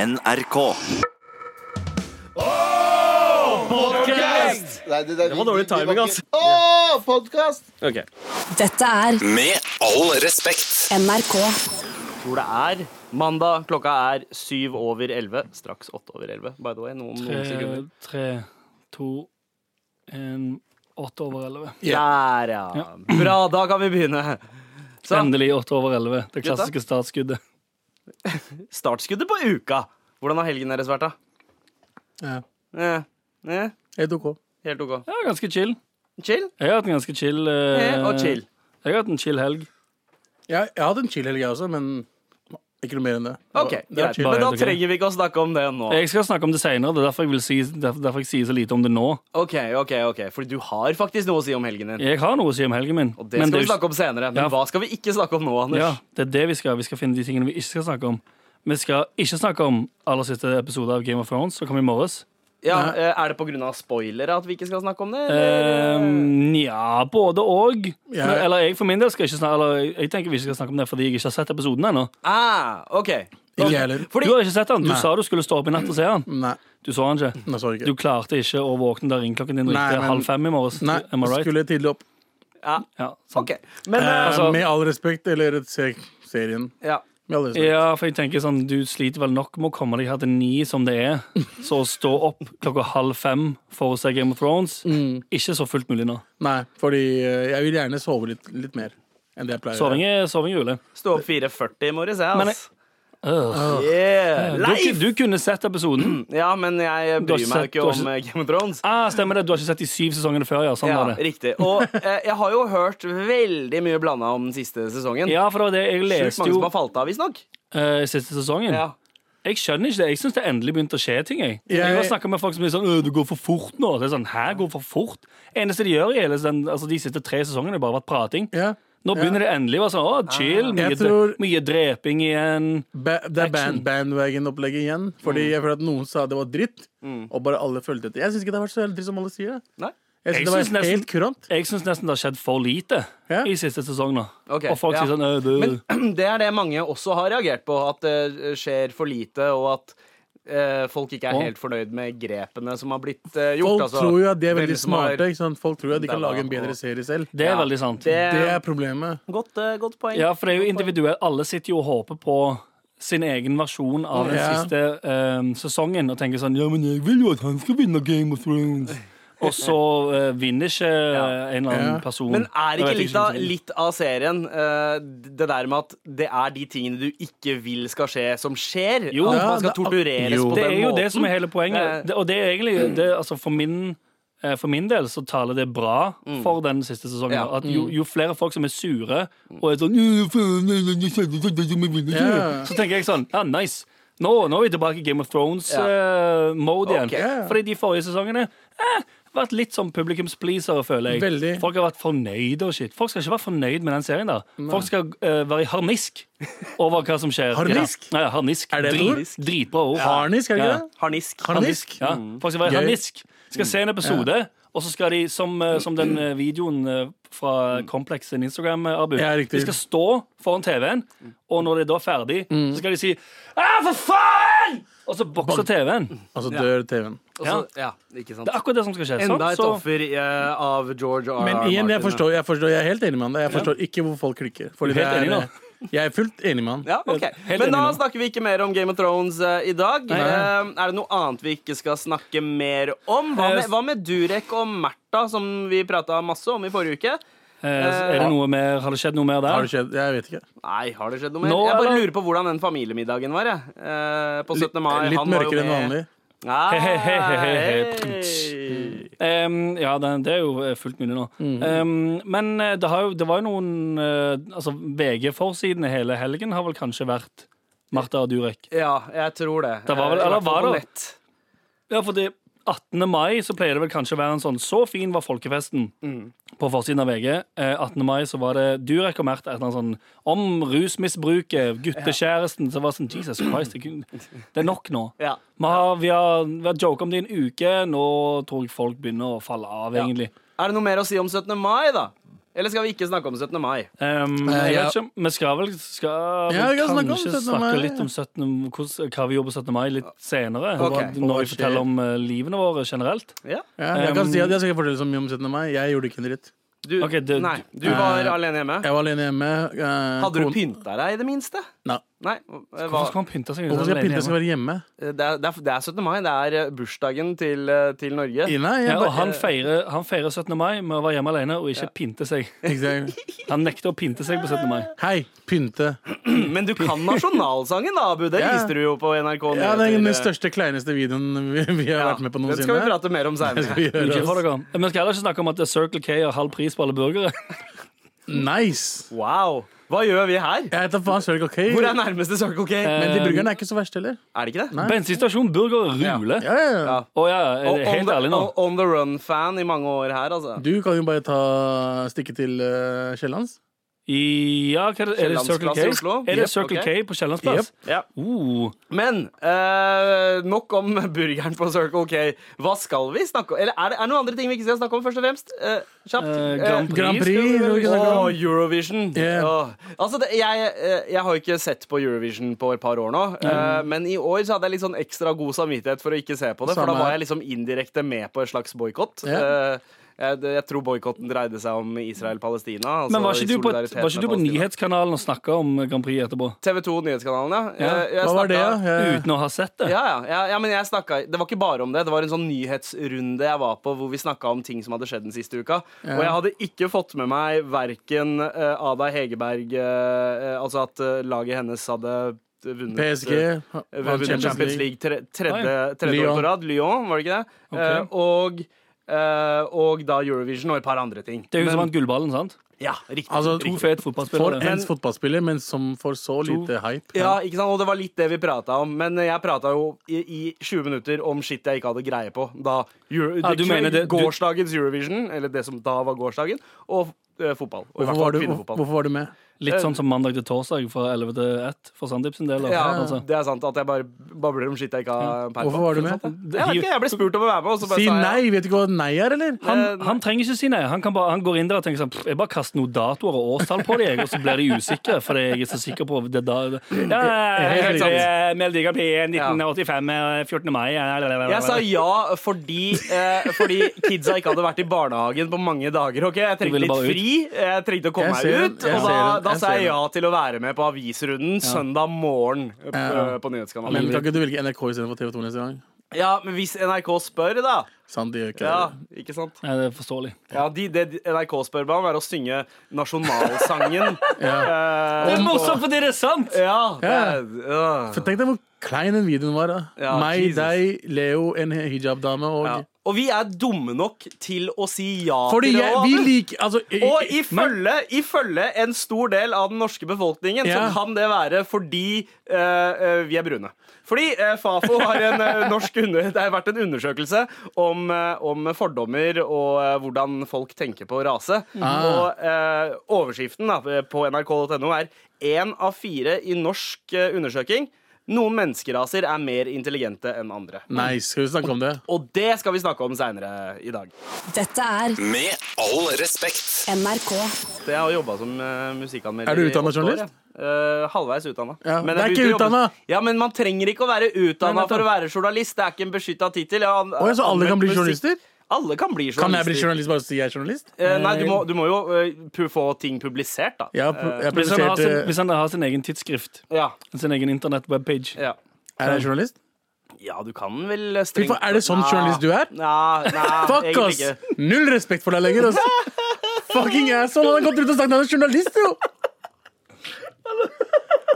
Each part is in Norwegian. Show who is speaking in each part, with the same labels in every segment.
Speaker 1: NRK.
Speaker 2: Nei, det, det,
Speaker 3: var dårlig timing, altså.
Speaker 2: Å, podkast!
Speaker 3: Ok.
Speaker 4: Dette er
Speaker 1: Med all respekt.
Speaker 4: NRK.
Speaker 3: Tror det er mandag. Klokka er syv over elleve. Straks åtte over elleve, by the way. Noen, noen sekunder.
Speaker 5: Tre, tre, to, en, åtte over elleve.
Speaker 3: Der, ja. Bra, da kan vi begynne. Så,
Speaker 5: Endelig åtte over elleve. Det
Speaker 3: Gutta?
Speaker 5: klassiske startskuddet.
Speaker 3: startskuddet på uka. Hvordan har helgen deres vært, da?
Speaker 6: Ja.
Speaker 3: Eh, eh,
Speaker 6: Helt OK.
Speaker 3: helt OK.
Speaker 5: Ja, ganske chill.
Speaker 3: Chill
Speaker 5: Jeg har hatt en ganske chill eh,
Speaker 3: eh, og chill.
Speaker 5: Jeg har hatt en chill helg.
Speaker 6: Jeg, jeg hadde en chill helg, jeg også, men ikke noe mer enn det. Det var-
Speaker 3: Ok,
Speaker 6: det var
Speaker 3: greit.
Speaker 6: chill.
Speaker 3: Men da
Speaker 5: helt ok.
Speaker 3: trenger vi ikke å snakke om det nå.
Speaker 5: Jeg skal snakke om det seinere. Det er derfor jeg, vil si, derfor, derfor jeg sier så lite om det nå.
Speaker 3: Ok, ok, ok. Fordi du har faktisk noe å si om helgen din.
Speaker 5: Jeg har noe å si om helgen min.
Speaker 3: Og det skal vi snakke om senere. Men
Speaker 5: Ja.
Speaker 3: hva skal vi ikke snakke om nå, Anders?
Speaker 5: Ja, det er det vi skal. Vi skal finne de tingene vi ikke skal snakke om. Vi skal ikke snakke om aller siste episode av Game of Thrones som kom i morges.
Speaker 3: Ja, eh, er det pga. spoilere at vi ikke skal snakke om det?
Speaker 5: Eh,
Speaker 3: eller?
Speaker 5: Nja, både og.
Speaker 6: Ja.
Speaker 5: Men- Eller jeg for min del skal ikke snakke Eller jeg- jeg tenker vi ikke skal snakke om det fordi jeg ikke har sett episoden ennå.
Speaker 3: Ah, ok.
Speaker 6: Ikke jeg heller.
Speaker 3: Fordi-
Speaker 5: Du har ikke sett den. Du
Speaker 6: Nei.
Speaker 5: sa du skulle stå opp i natt og se den.
Speaker 6: Nei,
Speaker 5: Du så den ikke.
Speaker 6: nå så jeg
Speaker 5: Du
Speaker 6: ikke.
Speaker 5: klarte ikke å våkne da ringklokken din
Speaker 6: Nei,
Speaker 5: ringte
Speaker 6: men-
Speaker 5: halv fem i morges.
Speaker 6: Nei,
Speaker 5: Am I right?
Speaker 6: skulle jeg tidlig opp.
Speaker 3: Ja,
Speaker 5: Ja, sant.
Speaker 3: ok. Men eh,
Speaker 6: Eh,
Speaker 5: altså-
Speaker 6: med all respekt, eller se serien.
Speaker 3: ja.
Speaker 6: Med all respekt.
Speaker 5: ja, for jeg tenker sånn, du sliter vel nok med å komme deg her til ni som det er. Så å stå opp klokka halv fem for å se Game of Thrones, ikke så fullt mulig nå.
Speaker 6: Nei, fordi eh, jeg vil gjerne sove litt, litt mer enn det jeg pleier. å
Speaker 5: Soving
Speaker 6: gjøre.
Speaker 5: er soving er ule.
Speaker 3: Stå opp 4.40 i morges, jeg,
Speaker 5: Men
Speaker 3: ass.
Speaker 5: Øh.
Speaker 3: Yeah.
Speaker 5: Du,
Speaker 3: Leif!
Speaker 5: du kunne sett episoden.
Speaker 3: Ja, men jeg
Speaker 5: Du har
Speaker 3: bryr meg
Speaker 5: ikke sett-
Speaker 3: ikke
Speaker 5: du har
Speaker 3: om eh, Game of Thrones.
Speaker 5: Ah, stemmer det, du har ikke sett de syv sesongene før, ja. Sånn
Speaker 3: Ja,
Speaker 5: var det.
Speaker 3: riktig. Og eh, jeg har jo hørt veldig mye blanda om den siste sesongen.
Speaker 5: Ja, for det var det jeg
Speaker 3: Sjukt
Speaker 5: leste
Speaker 3: mange
Speaker 5: jo
Speaker 3: som har falt av, visstnok.
Speaker 5: eh, siste sesongen.
Speaker 3: Ja.
Speaker 5: Jeg skjønner ikke det. Jeg syns det endelig begynte å skje ting. Jeg, jeg,
Speaker 6: Jeg-
Speaker 5: har snakket med folk som er sånn «Øh, 'Det går for fort nå'. Det er sånn, Hæ, går for fort? Eneste de gjør i hele den, altså, de siste tre sesongene, har bare vært prating.
Speaker 6: Ja. Ah.
Speaker 5: Nå begynner det endelig å være sånn 'Å, chill'. Mye,
Speaker 6: Jeg tror-
Speaker 5: dre- mye dreping igjen.
Speaker 6: Ba det er band
Speaker 5: Action.
Speaker 6: bandwagon-opplegget igjen. Fordi jeg føler at noen sa det var dritt, og bare alle fulgte etter. Jeg syns ikke det har vært så helt dritt som alle sier. det.
Speaker 3: Nei?
Speaker 6: Jeg
Speaker 5: Jeg
Speaker 6: synes det
Speaker 5: synes
Speaker 6: var
Speaker 5: nesten-
Speaker 6: helt kurant.
Speaker 5: Jeg syns nesten det har skjedd for lite
Speaker 6: Ja.
Speaker 5: i siste sesong nå.
Speaker 3: Ok,
Speaker 5: Og folk
Speaker 3: ja.
Speaker 5: sier sånn «Øh, det,
Speaker 3: Det er det mange også har reagert på, at det skjer for lite, og at eh, folk ikke er
Speaker 5: Å.
Speaker 3: helt fornøyd med grepene som har blitt eh, gjort.
Speaker 6: Folk
Speaker 3: altså.
Speaker 6: tror jo at de er
Speaker 3: Hvem
Speaker 6: veldig
Speaker 3: som har-
Speaker 6: smarte. Ikke sant? Folk tror jo at de kan
Speaker 3: Dabba
Speaker 6: lage en bedre
Speaker 3: og-
Speaker 6: serie selv.
Speaker 5: det er
Speaker 3: Ja,
Speaker 5: veldig sant.
Speaker 3: Det,
Speaker 6: Det er problemet.
Speaker 3: Godt, eh, godt poeng.
Speaker 5: Ja, for det er jo individuelt. Alle sitter jo og håper på sin egen versjon av den
Speaker 6: Ja.
Speaker 5: siste eh, sesongen og tenker sånn Ja, men jeg vil jo at han skal vinne Game of Thrones. Og så eh, vinner ikke eh, en eller annen
Speaker 6: Ja.
Speaker 5: person.
Speaker 3: Men er
Speaker 5: Jeg
Speaker 3: ikke
Speaker 5: vet
Speaker 3: litt av,
Speaker 5: hvem som-
Speaker 3: litt av serien eh, det der med at det er de tingene du ikke vil skal skje, som skjer?
Speaker 5: Jo.
Speaker 3: at
Speaker 6: Ja,
Speaker 3: man skal
Speaker 6: det er ak-
Speaker 3: tortureres
Speaker 6: jo.
Speaker 3: på
Speaker 5: Altså, Det
Speaker 3: den
Speaker 5: er jo
Speaker 3: måten?
Speaker 5: det som er hele poenget.
Speaker 3: Det-
Speaker 5: Det, og det er egentlig det, altså for, min, eh, for min del så taler det bra for den siste sesongen.
Speaker 3: Ja.
Speaker 5: At jo, jo flere folk som er sure og er sånn «Ja, faen, nei, nei, jeg skjønner ikke, jeg må vinne ikke».
Speaker 6: Ja.
Speaker 5: Så tenker jeg sånn Ja, nice. Nå, nå er vi tilbake i Game of
Speaker 3: Ja.
Speaker 5: Thrones-mode igjen.
Speaker 3: Ok.
Speaker 6: Ja.
Speaker 5: Fordi de forrige sesongene eh, vært litt som publicums pleasere, føler jeg.
Speaker 6: Veldig.
Speaker 5: Folk har vært fornøyde og shit. Folk skal ikke være fornøyd med den serien. da Folk skal eh, være i harnisk over hva som skjer.
Speaker 6: Harnisk?
Speaker 5: Ja. Nei, harnisk.
Speaker 6: Er det et ord?
Speaker 5: Drit, dritbra ord.
Speaker 6: Harnisk, er det
Speaker 5: Ja.
Speaker 6: ikke det?
Speaker 3: Harnisk.
Speaker 6: Harnisk?
Speaker 5: Ja, folk skal være
Speaker 6: Mm. Gøy. Mm.
Speaker 5: harnisk. Skal se en episode, og så skal de, som, eh, som den eh, videoen eh, fra Complex sin Instagram, eh, Abu
Speaker 6: Mm. Ja, riktig.
Speaker 5: De skal stå foran TV-en, og når det er da ferdig,
Speaker 6: Mm.
Speaker 5: så skal de si «Ah, for faen! Og så bokser TV-en.
Speaker 6: Og så dør TV-en.
Speaker 3: Og så- ja, ikke sant.
Speaker 5: Det er akkurat det som skal skje.
Speaker 3: Enda et
Speaker 5: så, så,
Speaker 3: offer eh, av George R.
Speaker 6: Men
Speaker 3: R.
Speaker 6: igjen, jeg
Speaker 3: Martin.
Speaker 6: forstår, jeg forstår, jeg er helt enig med han. Jeg forstår ikke hvor folk klikker. Fordi
Speaker 5: Du er
Speaker 6: det
Speaker 5: helt
Speaker 6: er, eh,
Speaker 5: enig
Speaker 6: jeg er fullt enig med han.
Speaker 3: Ja, ok.
Speaker 5: Helt
Speaker 3: Men
Speaker 5: enig
Speaker 3: da
Speaker 5: nå.
Speaker 3: snakker vi ikke mer om Game of Thrones eh, i dag. Eh, er det noe annet vi ikke skal snakke mer om?
Speaker 5: Eh,
Speaker 3: Hva med, hva med Durek og Märtha, som vi prata masse om i forrige uke?
Speaker 5: eh, er det noe mer, har det skjedd noe mer
Speaker 6: Har det
Speaker 5: der?
Speaker 6: skjedd? Jeg vet ikke.
Speaker 3: Nei, har det skjedd noe mer?
Speaker 5: Nå,
Speaker 3: jeg bare
Speaker 5: eller?
Speaker 3: lurer på hvordan den familiemiddagen var. Jeg. Eh, på 17. mai.
Speaker 6: Litt
Speaker 3: han var jo
Speaker 6: mørkere enn
Speaker 3: med.
Speaker 6: vanlig.
Speaker 3: Ah,
Speaker 5: He, he, he, he, he, he.
Speaker 3: hei.
Speaker 5: Em, ja, det, det er jo eh, fullt mulig nå.
Speaker 6: Mm.
Speaker 5: Em, men eh, det, har jo, det var jo noen eh, Altså, VG-forsidene hele helgen har vel kanskje vært Martha og Durek.
Speaker 3: Ja, jeg tror det.
Speaker 5: Det var vel-
Speaker 3: Eh, i
Speaker 5: eller
Speaker 3: hvert fall
Speaker 5: var
Speaker 3: på
Speaker 5: det?
Speaker 3: nett.
Speaker 5: Ja, for det 18. mai så pleier det vel kanskje å være en sånn Så fin var folkefesten
Speaker 3: Mm.
Speaker 5: på forsiden av VG. Eh, 18. mai så var det Durek og Mert et eller annet sånn om rusmisbruket, guttekjæresten. Så var det sånn Jesus Christ, det, kunne- det er nok nå.
Speaker 3: Ja.
Speaker 5: Vi har, vi har, vi har joket om det i en uke. Nå tror jeg folk begynner å falle av, egentlig.
Speaker 3: Er det noe mer å si om 17. mai, da? Eller skal vi ikke snakke om 17. mai?
Speaker 5: Um, jeg
Speaker 6: Eh, ja.
Speaker 5: vet ikke, om- Vi skal vel skal
Speaker 6: Ja, vi
Speaker 5: vel
Speaker 6: kan snakke om
Speaker 5: kanskje
Speaker 6: 17. mai,
Speaker 5: snakke
Speaker 6: ja.
Speaker 5: litt om 17, om hvordan, hva vi gjorde på 17. mai litt senere.
Speaker 3: Ok.
Speaker 5: hva- Når vi forteller om eh, livene våre generelt.
Speaker 3: Ja.
Speaker 6: Ja, jeg kan
Speaker 5: Um,
Speaker 6: si at jeg skal fortelle så mye om 17. mai. Jeg gjorde ikke en dritt.
Speaker 3: Du,
Speaker 5: Ok, det-
Speaker 3: nei, du var
Speaker 6: Eh,
Speaker 3: alene hjemme.
Speaker 6: Jeg var alene hjemme. eh,
Speaker 3: Hadde du
Speaker 6: kon-
Speaker 3: pynta deg, i det minste?
Speaker 6: Nei.
Speaker 3: Nei. Eh, Hva, eh,
Speaker 5: Hvorfor skal man pynte seg?
Speaker 6: Hvorfor skal jeg
Speaker 5: alene
Speaker 6: pynte
Speaker 5: hjemme?
Speaker 6: skal jeg være hjemme?
Speaker 3: det, er, det er- det er 17. mai. Det er eh, bursdagen til, eh, til Norge.
Speaker 6: I- Nei, jeg
Speaker 5: ja, og
Speaker 6: bare,
Speaker 5: han
Speaker 3: eh,
Speaker 5: feirer, han feirer 17. mai med å være hjemme alene og ikke pynte seg.
Speaker 6: Exakt.
Speaker 5: Han nekter å pynte seg på 17. mai.
Speaker 6: Hei, pynte.
Speaker 3: Men du kan nasjonalsangen, da, Abu. Det
Speaker 6: Ja.
Speaker 3: viste du jo på NRK.
Speaker 6: Ja, det er
Speaker 3: Nyheter.
Speaker 6: den største, kleineste videoen vi, vi har
Speaker 3: Ja,
Speaker 6: vært med på
Speaker 3: Den skal vi
Speaker 6: noensinne.
Speaker 3: prate mer om
Speaker 6: Det skal vi
Speaker 3: seinere.
Speaker 5: Ikke
Speaker 6: gjøre,
Speaker 5: for
Speaker 6: ass.
Speaker 5: dere. Vi skal heller ikke snakke om at Circle K har halv pris på alle burgere.
Speaker 6: Nice!
Speaker 3: Wow. Hva gjør vi her?
Speaker 6: Jeg heter faen Circle K.
Speaker 3: Hvor er nærmeste Circle K?
Speaker 6: Men de burgerne er ikke så verste heller.
Speaker 3: er det ikke det?
Speaker 6: Eh, Nei.
Speaker 5: Bensinstasjon, burger, rule. Å ja.
Speaker 6: Ja, ja, ja.
Speaker 3: Ja. Og on
Speaker 5: helt
Speaker 3: the,
Speaker 5: ærlig nå.
Speaker 3: on- on the run-fan i mange år her, altså.
Speaker 6: Du kan jo bare ta stikke til uh, Kiellands.
Speaker 5: I, ja, hva er det? Er det Circle
Speaker 3: Kiellandsplass i
Speaker 5: K?
Speaker 3: Oslo?
Speaker 5: Er det
Speaker 3: Jep,
Speaker 5: Circle
Speaker 3: ok.
Speaker 5: K på Kiellandsplass?
Speaker 3: Ja.
Speaker 5: Uh,
Speaker 3: Men eh, nok om burgeren på Circle K. Hva skal vi snakke om? Eller er det er det noen andre ting vi ikke skal snakke om, først og fremst? Eh, kjapt.
Speaker 5: Eh, Grand
Speaker 3: Eh,
Speaker 5: Prix.
Speaker 6: Grand Prix.
Speaker 5: skal vi
Speaker 6: skal vi
Speaker 5: vel-
Speaker 6: snakke om.
Speaker 3: Åh, Eurovision.
Speaker 6: Yeah.
Speaker 3: Åh. Altså, det, jeg, eh, jeg har jo ikke sett på Eurovision på et par år nå. eh, men i år så hadde jeg litt sånn ekstra god samvittighet for å ikke se på det. For
Speaker 6: Samme
Speaker 3: da var
Speaker 6: her.
Speaker 3: jeg liksom indirekte med på en slags boikott.
Speaker 6: Ja.
Speaker 3: Eh, jeg, jeg tror boikotten dreide seg om Israel-Palestina. Altså
Speaker 5: Men var ikke, du på, et-
Speaker 3: solidaritet
Speaker 5: var ikke
Speaker 3: med
Speaker 5: du på
Speaker 3: Palestina.
Speaker 5: nyhetskanalen og snakka om Grand Prix etterpå?
Speaker 3: TV 2 Nyhetskanalen, ja. Eh,
Speaker 5: Ja.
Speaker 3: Jeg- jeg
Speaker 6: Hva var det,
Speaker 3: snakket-
Speaker 6: da? Jeg-
Speaker 5: Uten å ha sett det?
Speaker 3: Ja, ja, ja, ja, men jeg snakket, Det var ikke bare om det. Det var en sånn nyhetsrunde jeg var på, hvor vi snakka om ting som hadde skjedd den siste uka. Og jeg hadde ikke fått med meg verken eh, Ada Hegerberg eh, eh, Altså at eh, laget hennes hadde vunnet
Speaker 6: PSG.
Speaker 3: eh,
Speaker 6: ha-
Speaker 3: vunnet Champions, League tre, tredje, tredje år
Speaker 6: Lyon.
Speaker 3: på rad. Lyon, var det ikke det? Eh, og eh, og da Eurovision og et par andre ting.
Speaker 5: Det er hun som
Speaker 3: Men-
Speaker 5: vant gullballen, sant?
Speaker 3: ja, riktig,
Speaker 6: Altså,
Speaker 5: To
Speaker 3: riktig.
Speaker 5: fete
Speaker 6: For
Speaker 5: fotballspillere.
Speaker 6: en fotballspiller, men som får så lite hype.
Speaker 3: Ja, ikke sant? Og det var litt det vi prata om. Men jeg prata jo i, i 20 minutter om shit jeg ikke hadde greie på. Da Euro,
Speaker 5: Ja, du
Speaker 3: det-
Speaker 5: mener det- du-
Speaker 3: gårsdagens Eurovision, eller det som da var gårsdagen, og eh, fotball. Og i hvert
Speaker 6: Hvorfor
Speaker 3: fall
Speaker 6: var, du,
Speaker 3: kvinnefotball.
Speaker 6: hvorfor var du med?
Speaker 3: Eh.
Speaker 5: Litt sånn som mandag til torsdag fra 11 til 1 for Sandeep sin del. da.
Speaker 3: Ja,
Speaker 5: altså.
Speaker 3: det er sant at jeg bare babler om shit jeg ikke har peil
Speaker 6: Hvorfor var du med?
Speaker 3: Jeg vet ikke, jeg ble spurt om å være med, og så bare
Speaker 6: Si
Speaker 3: sa jeg eh,
Speaker 6: nei! Vet du ikke hva nei er, eller?
Speaker 5: Han, han trenger ikke si nei. Han, kan bare, han går inn der og tenker sånn «Pff, Jeg bare kaster noen datoer og årstall på dem, og så blir de usikre. For jeg er så sikker på det da Ja,
Speaker 6: Helt sant.
Speaker 5: eh, Melodi Grand Prix 1985, eh, 14. mai eh, blablabla.
Speaker 3: Jeg sa ja fordi, eh, fordi kidsa ikke hadde vært i barnehagen på mange dager. ok? Jeg
Speaker 5: Du ville
Speaker 3: trengte litt
Speaker 5: bare ut.
Speaker 3: fri. Jeg trengte å komme
Speaker 6: Jeg
Speaker 3: meg
Speaker 6: ser
Speaker 3: ut.
Speaker 6: den, jeg
Speaker 3: Og da,
Speaker 6: ser den,
Speaker 3: da
Speaker 6: jeg
Speaker 3: sa
Speaker 6: ser
Speaker 3: jeg ja til å være med på avisrunden søndag morgen eh,
Speaker 6: Ja.
Speaker 3: på Nyhetskanalen.
Speaker 6: Men kan ikke du velge NRK istedenfor TV 2 neste gang?
Speaker 3: Ja, men hvis NRK spør, da.
Speaker 6: Sant, de gjør ikke
Speaker 3: Ja,
Speaker 6: det.
Speaker 3: ikke sant?
Speaker 5: Ja, det er forståelig.
Speaker 3: Ja, de, Det de- NRK spør meg om, er å synge nasjonalsangen.
Speaker 5: Det
Speaker 3: Eh,
Speaker 5: er morsomt fordi det er sant!
Speaker 3: ja, det,
Speaker 6: Ja.
Speaker 3: ja.
Speaker 6: For tenk deg hvor klein den videoen var. da
Speaker 3: Ja,
Speaker 6: Meg,
Speaker 3: Jesus.
Speaker 6: deg, Leo, en hijab-dame og
Speaker 3: Ja. Og vi er dumme nok til å si ja
Speaker 6: Fordi
Speaker 3: til det.
Speaker 6: jeg,
Speaker 3: også,
Speaker 6: vi
Speaker 3: Abu.
Speaker 6: liker altså, i-
Speaker 3: Og
Speaker 6: i- men-
Speaker 3: ifølge, ifølge en stor del av den norske befolkningen
Speaker 6: Ja.
Speaker 3: så kan det være fordi eh, eh, vi er brune. Fordi eh, Fafo har en eh, norsk under, Det har vært en undersøkelse om, eh, om fordommer og eh, hvordan folk tenker på rase.
Speaker 6: Ah.
Speaker 3: Og eh, overskriften da, på nrk.no er én av fire i norsk eh, undersøking. Noen menneskeraser er mer intelligente enn andre.
Speaker 6: Nei, skal vi snakke om det?
Speaker 3: Og det skal vi snakke om seinere i dag.
Speaker 4: Dette er
Speaker 1: Med all respekt.
Speaker 4: NRK.
Speaker 3: Jeg har jobba som eh, musikkanmelder.
Speaker 6: Er du
Speaker 3: i
Speaker 6: utdannet
Speaker 3: åtte år,
Speaker 6: journalist?
Speaker 3: ja. Eh, halvveis utdanna.
Speaker 6: Ja, det
Speaker 3: jeg
Speaker 6: er
Speaker 3: begynte
Speaker 6: ikke
Speaker 3: å jobbe-
Speaker 6: utdannet.
Speaker 3: Ja, men man trenger ikke å være utdanna
Speaker 6: nettopp.
Speaker 3: for å være journalist. Det er ikke en beskytta tittel. Jeg har an-
Speaker 6: Å, ja, så alle kan bli
Speaker 3: anmeldt musikk.
Speaker 6: journalister?
Speaker 3: Alle kan bli journalister.
Speaker 6: Kan jeg bli journalist bare si jeg er journalist?
Speaker 3: Eh, nei, du må, du må jo eh, pu- få ting publisert, da. Eh,
Speaker 6: Jeg, har pu- jeg
Speaker 5: Eh, Hvis han, har sin,
Speaker 6: publiserte
Speaker 5: hvis han har sin egen tidsskrift,
Speaker 3: Ja.
Speaker 5: sin egen internettwebpage
Speaker 3: ja.
Speaker 6: Er jeg journalist?
Speaker 3: Ja, du kan vel strengt
Speaker 6: Fy faen, er det sånn journalist du er?
Speaker 3: Nei,
Speaker 5: Ah,
Speaker 3: nei
Speaker 6: Fuck,
Speaker 3: egentlig
Speaker 6: ass!
Speaker 3: ikke.
Speaker 6: Null respekt for deg lenger. Ass. Fucking asshole! Han har gått rundt og sagt han er journalist, jo!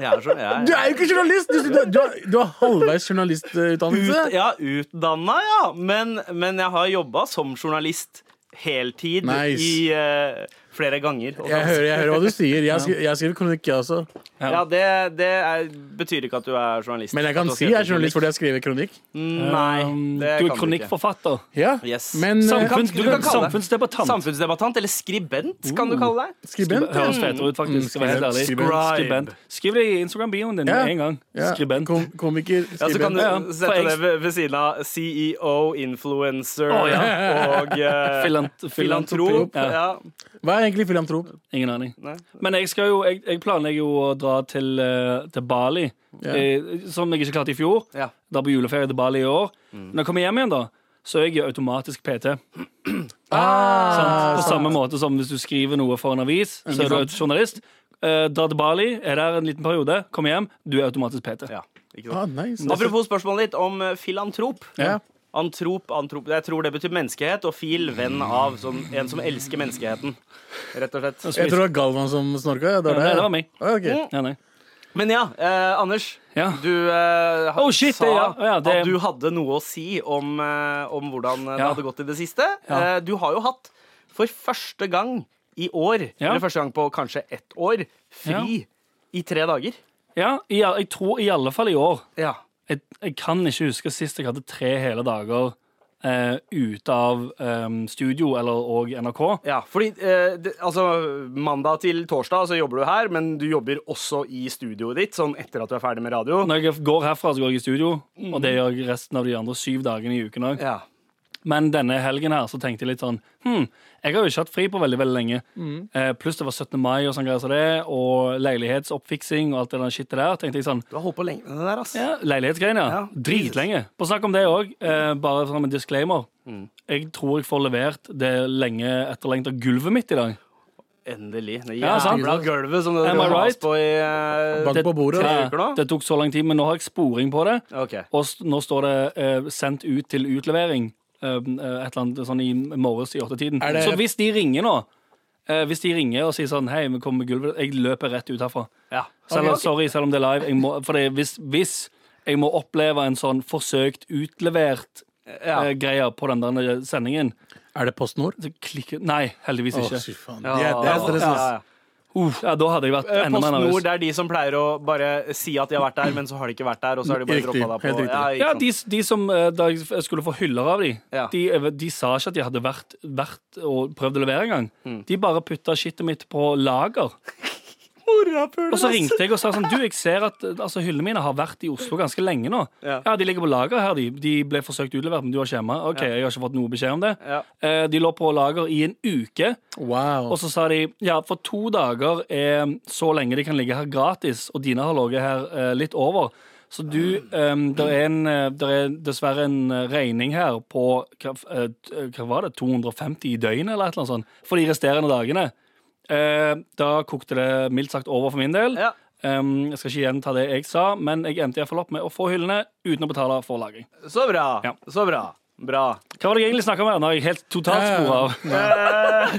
Speaker 3: Jeg er så, jeg,
Speaker 6: Du er jo ikke journalist! Du, du, du, har, du har halvveis
Speaker 3: Ut,
Speaker 6: journalistutdannelse.
Speaker 3: ja, utdanna, ja. Men, men jeg har jobba som journalist heltid
Speaker 6: Nice.
Speaker 3: i eh, flere ganger. Og
Speaker 6: Jeg
Speaker 3: så-
Speaker 6: hører, jeg hører hva du sier. Jeg har skri- jeg har skrevet kronikk, jeg også.
Speaker 3: Ja, det, det er, betyr ikke at du er journalist.
Speaker 6: Men jeg
Speaker 3: At
Speaker 6: kan
Speaker 3: du har
Speaker 6: si
Speaker 3: skrevet
Speaker 6: jeg er journalist Um, fordi jeg har skrevet kronikk.
Speaker 3: kronikk. Nei,
Speaker 5: Um, Du
Speaker 3: det
Speaker 5: er
Speaker 3: kan du ikke.
Speaker 5: kronikkforfatter.
Speaker 6: Ja,
Speaker 3: Yes.
Speaker 6: Men eh,
Speaker 5: Samfunn-
Speaker 3: Kan- du
Speaker 5: du kan
Speaker 3: kan kalle det-
Speaker 5: Samfunnsdebattant.
Speaker 3: Samfunnsdebattant, eller skribent, kan du
Speaker 6: Oh.
Speaker 3: kalle deg.
Speaker 6: skribent. ja.
Speaker 5: Høres fetere ut,
Speaker 3: Mm.
Speaker 5: faktisk. skal være helt ærlig.
Speaker 6: Skribent.
Speaker 5: Skribent. Skriv det i Instagram-bioen din
Speaker 6: Ja.
Speaker 5: med en gang.
Speaker 6: Ja,
Speaker 5: Skribent.
Speaker 6: Kom, komiker.
Speaker 3: Ja, så kan
Speaker 6: Skribent.
Speaker 3: du
Speaker 5: Ja, ja.
Speaker 3: sette
Speaker 5: For
Speaker 3: det
Speaker 5: jeg-
Speaker 3: ved, ved siden av CEO, influencer
Speaker 5: Å,
Speaker 3: og eh,
Speaker 5: Filant, filantrop.
Speaker 3: filantrop.
Speaker 5: Ja.
Speaker 3: Ja.
Speaker 6: Hva er egentlig filantrop?
Speaker 5: Ingen aning.
Speaker 3: Nei.
Speaker 5: Men jeg, skal jo, jeg, jeg planlegger jo å dra til, eh, til Bali,
Speaker 6: Ja.
Speaker 5: eh, som jeg ikke klarte i fjor.
Speaker 3: Ja. Mm.
Speaker 5: Dra på juleferie til Bali i år. Når jeg kommer hjem igjen, da, så er jeg jo automatisk PT.
Speaker 3: Ah,
Speaker 5: sant?
Speaker 6: Ah.
Speaker 5: På samme måte som hvis du skriver noe for en avis,
Speaker 3: Mm.
Speaker 5: så er du journalist. Eh, dra til Bali, er der en liten periode, kom hjem, du er automatisk PT.
Speaker 3: Ja, ikke sant?
Speaker 6: Ah, nice.
Speaker 3: Apropos spørsmålet ditt om eh, filantrop.
Speaker 6: Ja.
Speaker 3: Antrop, antrop Jeg tror det betyr menneskehet, og fil, venn av. Som, en som elsker menneskeheten. Rett og slett.
Speaker 6: Jeg tror det var Galvan som snorka. Ja, det, var
Speaker 5: Nei,
Speaker 6: det.
Speaker 5: det var meg. Mm.
Speaker 6: Ah, ok.
Speaker 5: Ja, nei.
Speaker 3: Men ja, eh, Anders.
Speaker 5: Ja.
Speaker 3: Du eh, ha-
Speaker 5: Oh, shit,
Speaker 3: sa
Speaker 5: det- ja, ja, det-
Speaker 3: at du hadde noe å si om, eh, om hvordan det
Speaker 5: Ja.
Speaker 3: hadde gått i det siste.
Speaker 5: Ja.
Speaker 3: Eh, du har jo hatt, for første gang i år,
Speaker 5: Ja.
Speaker 3: eller første gang på kanskje ett år, fri i tre dager.
Speaker 5: ja i, al- jeg tror i alle fall i år.
Speaker 3: Ja.
Speaker 5: Jeg, jeg kan ikke huske sist jeg hadde tre hele dager eh, ute av eh, studio eller og NRK.
Speaker 3: Ja, fordi eh, det, altså, mandag til torsdag så jobber du her, men du jobber også i studioet ditt, sånn etter at du er ferdig med radio.
Speaker 5: Når jeg går herfra, så går jeg i studio, og det gjør jeg resten av de andre syv dagene i uken òg.
Speaker 3: Ja.
Speaker 5: Men denne helgen her så tenkte jeg litt sånn Hm, jeg har jo ikke hatt fri på veldig veldig lenge. Eh, pluss det var 17. mai og sånn greier som det, og leilighetsoppfiksing og alt det der shitet der. tenkte jeg sånn
Speaker 3: Du har holdt på lenge med det der, ass.
Speaker 5: ja, Leilighetsgreiene, ja.
Speaker 3: Ja,
Speaker 5: Dritlenge. På snakk om det òg, eh, bare som en disclaimer. Jeg tror jeg får levert det lenge etterlengta gulvet mitt i dag.
Speaker 3: Endelig. Det
Speaker 5: Ja, sant.
Speaker 3: jævla gulvet som det
Speaker 5: Am I
Speaker 3: har
Speaker 5: right?
Speaker 3: på i eh,
Speaker 6: Bank på bordet.
Speaker 3: tre
Speaker 5: Ja,
Speaker 3: uker nå?
Speaker 5: det tok så lang tid, men nå har jeg sporing på det.
Speaker 3: Ok.
Speaker 5: Og s- nå står det eh, 'sendt ut til utlevering' eh, eh, et eller annet sånn i morges i åttetiden.
Speaker 6: Er det-
Speaker 5: Så hvis de ringer nå eh, Hvis de ringer og sier sånn 'Hei, vi kommer med gulvet', jeg løper rett ut herfra.
Speaker 3: Ja.
Speaker 5: Selv, om-
Speaker 3: Ok.
Speaker 5: Sorry, selv om det er live. Jeg må, for det, hvis, hvis jeg må oppleve en sånn forsøkt utlevert
Speaker 3: Ja.
Speaker 5: eh, greie på den der sendingen
Speaker 6: Er det Post Nord?
Speaker 5: så klikker, Nei, heldigvis
Speaker 6: Å,
Speaker 5: ikke.
Speaker 6: fy faen.
Speaker 3: Ja,
Speaker 6: Det er, det er stress,
Speaker 3: ja,
Speaker 6: ass.
Speaker 3: ja.
Speaker 5: Uff, ja, da hadde jeg vært
Speaker 3: Eh,
Speaker 5: enda mer
Speaker 3: PostNord
Speaker 5: nervøs.
Speaker 3: det er de som pleier å bare si at de har vært der, men så har de ikke vært der. Og så har de bare
Speaker 6: Riktig,
Speaker 3: droppa deg på
Speaker 6: helt riktig.
Speaker 3: Ja, ikke
Speaker 5: Ja,
Speaker 3: sant.
Speaker 5: de, de som eh, Da jeg f- skulle få hyller av de,
Speaker 3: Ja.
Speaker 5: de eh, De sa ikke at de hadde vært, vært og prøvd å levere engang.
Speaker 3: Mm.
Speaker 5: De bare putta skittet mitt på lager. Og så ringte jeg og sa sånn Du, jeg ser at eh, altså, hyllene mine har vært i Oslo ganske lenge nå.
Speaker 3: Ja.
Speaker 5: de ligger på lager her, de. De ble forsøkt utlevert, men du har ikke hjemme. OK, jeg har ikke fått noe beskjed om det.
Speaker 3: Ja.
Speaker 5: Eh, De lå på lager i en uke.
Speaker 6: Wow.
Speaker 5: Og så sa de ja, for to dager er så lenge de kan ligge her gratis, og dine har ligget her eh, litt over. Så du, det er, en, eh, der er dessverre en eh, regning her på hva, f- eh, t- eh, hva var det, 250 i døgnet eller et eller annet sånt, for de resterende dagene. Eh, da kokte det mildt sagt over for min del.
Speaker 3: Ja.
Speaker 5: Em, jeg skal ikke gjenta det jeg sa, men jeg endte iallfall opp med å få hyllene uten å betale for lagring.
Speaker 3: Så bra.
Speaker 5: Ja.
Speaker 3: Så bra. Bra.
Speaker 5: Hva var det jeg egentlig snakka om her? Nå har jeg helt totalt
Speaker 6: Ja, ja, ja.
Speaker 5: sporet av.
Speaker 3: Eh,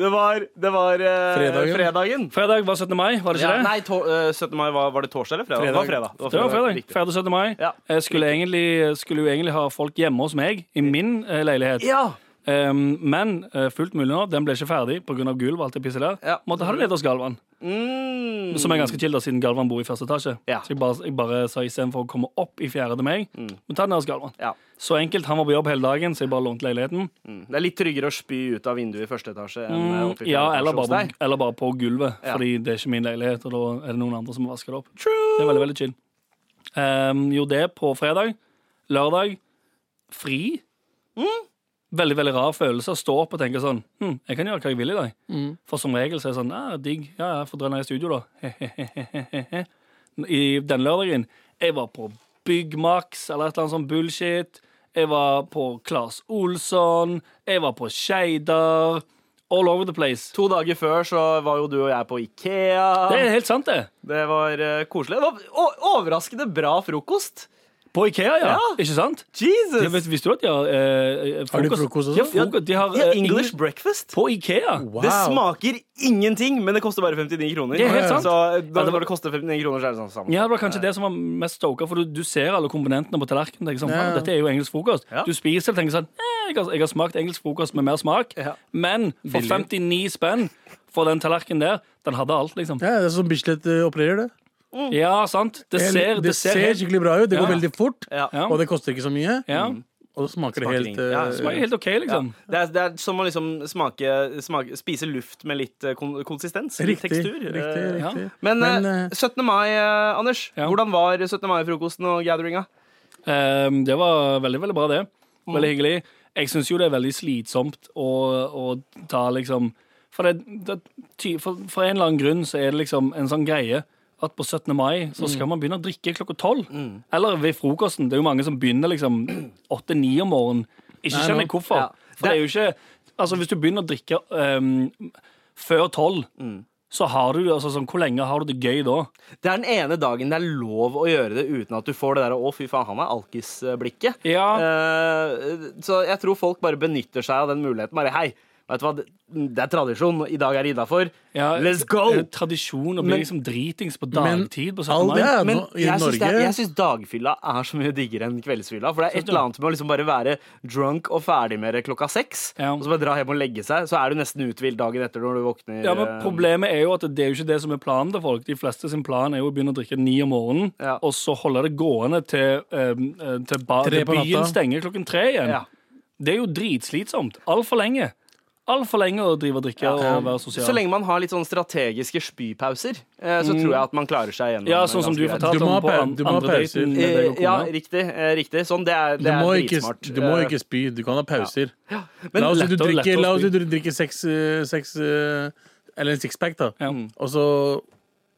Speaker 3: Det var, det var eh,
Speaker 6: Fredagen.
Speaker 3: fredagen.
Speaker 5: Fredag var 17. mai, var det ikke
Speaker 3: Ja,
Speaker 5: det?
Speaker 3: nei, to, eh, 17. mai var, var det torsdag eller fredag? Det var fredag.
Speaker 5: Det var fredag.
Speaker 3: Riktig.
Speaker 5: Fredag 17. mai.
Speaker 3: Ja.
Speaker 5: Jeg skulle, egentlig, skulle jo egentlig ha folk hjemme hos meg, i min eh, leilighet.
Speaker 3: Ja.
Speaker 5: Um, men eh, fullt mulig nå, den ble ikke ferdig pga. gulv og alt det pisset der.
Speaker 3: Ja.
Speaker 5: Måtte ha det nede hos Galvan,
Speaker 3: Mm.
Speaker 5: som er ganske chill, da, siden Galvan bor i første etasje.
Speaker 3: Ja. Mm.
Speaker 5: Så jeg bare, jeg bare sa istedenfor å komme opp i fjerde til meg, må ta det nede hos Galvan.
Speaker 3: Ja.
Speaker 5: Så enkelt. Han var på jobb hele dagen, så jeg bare lånte leiligheten.
Speaker 3: Mm. Det er litt tryggere å spy ut av vinduet i første etasje enn eh, oppe i
Speaker 5: Mm, Ja,
Speaker 3: fjerde
Speaker 5: eller
Speaker 3: etasje hos
Speaker 5: bare,
Speaker 3: deg.
Speaker 5: på, eller bare på gulvet,
Speaker 3: Ja.
Speaker 5: fordi det er ikke min leilighet, og da er det noen andre som vasker det opp. Det er veldig, veldig chill. Um, gjorde det på fredag. Lørdag fri. Veldig veldig rar følelse å stå opp og tenke sånn hm, Jeg kan gjøre hva jeg vil i dag. For som regel så er det sånn ah, digg. Ja, jeg får dra ned i studio, da. I den lørdagen Jeg var på Byggmax eller et eller annet sånn bullshit. Jeg var på Claes Olsson. Jeg var på Skeidar. All over the place.
Speaker 3: To dager før så var jo du og jeg på Ikea.
Speaker 5: Det er helt sant, det.
Speaker 3: Det var eh, koselig. Det var o- overraskende bra frokost.
Speaker 5: På Ikea, ja.
Speaker 3: Ja.
Speaker 5: Ikke sant?
Speaker 3: Jesus!
Speaker 5: Ja, vis- visste du at de har eh, eh, frokost?
Speaker 6: Har de frokost sånn? også?
Speaker 5: Ja, frokost. De har
Speaker 3: Ja,
Speaker 5: eh,
Speaker 3: English
Speaker 5: English
Speaker 3: breakfast.
Speaker 5: på Ikea.
Speaker 6: Wow.
Speaker 3: Det smaker ingenting, men det koster bare 59 kroner.
Speaker 5: Det er helt sant.
Speaker 3: Så eh, da, når det koster 59 kroner, så er det sånn sammen.
Speaker 5: Ja, Det var kanskje det som var mest stoka, for du, du ser alle komponentene på tallerkenen. tenker sånn,
Speaker 6: Ja.
Speaker 5: «Faen, Dette er jo engelsk frokost.
Speaker 3: Ja.
Speaker 5: Du spiser og tenker sånn eh, jeg, har, jeg har smakt engelsk frokost med mer smak,
Speaker 3: Ja.
Speaker 5: men for 59 spenn for den tallerkenen der, den hadde alt, liksom.
Speaker 6: Ja, det er sånn Bislett eh, opererer det.
Speaker 5: Ja, sant. Det ser,
Speaker 6: det ser
Speaker 5: helt
Speaker 6: skikkelig bra ut. Det går
Speaker 5: Ja.
Speaker 6: veldig fort,
Speaker 3: Ja.
Speaker 5: Ja.
Speaker 6: og det koster ikke så mye. Mm.
Speaker 5: ja,
Speaker 6: Og det smaker,
Speaker 3: Smaker
Speaker 6: helt
Speaker 3: ingenting. Ja,
Speaker 6: eh,
Speaker 3: det
Speaker 5: smaker helt OK, liksom.
Speaker 3: Det, er, det er som å liksom smake, smake, spise luft med litt eh, kon konsistens. Litt
Speaker 6: Riktig.
Speaker 3: tekstur.
Speaker 6: riktig,
Speaker 3: Eh,
Speaker 5: ja.
Speaker 6: riktig.
Speaker 3: Men, eh,
Speaker 6: Men, eh,
Speaker 3: 17. mai, eh, Anders.
Speaker 5: Ja.
Speaker 3: Hvordan var 17. mai-frokosten og gatheringa?
Speaker 5: Ehm, det var veldig, veldig bra, det. Veldig hyggelig. Jeg syns jo det er veldig slitsomt å, å ta liksom For, det, det, ty- for, for en eller annen grunn så er det liksom en sånn greie at på 17. mai så skal man begynne å drikke klokka tolv. Eller ved frokosten. Det er jo mange som begynner liksom åtte-ni om morgenen. Ikke skjønner jeg hvorfor.
Speaker 3: Ja.
Speaker 5: For det er jo ikke Altså, hvis du begynner å drikke ehm, før tolv, så har du det altså sånn Hvor lenge har du det gøy da?
Speaker 3: Det er den ene dagen det er lov å gjøre det uten at du får det der 'å, fy faen, han er alkis'-blikket.
Speaker 5: Ja.
Speaker 3: Eh, så jeg tror folk bare benytter seg av den muligheten. Bare hei, vet du hva, det det er tradisjon, i dag er det innafor.
Speaker 5: Ja,
Speaker 3: Let's go!
Speaker 6: Eh,
Speaker 5: Det er jo tradisjon å bli
Speaker 3: Men-
Speaker 5: liksom dritings på
Speaker 6: Men
Speaker 5: dagtid på 17.
Speaker 6: all
Speaker 5: mai.
Speaker 6: det er
Speaker 3: Men
Speaker 6: nå i
Speaker 3: jeg syns, det,
Speaker 6: Norge
Speaker 3: er- jeg syns dagfylla er så mye diggere enn kveldsfylla. For det er et eller annet med å liksom bare være drunk og ferdig med det klokka seks,
Speaker 5: Ja.
Speaker 3: og så bare dra hjem og legge seg, så er du nesten uthvilt dagen etter når du våkner. eh,
Speaker 5: Ja, men Problemet er jo at det er jo ikke det som er planen til folk. De fleste sin plan er jo å begynne å drikke ni om morgenen,
Speaker 3: Ja.
Speaker 5: og så holde det gående til, ehm, eh, til, ba,
Speaker 6: Tre
Speaker 5: til
Speaker 6: på
Speaker 5: byen
Speaker 6: natta.
Speaker 5: stenger klokken tre igjen.
Speaker 3: Ja.
Speaker 5: Det er jo dritslitsomt. Altfor lenge. Altfor lenge å drive og drikke og være sosial.
Speaker 3: Så lenge man har litt sånn strategiske spypauser, eh, så tror jeg at man klarer seg gjennom.
Speaker 5: ja, sånn som du
Speaker 3: ganske greit.
Speaker 5: fortalte
Speaker 6: Du må ha
Speaker 5: om på
Speaker 6: pau-
Speaker 5: an-
Speaker 6: du må ha
Speaker 5: andre
Speaker 6: pauser.
Speaker 5: daten med
Speaker 3: Eh,
Speaker 5: deg og
Speaker 3: Ja,
Speaker 5: kona.
Speaker 3: riktig. eh, riktig. Sånn, det er,
Speaker 6: du
Speaker 3: det er
Speaker 6: må, ikke,
Speaker 3: dritsmart.
Speaker 6: du må
Speaker 3: Eh,
Speaker 6: ikke spy. Du kan ha pauser.
Speaker 3: men
Speaker 6: La oss si
Speaker 5: lett
Speaker 6: du
Speaker 5: å- lett
Speaker 6: drikker,
Speaker 5: å
Speaker 6: la oss si
Speaker 5: spy.
Speaker 6: du drikker seks, eh, seks eh, Eller en sixpack, da.
Speaker 5: Ja.
Speaker 6: Og så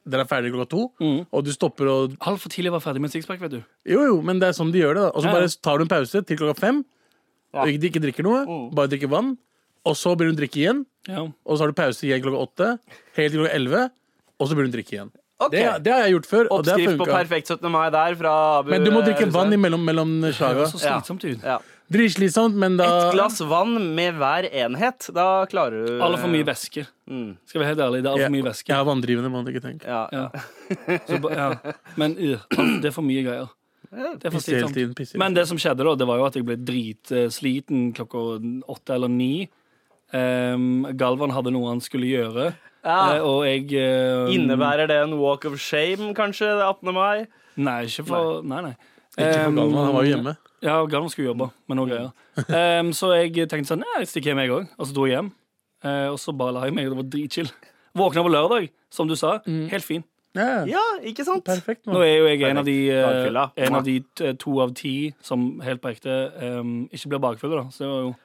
Speaker 6: dere er ferdig klokka to, og du stopper og
Speaker 5: Altfor tidlig å være ferdig med en sixpack, vet du.
Speaker 6: Jo, jo, men det er sånn de gjør det. da Og så
Speaker 5: Ja, ja.
Speaker 6: bare tar du en pause til klokka fem. Og ikke, ikke drikker noe,
Speaker 5: Mm.
Speaker 6: bare drikker vann. Og så begynner du å drikke igjen,
Speaker 5: Ja.
Speaker 6: og så har du pause igjen klokka åtte. Helt til klokka elleve, og så begynner du å drikke igjen.
Speaker 3: Eh, Ok.
Speaker 6: Det, det har jeg gjort før, og det har
Speaker 3: Oppskrift på
Speaker 6: funka.
Speaker 3: perfekt 17. mai der fra Abu
Speaker 6: Men du må drikke
Speaker 3: Hussein.
Speaker 6: vann imellom mellom
Speaker 5: eh, Det
Speaker 6: slaga.
Speaker 5: høres så
Speaker 3: Ja.
Speaker 5: slitsomt ut.
Speaker 3: Ja.
Speaker 6: Dritslitsomt, men da
Speaker 3: Et glass vann med hver enhet. Da klarer du
Speaker 5: Altfor mye væske. Skal vi være helt ærlig, det er
Speaker 6: Mm. Ja,
Speaker 5: altfor mye væske.
Speaker 6: Jeg er vanndrivende, må du ikke tenke.
Speaker 3: Ja.
Speaker 5: Ja. Så, ba- ja. Men øh, det er for mye greier. Det er for
Speaker 6: Pisse hele
Speaker 5: slitsomt.
Speaker 6: tiden. Pisse hele
Speaker 5: Men det som skjedde, da, det var jo at jeg ble dritsliten klokka åtte eller ni. Ehm, Galvan hadde noe han skulle gjøre,
Speaker 3: Ja.
Speaker 6: Ah.
Speaker 5: eh, og jeg ehm,
Speaker 3: Innebærer det en walk of shame, kanskje, det 18. mai?
Speaker 5: Nei, ikke for Nei, nei.
Speaker 6: Ikke for
Speaker 5: Ehm,
Speaker 6: Galvan, Mm. han var jo hjemme.
Speaker 5: Ja, Galvan skulle jobbe med noe greier. Ehm, så jeg tenkte sånn, nei, jeg stikker hjem, jeg òg. Og så dro jeg hjem. Eh, og så bare la jeg meg. Det var dritchill. Våkna på lørdag, som du sa.
Speaker 6: Mm.
Speaker 5: Helt fin.
Speaker 6: Ja,
Speaker 3: Ja, ikke sant?
Speaker 6: perfekt.
Speaker 5: Nå
Speaker 6: Man.
Speaker 5: er jo jeg en av de, eh,
Speaker 3: Bakfylla.
Speaker 5: en av de t- to av ti som helt på ekte ehm, ikke blir bakfulle, da. Så det var jo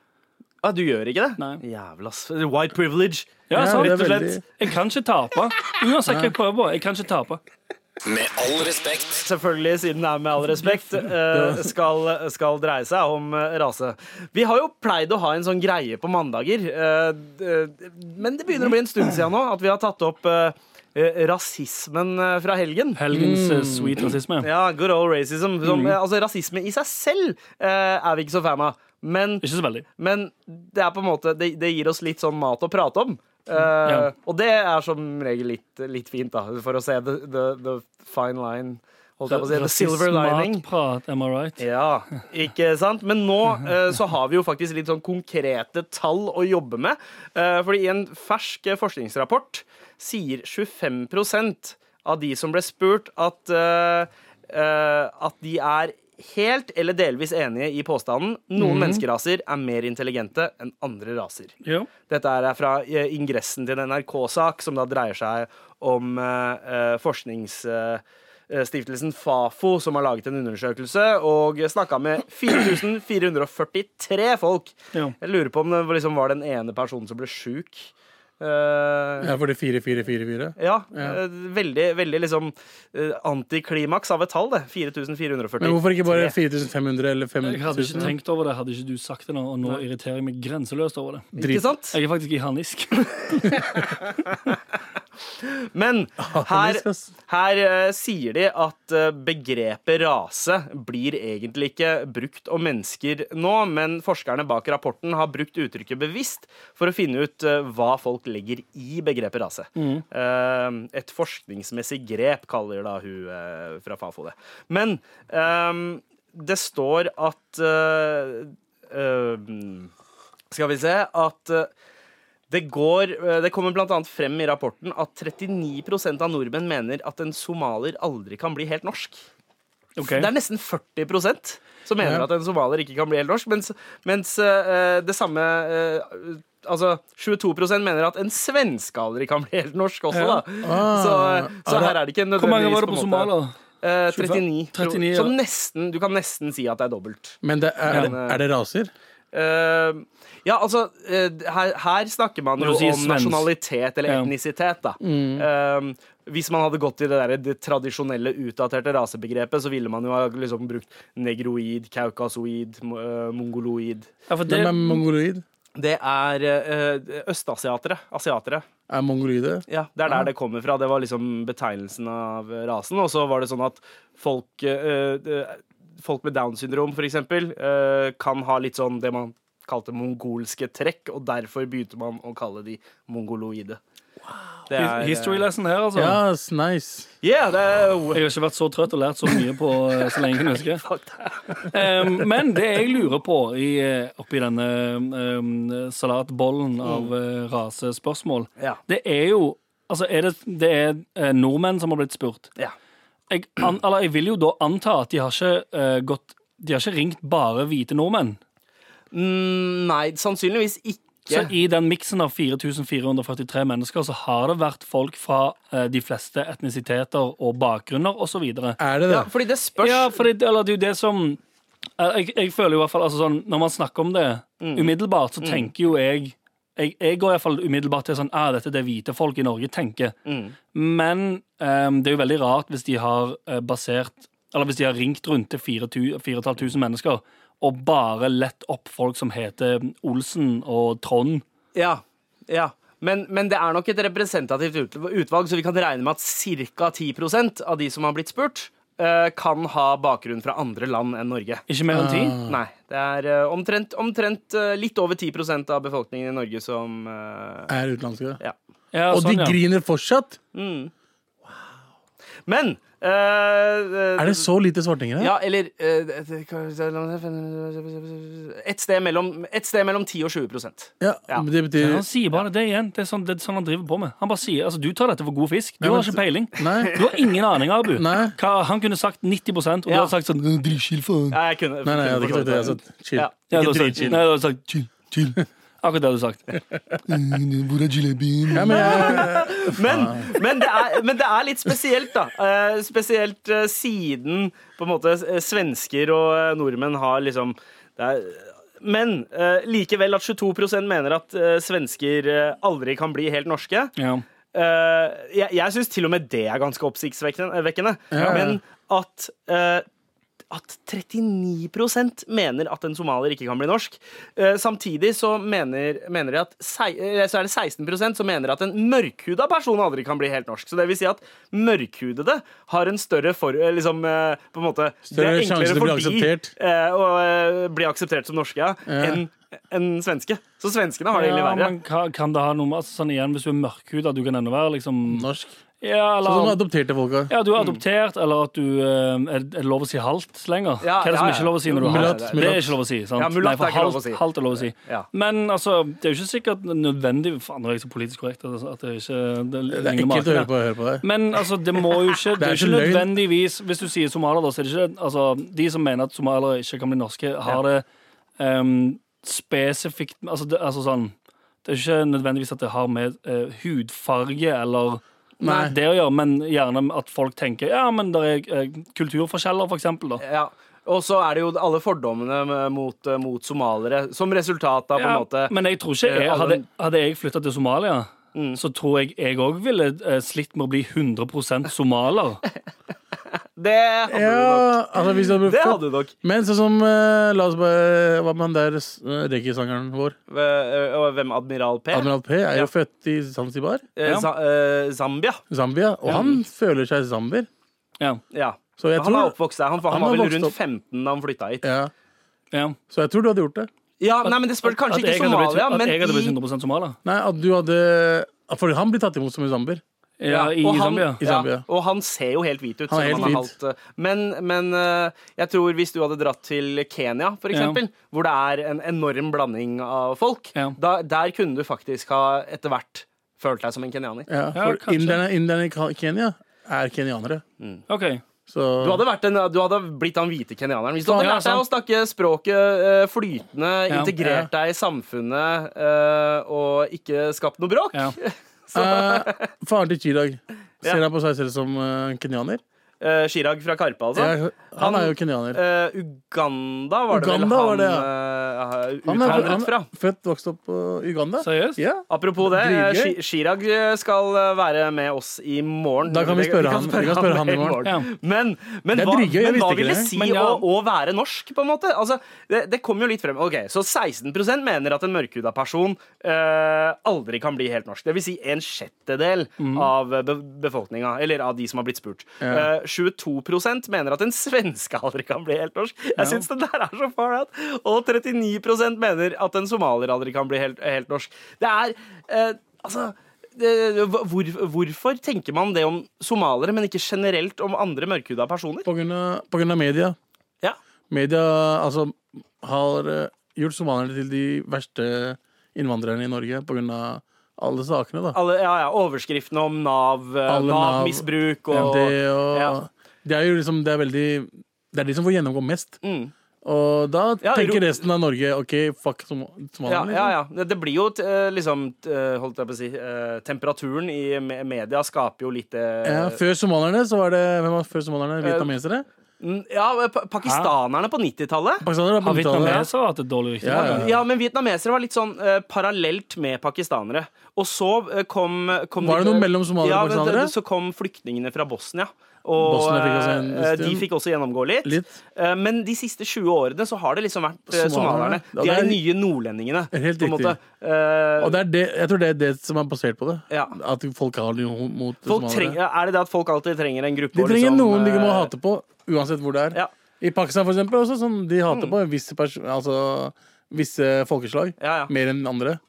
Speaker 3: Ah, du gjør ikke det?
Speaker 5: Nei.
Speaker 3: Jævla s- White privilege.
Speaker 5: Ja,
Speaker 6: Ja,
Speaker 5: sant,
Speaker 6: det
Speaker 5: rett
Speaker 6: er
Speaker 5: og slett.
Speaker 6: veldig-
Speaker 5: Jeg kan ikke tape. Uansett hva jeg prøver på. Jeg kan ikke tape.
Speaker 1: Med all respekt.
Speaker 3: Selvfølgelig, siden det er med all respekt, eh, skal, skal dreie seg om eh, rase. Vi har jo pleid å ha en sånn greie på mandager, eh, d- men det begynner å bli en stund siden nå at vi har tatt opp eh, eh, rasismen eh, fra helgen.
Speaker 5: Helgens eh, sweet rasisme.
Speaker 3: Mm. Ja, good old racism. Som, eh, Altså, rasisme i seg selv eh, er vi ikke så fan av. Men,
Speaker 5: Ikke så veldig.
Speaker 3: men det er på en måte det, det gir oss litt sånn mat å prate om. Eh,
Speaker 5: Ja.
Speaker 3: Og det er som regel litt, litt fint, da, for å se the, the, the fine line. Holdt jeg på å si. The silver lining.
Speaker 5: Matprat, am I right?
Speaker 3: Ja, ikke sant? Men nå eh, så har vi jo faktisk litt sånn konkrete tall å jobbe med. Eh, fordi i en fersk eh, forskningsrapport sier 25 av de som ble spurt at, eh, eh, at de er helt eller delvis enige i påstanden noen menneskeraser er mer intelligente enn andre raser.
Speaker 5: Ja.
Speaker 3: Dette er fra eh, ingressen til en NRK-sak som da dreier seg om eh, eh, forsknings... eh, eh, Stiftelsen Fafo som har laget en undersøkelse og snakka med 4443 folk.
Speaker 5: Ja.
Speaker 3: Jeg lurer på om det liksom var den ene personen som ble sjuk. Eh,
Speaker 6: Ja, for det er fire, fire, fire, fire.
Speaker 3: ja. eh, veldig veldig liksom eh, antiklimaks av et tall, det. 4443.
Speaker 6: Men hvorfor ikke bare 4500 eller
Speaker 5: Jeg hadde ikke
Speaker 6: 5000?
Speaker 5: tenkt over det, hadde ikke du sagt det nå, og nå irriterer jeg meg grenseløst over det.
Speaker 3: Ikke sant?
Speaker 5: Jeg er faktisk i harnisk.
Speaker 3: Men her,
Speaker 6: det skal-
Speaker 3: her eh, sier de at eh, begrepet rase blir egentlig ikke brukt om mennesker nå, men forskerne bak rapporten har brukt uttrykket bevisst for å finne ut eh, hva folk legger i begrepet rase.
Speaker 6: Mm.
Speaker 3: Eh, et forskningsmessig grep kaller da hun eh, fra Fafo det. Men ehm, det står at eh, ehm, Skal vi se at eh, det, går, eh, det kommer bl.a. frem i rapporten at 39 av nordmenn mener at en somalier aldri kan bli helt norsk.
Speaker 5: Ok.
Speaker 3: Det er nesten 40 som mener at en somalier ikke kan bli helt norsk, mens, mens eh, det samme eh, Altså 22 mener at en svenske aldri kan bli helt norsk også, da. Så, eh, så her er det ikke nødvendigvis
Speaker 5: Hvor mange var det
Speaker 3: en
Speaker 5: på
Speaker 3: måte-
Speaker 5: Somalia?
Speaker 3: Eh, 39.
Speaker 5: 39, ja.
Speaker 3: Så nesten, du kan nesten si at det er dobbelt.
Speaker 6: Men det er, er det raser?
Speaker 3: Eh, ja, altså eh, her, her snakker man
Speaker 5: Når
Speaker 3: jo
Speaker 5: du sier
Speaker 3: om
Speaker 5: svensk.
Speaker 3: nasjonalitet eller
Speaker 5: Ja. Mm.
Speaker 3: etnisitet, da. Eh, hvis man hadde gått i det, der, det tradisjonelle, utdaterte rasebegrepet, så ville man jo ha liksom, brukt negroid, kaukasoid, mo- eh, mongoloid
Speaker 5: Ja, for det,
Speaker 6: Hvem er mongoloid?
Speaker 3: Det er eh, østasiatere. Asiatere.
Speaker 6: Er mongoloide?
Speaker 3: Ja, Det er der det kommer fra. Det var liksom betegnelsen av eh, rasen. Og så var det sånn at folk eh, eh, Folk med Downs syndrom, for eksempel, eh, kan ha litt sånn det man kalte mongolske trekk, og derfor begynte man å kalle de mongoloide. Det er, eh,
Speaker 5: History lesson her, altså.
Speaker 6: Ja, yes, nice.
Speaker 3: Yeah, det er,
Speaker 5: Jeg har ikke vært så trøtt og lært så mye på eh, så lenge jeg kan huske. Em, Ehm, men det jeg lurer på i, eh, oppi denne em, salatbollen av eh, rasespørsmål,
Speaker 3: Ja.
Speaker 5: det er jo Altså, er det, det er eh, nordmenn som har blitt spurt.
Speaker 3: ja.
Speaker 5: Jeg, an, eller jeg vil jo da anta at de har ikke eh, gått De har ikke ringt bare hvite nordmenn.
Speaker 3: Mm, nei, sannsynligvis
Speaker 5: Så
Speaker 3: ikke.
Speaker 5: i den miksen av 4443 mennesker så har det vært folk fra eh, de fleste etnisiteter og bakgrunner osv.
Speaker 6: Er det det?
Speaker 3: Ja, fordi det spørs.
Speaker 5: Ja, for det, eller det er jo det som eh, jeg, jeg føler jo i hvert fall altså sånn, Når man snakker om det umiddelbart, så tenker jo jeg jeg, jeg går i hvert fall umiddelbart til sånn ah, dette er det hvite folk i Norge tenker. Men eh, det er jo veldig rart hvis de har eh, basert Eller hvis de har ringt rundt til 4500 mennesker og bare lett opp folk som heter Olsen og Trond.
Speaker 3: Ja, ja. Men, men det er nok et representativt ut- utvalg, så vi kan regne med at ca. 10 av de som har blitt spurt, eh, kan ha bakgrunn fra andre land enn Norge.
Speaker 5: Ikke mer enn ti?
Speaker 6: Ah. Mm.
Speaker 3: Nei. Det er eh, omtrent, omtrent eh, litt over 10 av befolkningen i Norge som eh,
Speaker 6: Er utenlandske?
Speaker 3: Ja.
Speaker 5: Ja,
Speaker 6: Og
Speaker 5: sånn,
Speaker 6: de
Speaker 5: ja.
Speaker 6: griner fortsatt?
Speaker 3: Men eh,
Speaker 6: Er det så lite svartinger her?
Speaker 3: Ja, eller eh, det- det- et sted, mellom, et sted mellom 10 og 20
Speaker 6: Ja,
Speaker 3: Ja.
Speaker 6: men Det betyr
Speaker 5: Han sier bare det igjen. Det er sånn, det er sånn han driver på med. Han bare sier, altså Du tar dette for god fisk. Du
Speaker 6: Ja, men
Speaker 5: har ikke peiling.
Speaker 6: Nei.
Speaker 5: Du har ingen aning, Abu.
Speaker 6: Nei.
Speaker 5: Hva, han kunne sagt 90 og du
Speaker 3: Ja.
Speaker 5: hadde sagt sånn «Øh, Dritchill, faen.
Speaker 3: Nei, jeg kunne
Speaker 6: Mm. Nei, nei, jeg hadde ikke sagt det. Jeg hadde sagt chill.
Speaker 3: Ja.
Speaker 5: Ja, du hadde
Speaker 6: Ikke
Speaker 5: sagt,
Speaker 6: dritchill.
Speaker 5: nei, du hadde sagt chill, chill. Akkurat det du hadde sagt.
Speaker 6: Ja, men jeg,
Speaker 3: Men, men, det er, men det er litt spesielt, da. Eh, spesielt eh, siden på en måte eh, svensker og eh, nordmenn har liksom det er, Men eh, likevel at 22 mener at eh, svensker eh, aldri kan bli helt norske.
Speaker 5: Ja.
Speaker 3: Eh, jeg jeg syns til og med det er ganske oppsiktsvekkende. eh, vekkende. Men at eh, at 39 mener at en somalier ikke kan bli norsk. Eh, samtidig så mener, mener de at sei, eh, så er det 16 som mener at en mørkhuda person aldri kan bli helt norsk. Så det vil si at mørkhudede har en større for... eh, Liksom, eh, på en måte, det
Speaker 6: Større
Speaker 3: er enklere
Speaker 6: sjanse til
Speaker 3: for
Speaker 6: å bli
Speaker 3: de
Speaker 6: akseptert.
Speaker 3: eh, å eh, bli akseptert som norske ja, enn enn svenske. Så svenskene har det ille
Speaker 5: Ja,
Speaker 3: verre.
Speaker 5: men hva- kan det ha noe med altså, sånn igjen, Hvis du er mørkhuda, du kan ennå være liksom
Speaker 6: norsk.
Speaker 5: Ja,
Speaker 6: Sånn som
Speaker 5: eller
Speaker 6: adopterte folka.
Speaker 5: ja, du er adoptert, eller at du eh, Er er det lov å si halvt lenger?
Speaker 3: Ja,
Speaker 5: Hva er det som
Speaker 3: ja,
Speaker 5: ikke
Speaker 3: ja.
Speaker 5: er lov å si når du er halvt?
Speaker 6: Mulatt,
Speaker 5: Det er
Speaker 6: mulatt.
Speaker 5: ikke lov å si. sant?
Speaker 3: Ja, mulatt
Speaker 5: Nei, for
Speaker 3: er ikke lov å
Speaker 5: halvt-
Speaker 3: si.
Speaker 5: Halvt er lov å si.
Speaker 3: Ja.
Speaker 5: Men altså, det er jo ikke sikkert nødvendig Faen, nå er jeg så politisk korrekt altså, at det er ikke det
Speaker 6: Det
Speaker 5: ligner
Speaker 6: er ekkelt å
Speaker 5: maken
Speaker 6: høre
Speaker 5: her.
Speaker 6: på, høre på deg.
Speaker 5: Men altså, det må jo ikke Det er jo ikke
Speaker 6: løgn.
Speaker 5: nødvendigvis Hvis du sier somalier, da, så er det ikke altså, De som mener at somaliere ikke kan bli norske, har det ehm, spesifikt altså, det, altså sånn Det er ikke nødvendigvis at det har med eh, hudfarge eller
Speaker 6: Nei.
Speaker 5: det å gjøre, men gjerne at folk tenker Ja, men det er eh, kulturforskjeller, for eksempel, da.
Speaker 3: Ja. Og så er det jo alle fordommene mot, eh, mot somalere som resultat av på en måte
Speaker 5: Ja, men jeg tror ikke
Speaker 3: eh,
Speaker 5: jeg,
Speaker 3: alle-
Speaker 5: hadde, hadde jeg flytta til Somalia, så tror jeg jeg òg ville eh, slitt med å bli 100 somalier.
Speaker 3: Det hadde
Speaker 6: Ja,
Speaker 3: du nok.
Speaker 6: altså hvis det hadde
Speaker 3: Det
Speaker 6: blitt
Speaker 3: hadde du nok.
Speaker 6: Men sånn som eh, La oss bare Hva med han der uh, reggae-sangeren vår?
Speaker 3: Eh, Og hvem? Admiral P?
Speaker 6: Admiral P er
Speaker 3: Ja.
Speaker 6: jo født i Zanzibar,
Speaker 3: Eh,
Speaker 5: Ja.
Speaker 3: Za- eh, Zambia.
Speaker 6: Zambia, og han føler seg zambier.
Speaker 5: Ja,
Speaker 3: Ja.
Speaker 6: Så jeg
Speaker 3: Han er
Speaker 6: tror
Speaker 3: oppvokst der. Han, han,
Speaker 6: Han
Speaker 3: var
Speaker 6: har
Speaker 3: vel
Speaker 6: vokst
Speaker 3: rundt
Speaker 6: opp.
Speaker 3: 15 da han flytta hit.
Speaker 6: ja.
Speaker 5: ja.
Speaker 6: Så jeg tror du hadde gjort det.
Speaker 3: Ja, nei, men Det spørs
Speaker 5: At
Speaker 3: kanskje ikke
Speaker 5: jeg hadde blitt-
Speaker 3: Somalia, men
Speaker 5: At jeg hadde blitt
Speaker 3: i
Speaker 5: 100 somalier.
Speaker 6: Nei, at du hadde For han blir tatt imot som en zambier.
Speaker 5: Ja, i
Speaker 3: og han,
Speaker 5: Zambia.
Speaker 6: I
Speaker 3: ja,
Speaker 6: Zambia.
Speaker 3: og han ser jo helt hvit ut.
Speaker 6: Han er
Speaker 3: selv om
Speaker 6: helt
Speaker 3: halvt, eh, men men eh, jeg tror hvis du hadde dratt til Kenya, for
Speaker 5: Ja.
Speaker 3: eksempel, hvor det er en enorm blanding av folk,
Speaker 5: Ja.
Speaker 3: da, der kunne du faktisk ha etter hvert følt deg som en kenyaner.
Speaker 6: Ja,
Speaker 5: Ja,
Speaker 6: for
Speaker 5: kanskje.
Speaker 6: inderne, inderne i Ka- Kenya er kenyanere.
Speaker 5: Ok,
Speaker 6: Så
Speaker 3: Du hadde, vært en, du hadde blitt han hvite kenyaneren. Hvis du hadde
Speaker 5: Ja,
Speaker 3: lært deg å
Speaker 5: sant.
Speaker 3: snakke språket eh, flytende,
Speaker 5: Ja.
Speaker 3: integrert deg i samfunnet eh, og ikke skapt noe bråk
Speaker 5: ja.
Speaker 6: eh, Faren til Chirag, ser han på seg selv som eh, kenyaner?
Speaker 3: eh, Chirag fra Karpe, altså.
Speaker 6: Jeg, han er jo kenyaner.
Speaker 3: eh, Uganda var det
Speaker 6: Uganda var
Speaker 3: vel
Speaker 6: det,
Speaker 3: han,
Speaker 6: Han
Speaker 3: var
Speaker 6: er,
Speaker 3: uttaler
Speaker 6: han
Speaker 3: fra.
Speaker 6: er født vokst opp på Uganda.
Speaker 5: Seriøst?
Speaker 6: Ja.
Speaker 3: Apropos det, eh,
Speaker 6: Dritgøy.
Speaker 3: Chi- Chirag skal eh, være med oss i morgen.
Speaker 6: Da kan vi spørre han- vi kan spørre han i morgen.
Speaker 3: Men, men
Speaker 6: Det er
Speaker 3: hva,
Speaker 6: dritgøy, jeg
Speaker 3: men hva
Speaker 6: visste ikke
Speaker 3: vil det
Speaker 6: det.
Speaker 3: si
Speaker 5: Men ja.
Speaker 3: å, å være norsk, på en måte? Altså, det, det kom jo litt frem. Ok, Så 16 mener at en mørkhuda person eh, aldri kan bli helt norsk. Det vil si en sjettedel av be befolkninga, eller av de som har blitt spurt. Eh, 22 mener at en svenske aldri kan bli helt norsk. Jeg syns det der er så far out. Og 39 mener at en somalier aldri kan bli helt, helt norsk. Det er eh, Altså det- hvor, hvorfor tenker man det om somalere, men ikke generelt om andre mørkhuda personer?
Speaker 6: På grunn av, på grunn av media.
Speaker 3: Ja.
Speaker 6: Media altså, har eh, gjort somaliere til de verste innvandrerne i Norge på grunn av alle sakene, da.
Speaker 3: Alle, ja, ja, overskriftene om Nav, eh,
Speaker 6: Alle Nav.
Speaker 3: Nav-misbruk og
Speaker 6: MD og
Speaker 3: ja.
Speaker 6: Det er jo liksom Det er veldig Det er de som får gjennomgå mest.
Speaker 3: Mm.
Speaker 6: Og da
Speaker 3: Ja,
Speaker 6: tenker
Speaker 3: ro-
Speaker 6: resten av Norge OK, fuck som liksom.
Speaker 3: Ja,
Speaker 6: Somalia.
Speaker 3: ja, ja. Det- Det blir jo t- eh, liksom t- eh, Holdt jeg på å si eh, Temperaturen i me- media skaper jo litt eh,
Speaker 6: Ja, før somalierne så var det Hvem var før somalierne? Vietnamesere?
Speaker 3: n- Ja, pa pakistanerne på 90-tallet.
Speaker 6: Pakistanere?
Speaker 5: Har
Speaker 6: på 90-tallet.
Speaker 5: vietnamesere hatt et dårlig rykte?
Speaker 6: Ja, ja.
Speaker 3: Ja, men vietnamesere var litt sånn eh, parallelt med pakistanere. Og så eh, kom, kom
Speaker 6: Var det
Speaker 3: de-
Speaker 6: noe mellom somaliere og
Speaker 3: men det-
Speaker 6: pakistanere?
Speaker 3: Så kom flyktningene fra Bosnia. Og
Speaker 6: Bosnia fikk også en
Speaker 3: eh, de
Speaker 6: stund.
Speaker 3: fikk også gjennomgå litt.
Speaker 6: Litt.
Speaker 3: Eh, men de siste 20 årene så har det liksom vært eh, somalierne.
Speaker 6: Somalierne. Ja,
Speaker 3: De
Speaker 6: det
Speaker 3: er de
Speaker 6: er-
Speaker 3: nye nordlendingene.
Speaker 6: Helt
Speaker 3: på en
Speaker 6: riktig.
Speaker 3: måte. Eh,
Speaker 6: Og det er det, jeg tror det er det som er basert på det.
Speaker 3: Ja.
Speaker 6: At folk har noe mot
Speaker 3: folk
Speaker 6: somaliere.
Speaker 3: trenger, er det det at folk alltid trenger en gruppe?
Speaker 6: De
Speaker 3: å
Speaker 6: trenger
Speaker 3: liksom,
Speaker 6: noen de må
Speaker 3: eh,
Speaker 6: hate på, uansett hvor det er.
Speaker 3: Ja. Mm.
Speaker 6: I Pakistan for eksempel, også, sånn, de hater på visse, pers altså, visse folkeslag
Speaker 3: Ja, ja.
Speaker 6: mer enn andre.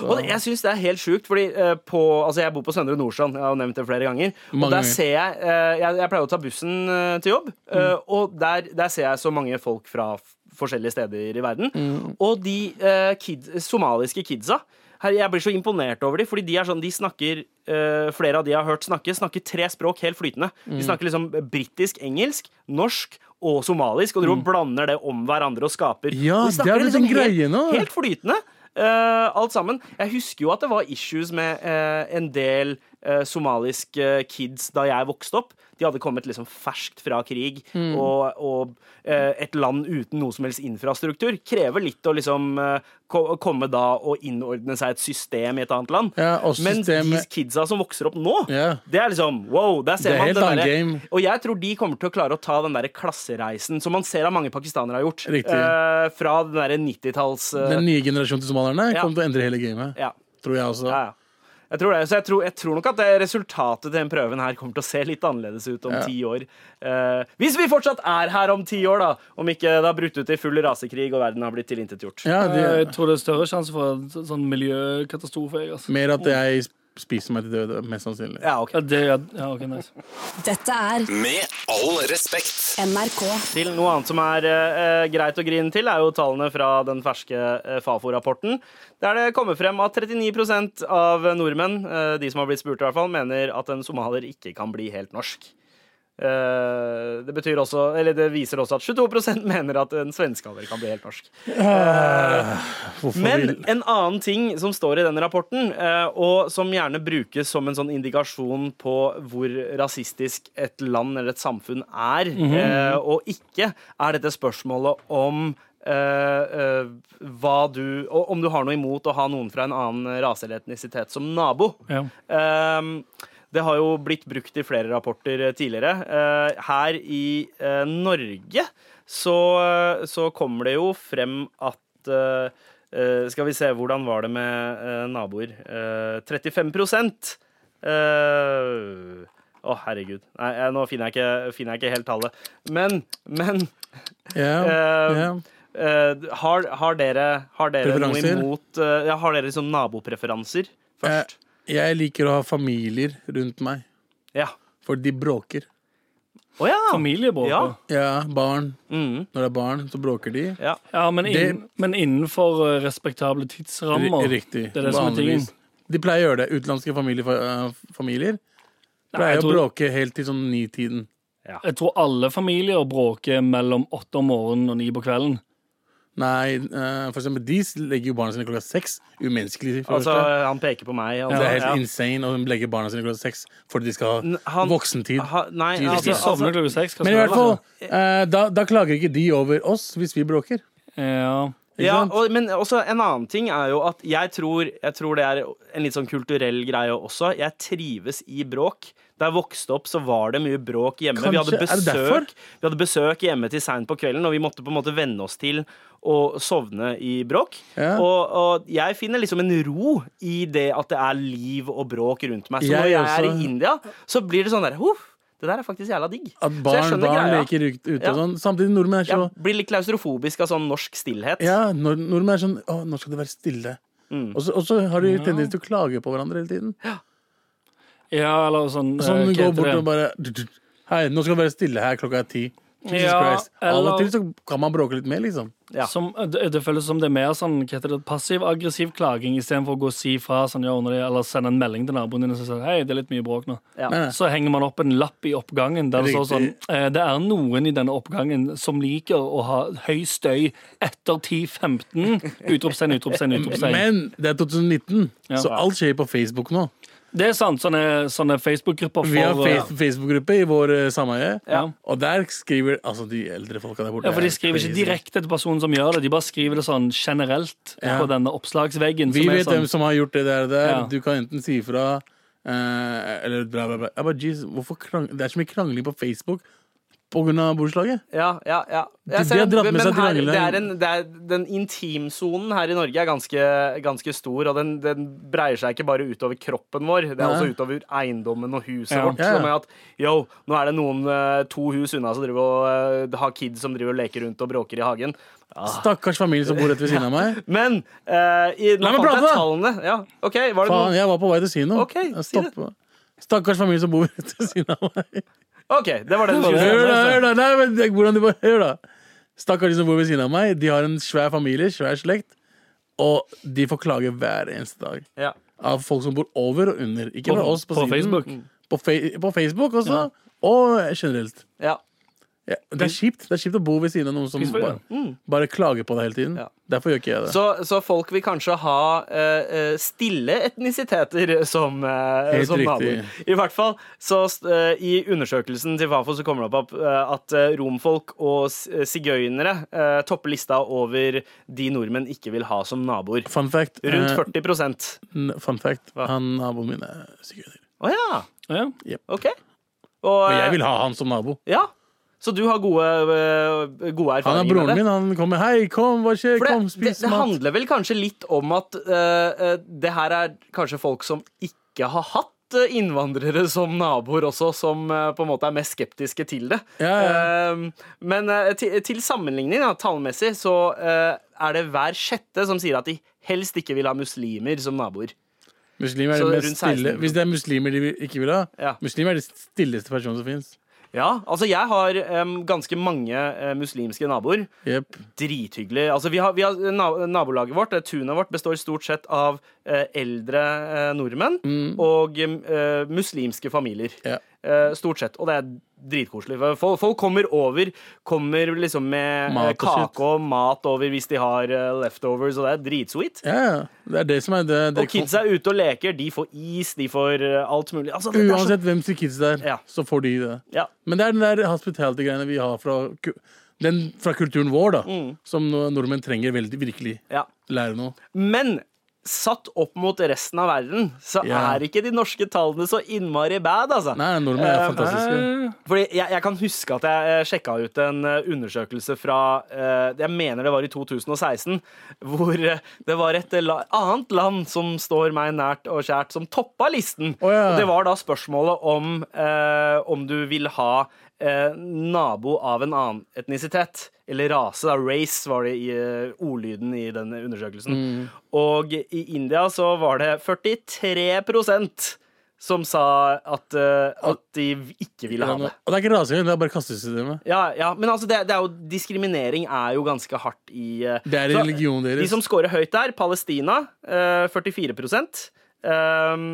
Speaker 3: Og det- jeg syns det er helt sjukt, fordi eh, på, altså jeg bor på Søndre Nordstrand. Jeg har jo nevnt det flere ganger. Og
Speaker 6: Mange
Speaker 3: der
Speaker 6: ganger.
Speaker 3: ser jeg, eh, jeg Jeg pleier å ta bussen eh, til jobb,
Speaker 6: Mm.
Speaker 3: eh, og der, der ser jeg så mange folk fra f- forskjellige steder i verden.
Speaker 6: Mm.
Speaker 3: Og de eh, kid, somaliske kidsa her, jeg blir så imponert over dem, fordi de er sånn, de snakker eh, flere av de jeg har hørt snakke, snakker tre språk helt flytende.
Speaker 6: Mm.
Speaker 3: De snakker liksom britisk, engelsk, norsk og somalisk, og de blander det om hverandre og skaper.
Speaker 6: Mm. Ja,
Speaker 3: Og de
Speaker 6: det er
Speaker 3: snakker
Speaker 6: liksom
Speaker 3: liksom
Speaker 6: blitt en greie
Speaker 3: helt,
Speaker 6: nå.
Speaker 3: Helt flytende. eh, alt sammen. Jeg husker jo at det var issues med eh, en del eh, somaliske kids da jeg vokste opp. De hadde kommet liksom ferskt fra krig,
Speaker 6: Mm.
Speaker 3: og, og eh, et land uten noe som helst infrastruktur krever litt å liksom eh, ko- komme da og innordne seg et system i et annet land.
Speaker 6: Ja, og
Speaker 3: Mens de
Speaker 6: systemet-
Speaker 3: kidsa som vokser opp nå,
Speaker 6: Ja.
Speaker 3: det er liksom wow! Der ser
Speaker 6: Det er
Speaker 3: man
Speaker 6: helt
Speaker 3: den
Speaker 6: annen
Speaker 3: derre-
Speaker 6: game.
Speaker 3: og jeg tror de kommer til å klare å ta den der klassereisen som man ser at mange pakistanere har gjort.
Speaker 6: Riktig.
Speaker 3: eh, fra den derre 90-talls... eh,
Speaker 6: Den nye generasjonen til somalierne
Speaker 3: Ja.
Speaker 6: kommer til å endre hele gamet.
Speaker 3: ja,
Speaker 6: Tror jeg også.
Speaker 3: ja, ja. Jeg tror det, så jeg tror, jeg tror nok at det resultatet til den prøven her kommer til å se litt annerledes ut om
Speaker 6: Ja.
Speaker 3: ti år. Eh, hvis vi fortsatt er her om ti år, da. Om ikke det har brutt ut i full rasekrig og verden har blitt tilintetgjort.
Speaker 6: Ja,
Speaker 5: Eh, Jeg
Speaker 6: de,
Speaker 5: tror det er større sjanse for en så- sånn miljøkatastrofe. Jeg, altså.
Speaker 6: mer at jeg spiser meg til døde, mest sannsynlig.
Speaker 3: Ja, ok.
Speaker 5: ja, det, ja, ok, nice.
Speaker 4: Dette er
Speaker 1: Med all respekt.
Speaker 4: NRK.
Speaker 3: Til noe annet som er eh, greit å grine til, er jo tallene fra den ferske eh, Fafo-rapporten. Der det kommer frem at 39 av nordmenn, eh, de som har blitt spurt i hvert fall, mener at en somalier ikke kan bli helt norsk. Eh, det betyr også, eller det viser også at 22 mener at en svenskaler kan bli helt norsk.
Speaker 6: Hvorfor
Speaker 3: Men
Speaker 6: vil
Speaker 3: en annen ting som står i den rapporten, eh, og som gjerne brukes som en sånn indikasjon på hvor rasistisk et land eller et samfunn er,
Speaker 6: Mhm.
Speaker 3: eh, og ikke, er dette spørsmålet om eh, eh, hva du og Om du har noe imot å ha noen fra en annen rase eller etnisitet som nabo.
Speaker 5: Ja.
Speaker 3: Ehm, det har jo blitt brukt i flere rapporter eh, tidligere. Eh, her i eh, Norge så, eh, så kommer det jo frem at eh, eh, Skal vi se, hvordan var det med eh, naboer? Eh, 35 eh, Å, herregud. Nei, eh, nå finner jeg, ikke, finner jeg ikke helt tallet. Men, men
Speaker 6: ja,
Speaker 3: eh,
Speaker 6: ja.
Speaker 3: eh, har, har dere, har dere noe
Speaker 6: Preferanser?
Speaker 3: imot eh, ja, Har dere liksom nabopreferanser
Speaker 6: Eh,
Speaker 3: først?
Speaker 6: Jeg liker å ha familier rundt meg,
Speaker 3: Ja.
Speaker 6: for de bråker.
Speaker 3: Å ja!
Speaker 5: Familiebråk.
Speaker 3: Ja.
Speaker 5: da.
Speaker 6: Ja, barn.
Speaker 3: Mhm.
Speaker 6: Når det er barn, så bråker de.
Speaker 3: Ja.
Speaker 5: Mm. Ja, men, innen, men innenfor eh, respektable tidsrammer.
Speaker 6: R- Riktig.
Speaker 5: Det er det som er tingen.
Speaker 6: Vanligvis. De pleier å gjøre det. Utenlandske familiefamilier familier
Speaker 5: Nei,
Speaker 6: pleier
Speaker 5: jeg
Speaker 6: å
Speaker 5: tror-
Speaker 6: bråke helt til sånn nitiden.
Speaker 5: Jeg tror alle familier bråker mellom åtte om morgenen og ni på kvelden.
Speaker 6: Nei, eh, for eksempel de legger jo barna sine klokka seks. Umenneskelig. For det
Speaker 3: Altså,
Speaker 6: første.
Speaker 3: han peker på meg. Altså,
Speaker 6: det er helt
Speaker 3: ja.
Speaker 6: insane å legge barna sine klokka seks fordi de skal
Speaker 3: N-
Speaker 6: ha
Speaker 3: han-
Speaker 6: voksentid.
Speaker 3: ha- nei,
Speaker 6: Jesus.
Speaker 5: Hvis de
Speaker 3: altså,
Speaker 5: sovner klokka seks, hva
Speaker 6: Men i
Speaker 5: skal
Speaker 6: hvert
Speaker 5: de
Speaker 6: fall,
Speaker 5: gjøre?
Speaker 6: eh, da, da klager ikke de over oss hvis vi bråker.
Speaker 5: Ja.
Speaker 6: Ikke
Speaker 3: Ja,
Speaker 6: sant?
Speaker 3: og, men også en annen ting er jo at jeg tror, jeg tror det er en litt sånn kulturell greie også. Jeg trives i bråk. Da jeg vokste opp, så var det mye bråk hjemme. vi,
Speaker 6: Kanskje-
Speaker 3: hadde
Speaker 6: er det derfor?
Speaker 3: besøk, vi hadde besøk hjemme til seint på kvelden, og vi måtte på en måte venne oss til å sovne i bråk.
Speaker 6: Ja.
Speaker 3: Og, og jeg finner liksom en ro i det at det er liv og bråk rundt meg. Så
Speaker 6: Jeg
Speaker 3: når jeg er
Speaker 6: også.
Speaker 3: i India, så blir det sånn der Huff, det der er faktisk jævla digg.
Speaker 6: At
Speaker 3: Så jeg
Speaker 6: barn,
Speaker 3: skjønner
Speaker 6: barn
Speaker 3: greia.
Speaker 6: leker ut- ute
Speaker 3: Ja.
Speaker 6: og sånn. Samtidig nordmenn er så
Speaker 3: Jeg blir litt klaustrofobisk av sånn norsk stillhet.
Speaker 6: Ja, nord nordmenn er sånn Å, nå skal det være stille.
Speaker 3: Mm.
Speaker 6: Og så- og så har de tendens til å klage på hverandre hele tiden.
Speaker 5: ja, eller sånn eh,
Speaker 6: Sånn
Speaker 5: hva
Speaker 6: du går
Speaker 5: heter
Speaker 6: bort
Speaker 5: det?
Speaker 6: og bare du- du- Hei, nå skal det være stille her, klokka er ti. Jesus
Speaker 5: Ja,
Speaker 6: Christ. Av og
Speaker 5: eller-
Speaker 6: til så kan man bråke litt mer, liksom.
Speaker 3: Ja.
Speaker 5: Som, det, det føles som det er mer sånn, hva heter det, passiv-aggressiv klaging istedenfor å gå og si fra sånn, ja, under det, eller sende en melding til naboen din og si sånn, hei, det er litt mye bråk nå.
Speaker 3: Ja.
Speaker 6: Nei, nei.
Speaker 5: Så henger man opp en lapp i oppgangen der det står sånn
Speaker 6: Riktig.
Speaker 5: eh, Det er noen i denne oppgangen som liker å ha høy støy etter 10-15. Utropstegn, utropstegn, utropstegn.
Speaker 6: Men det er 2019,
Speaker 5: Ja.
Speaker 6: så alt skjer på Facebook nå.
Speaker 5: Det er sant. Sånne, sånne Facebook-grupper
Speaker 6: Vi har
Speaker 5: for eh,
Speaker 6: fe- Facebook-gruppe i vår eh, sameie,
Speaker 5: Ja.
Speaker 6: og der skriver altså de eldre folka der borte.
Speaker 5: Ja, for
Speaker 6: er
Speaker 5: De skriver ikke
Speaker 6: crazy.
Speaker 5: direkte til personen som gjør det, de bare skriver det sånn generelt
Speaker 6: Ja.
Speaker 5: på denne oppslagsveggen.
Speaker 6: Vi
Speaker 5: som er
Speaker 6: vet
Speaker 5: sånn-
Speaker 6: hvem som har gjort det der. og der.
Speaker 5: Ja.
Speaker 6: Du kan enten si ifra eh, eller bla, bla, bla. Jeg bare, Jesus, hvorfor krang det er så mye krangling på Facebook pga. borettslaget.
Speaker 3: Ja, ja, ja.
Speaker 6: de
Speaker 3: Jeg ser
Speaker 6: har
Speaker 3: den,
Speaker 6: dratt med
Speaker 3: men
Speaker 6: seg
Speaker 3: her,
Speaker 6: triangelet.
Speaker 3: det er en, det er, den intimsonen her i Norge er ganske, ganske stor, og den, den breier seg ikke bare utover kroppen vår, det er
Speaker 6: Nei.
Speaker 3: også utover eiendommen og huset
Speaker 5: Ja.
Speaker 3: vårt.
Speaker 6: Ja, ja.
Speaker 3: Som er at yo, nå er det noen eh, to hus unna som driver og eh, har kids som driver og leker rundt og bråker i hagen.
Speaker 5: Ah.
Speaker 6: Stakkars familie som bor rett ved siden av meg.
Speaker 3: Men eh, i, nå
Speaker 6: La meg
Speaker 3: fant jeg
Speaker 6: prate!
Speaker 3: tallene. Ja, OK, var det
Speaker 6: Faen,
Speaker 3: noe
Speaker 6: jeg var på vei til å si noe.
Speaker 3: Ok,
Speaker 6: Jeg
Speaker 3: si det.
Speaker 6: stoppa. Stakkars familie som bor rett ved siden av meg.
Speaker 3: OK, det var det du skulle
Speaker 5: var det.
Speaker 6: Hør
Speaker 3: si.
Speaker 6: da, hør da, nei, men det- hvordan de bare, hør da Stakkars de som bor ved siden av meg De har en svær familie, svær slekt Og de får klage hver eneste dag
Speaker 3: Ja.
Speaker 6: Av folk som bor over og under Ikke fra oss på,
Speaker 5: på
Speaker 6: siden
Speaker 5: Facebook.
Speaker 6: på, fe på Facebook også Og generelt
Speaker 3: Ja.
Speaker 6: ja,
Speaker 3: Mm.
Speaker 6: det, er kjipt. det er kjipt å bo ved siden av noen som
Speaker 5: Peaceful, ja.
Speaker 6: bare, bare klager på deg hele tiden
Speaker 3: Ja.
Speaker 6: Derfor gjør ikke jeg det
Speaker 3: Så, så folk vil kanskje ha eh, eh, stille etnisiteter som, eh,
Speaker 6: Helt
Speaker 3: som naboer.
Speaker 6: riktig.
Speaker 3: I hvert fall så eh, i undersøkelsen til Fafo så kommer det opp eh, at eh, romfolk og s- eh, sigøynere eh, topper lista over de nordmenn ikke vil ha som naboer.
Speaker 6: Fun fact, eh,
Speaker 3: Rundt 40
Speaker 6: n- fun fact
Speaker 3: Hva?
Speaker 6: Han naboen min er sigøyner.
Speaker 3: Å ja,
Speaker 5: Ja.
Speaker 3: OK. Og, eh,
Speaker 6: Og jeg vil ha han som nabo
Speaker 3: Ja. Så du har gode, eh, gode erfaringer
Speaker 6: Han er broren
Speaker 3: med det?
Speaker 6: min, han kommer Hei, kom, hva skjer?
Speaker 3: For det,
Speaker 6: Kom,
Speaker 3: det,
Speaker 6: spis
Speaker 3: det
Speaker 6: mat
Speaker 3: handler vel kanskje litt om at eh, eh, det her er kanskje folk som ikke har hatt eh, innvandrere som naboer også, som eh, på en måte er mest skeptiske til det.
Speaker 6: Ja, ja.
Speaker 3: Eh, men eh, til, til sammenligning, da, tallmessig, så eh, er det hver sjette som sier at de helst ikke vil ha muslimer som naboer.
Speaker 6: Muslimer er
Speaker 3: Så rundt
Speaker 6: de mest
Speaker 3: 16
Speaker 6: stille Hvis det er muslimer de vil- ikke vil ha
Speaker 3: Ja.
Speaker 6: Muslimer er de stilleste personene som finnes
Speaker 3: Ja, altså jeg har em, ganske mange eh, muslimske naboer.
Speaker 6: Jep.
Speaker 3: Drithyggelig. Altså, vi har, vi har na- nabolaget vårt, eh, tunet vårt, består stort sett av eh, eldre eh, nordmenn og eh, muslimske familier.
Speaker 6: Mm. Ja.
Speaker 3: Eh, stort sett. Og det er dritkoselig. For Folk, folk kommer over, kommer liksom med eh,
Speaker 6: Mat og shit.
Speaker 3: kake og mat over hvis de har eh, leftovers, og det er dritsweet.
Speaker 6: Ja, ja. Det er det som er det, det
Speaker 3: Og kids er ute og leker. De får is, de får eh, alt mulig. Altså, det er så-
Speaker 6: Uansett hvem som kids det er,
Speaker 3: Ja.
Speaker 6: så får de det.
Speaker 3: Ja.
Speaker 6: Men det er den der hospitality-greiene vi har fra, ku- den, fra kulturen vår, da. Som no- nordmenn trenger veldig, virkelig
Speaker 3: Mm. Ja.
Speaker 6: lære noe.
Speaker 3: Men satt opp mot resten av verden, så
Speaker 6: Ja.
Speaker 3: er ikke de norske tallene så innmari bad, altså.
Speaker 6: Nei, nordmenn er
Speaker 3: Eh,
Speaker 6: fantastiske.
Speaker 3: Fordi jeg, jeg kan huske at jeg sjekka ut en eh, undersøkelse fra eh, Jeg mener det var i 2016, hvor eh, det var et la annet land som står meg nært og kjært, som toppa listen.
Speaker 6: Å, ja.
Speaker 3: Og det var da spørsmålet om eh, om du vil ha eh, nabo av en annen etnisitet. Eller rase. da, Race var det i eh, ordlyden i den undersøkelsen. Og i India så var det 43 som sa at, eh, at de ikke ville ha
Speaker 6: Og
Speaker 3: det.
Speaker 6: det er ikke rasing, det er bare kastesystemet.
Speaker 3: Ja, ja, men altså det, det er jo, diskriminering er jo ganske hardt i eh,
Speaker 6: Det er
Speaker 3: så-
Speaker 6: religionen
Speaker 3: De
Speaker 6: deres.
Speaker 3: som scorer høyt der, Palestina, eh, 44 ehm,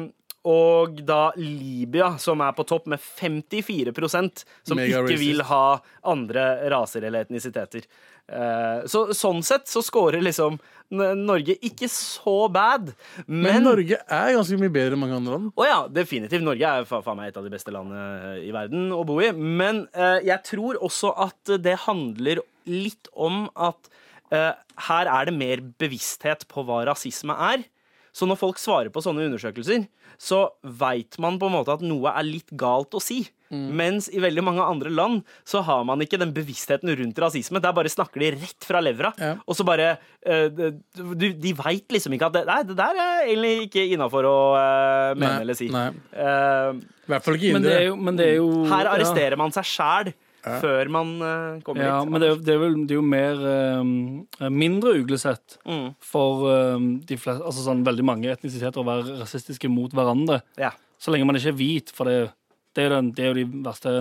Speaker 3: Og da Libya, som er på topp med 54 som
Speaker 6: Mega
Speaker 3: ikke vil
Speaker 6: racist.
Speaker 3: ha andre raser eller etnisiteter. Eh, så, sånn sett så scorer liksom N- Norge ikke så bad,
Speaker 6: Men
Speaker 3: men Å
Speaker 6: Norge er ganske mye bedre enn mange andre land.
Speaker 3: ja, definitivt. Norge er fa- faen meg et av de beste landene eh, i verden å bo i. Men eh, jeg tror også at det handler litt om at eh, her er det mer bevissthet på hva rasisme er. Så når folk svarer på sånne undersøkelser, så veit man på en måte at noe er litt galt å si. Mens i veldig mange andre land så har man ikke den bevisstheten rundt rasisme. Der bare snakker de rett fra levra.
Speaker 6: Ja.
Speaker 3: Og så bare eh, De, de veit liksom ikke at det, Nei, det der er egentlig ikke innafor å eh, mene
Speaker 6: Nei,
Speaker 3: eller si.
Speaker 6: nei.
Speaker 3: Eh,
Speaker 6: I hvert fall ikke
Speaker 5: Men det
Speaker 6: indere.
Speaker 5: er jo, men det er jo
Speaker 3: her
Speaker 5: ja.
Speaker 3: arresterer man seg sjæl før man eh, kommer
Speaker 5: Ja,
Speaker 3: hit.
Speaker 5: men det er, det er vel det er jo mer eh, mindre uglesett
Speaker 3: Mm.
Speaker 5: for eh, de fleste, altså sånn veldig mange etnisiteter å være rasistiske mot hverandre.
Speaker 3: Ja.
Speaker 5: Så lenge man ikke er hvit, for det, det, er, jo den, det er jo de verste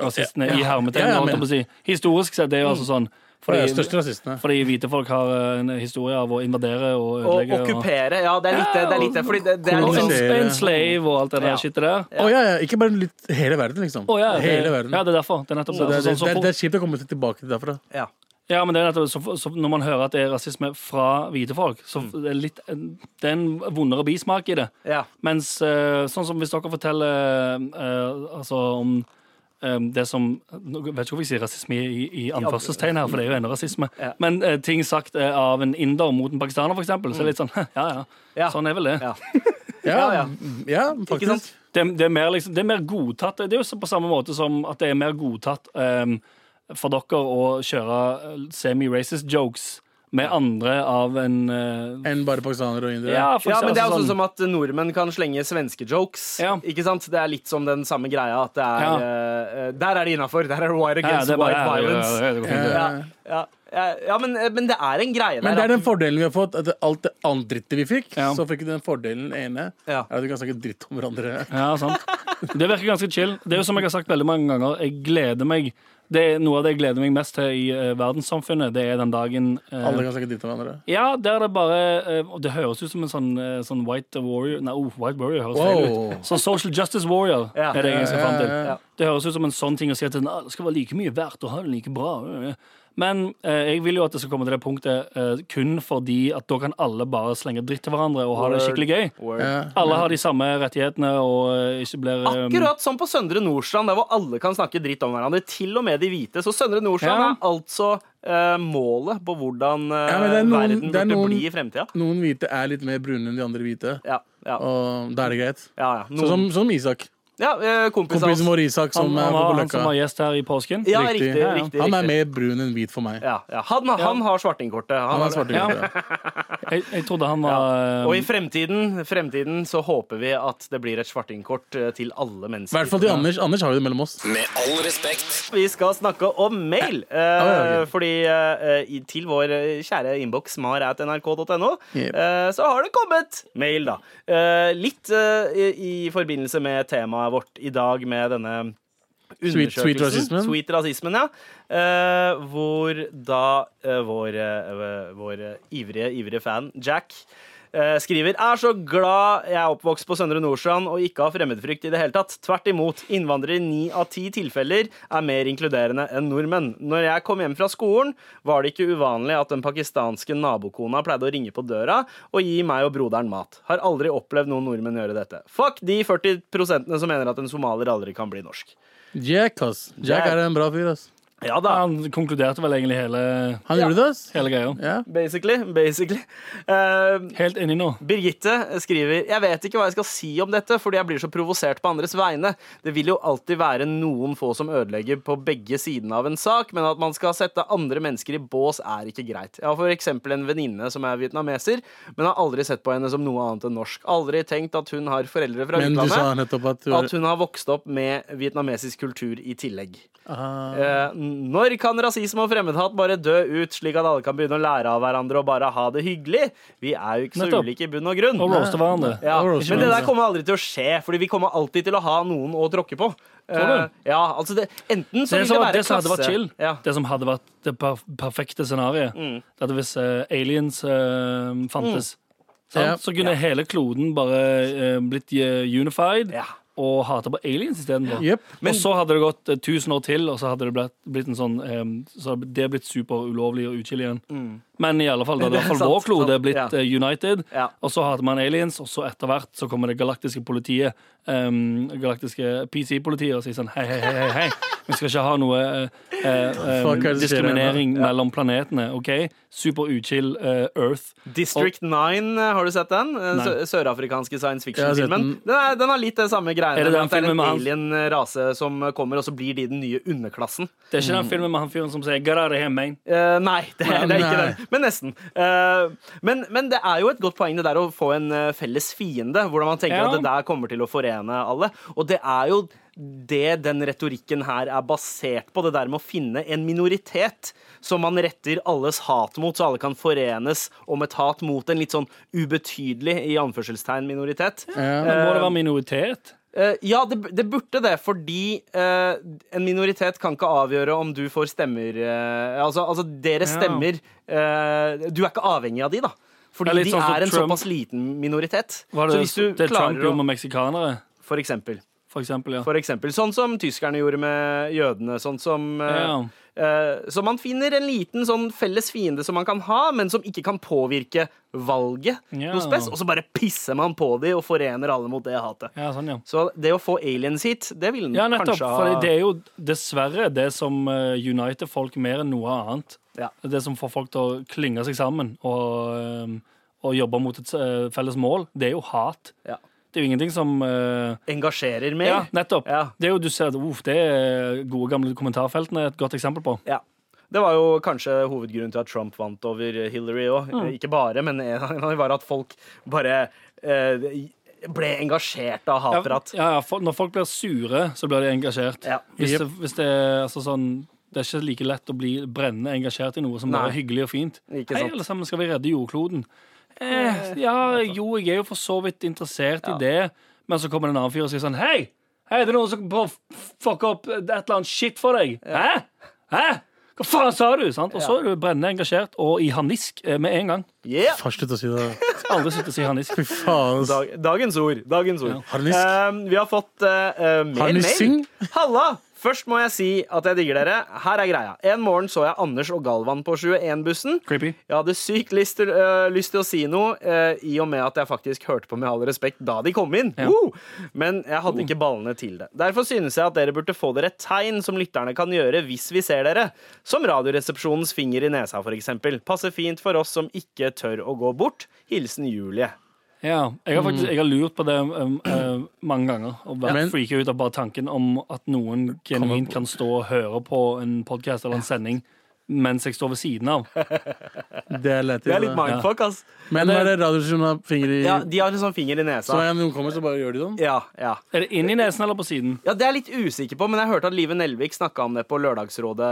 Speaker 5: rasistene i
Speaker 6: Ja,
Speaker 5: hermetegn.
Speaker 6: ja,
Speaker 5: holdt jeg
Speaker 6: men- Mm.
Speaker 5: på å si. Historisk sett, det er jo altså sånn
Speaker 6: De
Speaker 5: fordi,
Speaker 6: største rasistene.
Speaker 5: fordi hvite folk har eh, en historie av å invadere og
Speaker 3: Å
Speaker 5: ødelegge.
Speaker 3: okkupere. Ja, det er litt det. det, er litt, det, fordi det, det er
Speaker 5: og
Speaker 3: litt sånn
Speaker 5: en,
Speaker 6: Kolonisere.
Speaker 5: en slave og alt det der
Speaker 3: Ja.
Speaker 5: shitet der.
Speaker 6: Å liksom- ja, ja. Ikke bare litt, hele verden, liksom.
Speaker 5: Å, ja, det,
Speaker 6: hele verden.
Speaker 5: Ja, det er derfor. Det er nettopp det.
Speaker 6: Så det, er-
Speaker 5: Altså,
Speaker 6: det,
Speaker 5: sånn, så
Speaker 6: er-
Speaker 5: folk-
Speaker 6: det er kjipt å komme til- tilbake til derfra.
Speaker 3: ja.
Speaker 5: Ja, men det er nettopp, så, så Når man hører at det er rasisme fra hvite folk, så
Speaker 3: Mm.
Speaker 5: det er litt, det er en vondere bismak i det.
Speaker 3: Ja.
Speaker 5: Mens eh, sånn som hvis dere forteller eh, altså om eh, det som nå vet ikke hvorfor jeg sier rasisme i, i, i anførselstegn her, for det er jo ennå rasisme.
Speaker 3: Ja.
Speaker 5: Men eh, ting sagt eh, av en inder mot en pakistaner, for eksempel, så er det litt sånn ja, ja,
Speaker 3: Ja.
Speaker 5: sånn er vel det.
Speaker 3: Ja.
Speaker 6: Ja, mm,
Speaker 3: ja.
Speaker 6: ja,
Speaker 3: Ikke
Speaker 6: faktisk.
Speaker 3: sant?
Speaker 5: Det, det, er mer liksom, det er mer godtatt. Det er jo så på samme måte som at det er mer godtatt ehm, for dere å kjøre eh, semi-racist jokes med andre av en eh,
Speaker 6: Enn bare pakistanere og indere.
Speaker 5: Ja, for
Speaker 3: Ja, men
Speaker 5: eksempel
Speaker 3: det er også
Speaker 5: sånn-
Speaker 3: som at nordmenn kan slenge svenske jokes.
Speaker 5: Ja.
Speaker 3: Ikke sant? Det er litt som den samme greia at det er
Speaker 5: Ja.
Speaker 3: eh, Der er det innafor. Der er det white
Speaker 5: ja,
Speaker 3: against
Speaker 5: det er bare,
Speaker 3: white
Speaker 5: ja, ja,
Speaker 3: violence.
Speaker 5: ja, det går
Speaker 6: Eh,
Speaker 5: fint.
Speaker 3: Ja, ja, ja, ja men, eh, men det er en greie
Speaker 6: Men det
Speaker 3: der.
Speaker 6: er den fordelen vi har fått. At alt det andre drittet vi fikk,
Speaker 5: Ja.
Speaker 6: så fikk vi den fordelen ene.
Speaker 3: Ja.
Speaker 6: Er at vi kan snakke dritt om hverandre.
Speaker 5: Ja, sant. Det virker ganske chill. Det er jo som jeg har sagt veldig mange ganger, jeg gleder meg. Det er Noe av det jeg gleder meg mest til i eh, verdenssamfunnet, det er den dagen eh,
Speaker 6: Alle kan snakke dritt om hverandre.
Speaker 5: Ja, der er det bare eh, og Det høres ut som en sånn, eh, sånn White Warrior Nei, oh, White Warrior høres
Speaker 6: Wow.
Speaker 5: feil ut. Sånn Social Justice Warrior
Speaker 3: Ja.
Speaker 5: er det jeg skal fram til.
Speaker 6: Ja, ja,
Speaker 3: ja.
Speaker 5: Det høres ut som en sånn ting å si at «Nei, det skal være like mye verdt og ha det like bra. Men eh, jeg vil jo at det skal komme til det punktet eh, kun fordi at da kan alle bare slenge dritt til hverandre og ha det
Speaker 3: Word.
Speaker 5: skikkelig gøy.
Speaker 3: Word.
Speaker 6: Ja.
Speaker 5: Alle har de samme rettighetene og eh, ikke blir eh,
Speaker 3: Akkurat som på Søndre Nordstrand, der hvor alle kan snakke dritt om hverandre. Til og med de hvite. Så Søndre Nordstrand
Speaker 5: Ja.
Speaker 3: er altså eh, målet på hvordan eh,
Speaker 6: Ja, men det er noen-
Speaker 3: verden
Speaker 6: det er
Speaker 3: burde
Speaker 6: noen-
Speaker 3: bli i fremtida.
Speaker 6: Noen hvite er litt mer brune enn de andre hvite.
Speaker 3: Ja, ja, ja,
Speaker 6: Og da er det greit.
Speaker 3: ja.
Speaker 6: Sånn
Speaker 3: Noen,
Speaker 6: som, som Isak.
Speaker 3: ja eh, kompis av oss.
Speaker 6: Kompisen vår Isak
Speaker 5: han,
Speaker 6: som er
Speaker 5: han,
Speaker 6: på
Speaker 5: var, han som
Speaker 6: Løkka.
Speaker 5: var gjest her i påsken.
Speaker 3: Ja,
Speaker 6: Riktig.
Speaker 3: riktig. riktig,
Speaker 5: Ja, ja.
Speaker 3: riktig,
Speaker 6: Han er mer brun enn hvit for meg.
Speaker 3: Ja, ja. Han, han har svartingkortet.
Speaker 6: Han
Speaker 3: Han
Speaker 6: er
Speaker 3: har-
Speaker 6: svart i kortet.
Speaker 5: Jeg, jeg trodde han var eh,
Speaker 3: Og i fremtiden, fremtiden så håper vi at det blir et svartingkort eh, til alle
Speaker 6: I
Speaker 3: mennesker.
Speaker 6: hvert fall til Anders. Anders har jo det mellom oss.
Speaker 1: Med all respekt.
Speaker 3: Vi skal snakke om mail. eh,
Speaker 6: ja, ok.
Speaker 3: Fordi eh, i- til vår eh, kjære innboks mar.nrk.no
Speaker 6: Yep.
Speaker 3: eh, så har det kommet mail, da. Eh, litt eh, i, i forbindelse med temaet vårt i dag med denne
Speaker 6: Sweet- sweet
Speaker 3: undersøkelsen.
Speaker 6: rasismen.
Speaker 3: Sweet rasismen, ja. Eh, hvor da eh, vår, eh, vår eh, ivrige, ivrige fan Jack eh, skriver er så glad jeg er oppvokst på Søndre Nordstrand og ikke har fremmedfrykt i det hele tatt. Tvert imot. Innvandrere i ni av ti tilfeller er mer inkluderende enn nordmenn. Når jeg kom hjem fra skolen, var det ikke uvanlig at den pakistanske nabokona pleide å ringe på døra og gi meg og broderen mat. Har aldri opplevd noen nordmenn gjøre dette. Fuck de 40 som mener at en somalier aldri kan bli norsk.
Speaker 6: Jack, ass. Jack er en bra fyr, ass.
Speaker 3: Ja da.
Speaker 5: Han konkluderte vel egentlig hele,
Speaker 6: Han gjorde det, ass.
Speaker 5: hele greia.
Speaker 6: Ja.
Speaker 3: Um, Basically. basically. Eh,
Speaker 5: Helt inni nå.
Speaker 3: Birgitte skriver Jeg vet ikke hva jeg skal si om dette, fordi jeg blir så provosert på andres vegne. Det vil jo alltid være noen få som ødelegger på begge sidene av en sak, men at man skal sette andre mennesker i bås, er ikke greit. Jeg har for eksempel en venninne som er vietnameser, men har aldri sett på henne som noe annet enn norsk. Aldri tenkt at hun har foreldre fra
Speaker 6: Men du
Speaker 3: utlandet.
Speaker 6: sa nettopp at du
Speaker 3: At hun har vokst opp med vietnamesisk kultur i tillegg.
Speaker 6: Ah.
Speaker 3: Eh, når kan rasisme og fremmedhat bare dø ut, slik at alle kan begynne å lære av hverandre og bare ha det hyggelig? Vi er jo ikke så
Speaker 5: Nettopp.
Speaker 3: ulike i bunn og grunn.
Speaker 5: Og roaste hverandre.
Speaker 3: Ja,
Speaker 6: Og
Speaker 3: men
Speaker 6: roaster
Speaker 3: det der
Speaker 6: hverandre.
Speaker 3: kommer aldri til å skje, Fordi vi kommer alltid til å ha noen å tråkke på. Eh, ja, altså det, enten så vil det
Speaker 5: Det som,
Speaker 3: være
Speaker 5: det som hadde vært
Speaker 3: klasse-
Speaker 5: chill,
Speaker 3: Ja. Mm.
Speaker 5: det som hadde vært det per perfekte scenarioet, det hadde hvis eh, aliens eh, fantes. Sant?
Speaker 3: Mm.
Speaker 6: Ja.
Speaker 5: Så kunne hele kloden bare eh, blitt eh, unified,
Speaker 3: Ja.
Speaker 5: og hata på aliens istedenfor.
Speaker 6: Jep.
Speaker 5: Og så hadde det gått eh, 1000 år til, og så hadde det blitt, blitt en sånn em, Så hadde det blitt superulovlig og utskilt igjen. Men i alle fall, da hadde
Speaker 3: Mm.
Speaker 5: i hvert
Speaker 3: Det er
Speaker 5: fall vår
Speaker 3: sant,
Speaker 5: klode
Speaker 3: sant,
Speaker 5: blitt
Speaker 3: ja.
Speaker 5: eh, United,
Speaker 3: Ja.
Speaker 5: og så hater man aliens, og så etter hvert så kommer det galaktiske politiet, em, galaktiske PC-politiet, og sier sånn hei, hei, hei, hei, hei. Vi skal ikke ha noe eh, eh,
Speaker 6: Fuck, hva er det som skjer her nå?
Speaker 5: diskriminering mellom planetene, OK? Super uchill eh, Earth.
Speaker 3: District 9, eh, har du sett den? Eh,
Speaker 5: Nei.
Speaker 3: sø- Sørafrikanske science
Speaker 6: Jeg har sett
Speaker 3: fiction-filmen. Den, er- den har litt det samme greiene.
Speaker 5: Er det den
Speaker 3: at det er en
Speaker 5: filmen med han-
Speaker 3: alien-rase som kommer, og så blir de den nye underklassen.
Speaker 5: Det er ikke den filmen med han fyren som sier Get out of here, man.
Speaker 3: Eh, nei, det, er- det er ikke
Speaker 6: Nei.
Speaker 3: den. Men nesten. Eh, men, men det er jo et godt poeng det der å få en eh, felles fiende. Hvordan man tenker
Speaker 5: Ja.
Speaker 3: at det der kommer til å forene alle. Og det er jo det den retorikken her er basert på. Det der med å finne en minoritet som man retter alles hat mot, så alle kan forenes om et hat mot en litt sånn ubetydelig i anførselstegn minoritet.
Speaker 6: Ja.
Speaker 5: Men må det være minoritet?
Speaker 3: Eh, ja, det, det burde det, fordi eh, en minoritet kan ikke avgjøre om du får stemmer eh, altså, altså, dere stemmer eh, Du er ikke avhengig av de, da. Fordi
Speaker 5: Det er litt
Speaker 3: de
Speaker 5: sånn som
Speaker 3: er en
Speaker 5: Trump-
Speaker 3: såpass liten minoritet.
Speaker 5: Var det,
Speaker 3: så hvis du
Speaker 5: det Trump
Speaker 3: klarer
Speaker 5: gjorde
Speaker 3: å
Speaker 5: med meksikanere,
Speaker 3: for eksempel,
Speaker 5: for eksempel. Ja.
Speaker 3: for eksempel. Sånn som tyskerne gjorde med jødene. Sånn som eh,
Speaker 5: Ja.
Speaker 3: eh, Så man finner en liten sånn felles fiende som man kan ha, men som ikke kan påvirke valget
Speaker 5: Ja.
Speaker 3: noe spes. Og så bare pisser man på de og forener alle mot det hatet.
Speaker 5: ja, sånn, ja.
Speaker 3: Så det å få aliens hit, det ville den
Speaker 5: Ja, nettopp.
Speaker 3: kanskje
Speaker 5: For det er jo dessverre det som eh, uniter folk mer enn noe annet.
Speaker 3: Ja.
Speaker 5: Det er Det som får folk til å klynge seg sammen og, eh, og jobbe mot et eh, felles mål, det er jo hat.
Speaker 3: Ja.
Speaker 5: Det er jo ingenting som eh,
Speaker 3: engasjerer mer.
Speaker 5: Ja, nettopp.
Speaker 3: Ja.
Speaker 5: Det er jo du ser at uff, det er gode gamle kommentarfeltene et godt eksempel på.
Speaker 3: Ja. Det var jo kanskje hovedgrunnen til at Trump vant over Hillary òg.
Speaker 5: Mm.
Speaker 3: Ikke bare, men en av dem var at folk bare eh, ble engasjert av hatprat.
Speaker 5: Ja, ja, for, når folk blir sure, så blir de engasjert.
Speaker 3: Ja.
Speaker 5: Hvis,
Speaker 6: Jep.
Speaker 5: det, hvis det er altså sånn det er ikke like lett å bli brennende engasjert i noe som bare er
Speaker 3: Nei.
Speaker 5: hyggelig og fint.
Speaker 3: Ikke
Speaker 5: Hei,
Speaker 3: sant.
Speaker 5: alle sammen, skal vi redde jordkloden? Eh, ja, jo, jeg er jo for så vidt interessert i det, men så kommer det en annen fyr og sier sånn Hei, hei, det er noen som prøver å fucke opp et eller annet shit for deg. Hæ? Hæ? Hva faen sa du? Sant? Og så er du brennende engasjert og i harnisk eh, med en gang.
Speaker 3: Yeah.
Speaker 6: Far, slutt å si det.
Speaker 5: Skal Aldri slutte å si harnisk.
Speaker 6: Fy faen. ass.
Speaker 3: Dag, dagens ord. Dagens ord.
Speaker 6: Harnisk.
Speaker 3: Eh, vi har fått eh, eh, mer
Speaker 6: Harnissing.
Speaker 3: mail. Halla! Først må jeg si at jeg digger dere. Her er greia. En morgen så jeg Anders og Galvan på 21-bussen.
Speaker 5: Creepy.
Speaker 3: Jeg hadde sykt lyst til, øh, lyst til å si noe, øh, i og med at jeg faktisk hørte på Med all respekt da de kom inn. Woo! Men jeg hadde ikke ballene til det. Derfor synes jeg at dere burde få dere et tegn som lytterne kan gjøre hvis vi ser dere. Som Radioresepsjonens finger i nesa, for eksempel. Passer fint for oss som ikke tør å gå bort. Hilsen Julie.
Speaker 5: Ja, jeg har
Speaker 3: Mm.
Speaker 5: faktisk jeg har lurt på det um, uh, mange ganger. Og vært
Speaker 6: Men-
Speaker 5: freaket ut av bare tanken om at noen genuint kan stå og høre på en podkast eller en sending mens jeg står ved siden av.
Speaker 6: Det er lett. da.
Speaker 3: mindfuck, ass.
Speaker 6: Men når det er radioen har fingre i
Speaker 3: Ja, de har en sånn finger i
Speaker 6: Så
Speaker 3: nesa.
Speaker 6: når noen kommer, så bare gjør de sånn?
Speaker 3: Ja, ja.
Speaker 5: Er det inni nesen eller på siden?
Speaker 3: Ja, Det er jeg litt usikker på, men jeg hørte at Live Nelvik snakka om det på Lørdagsrådet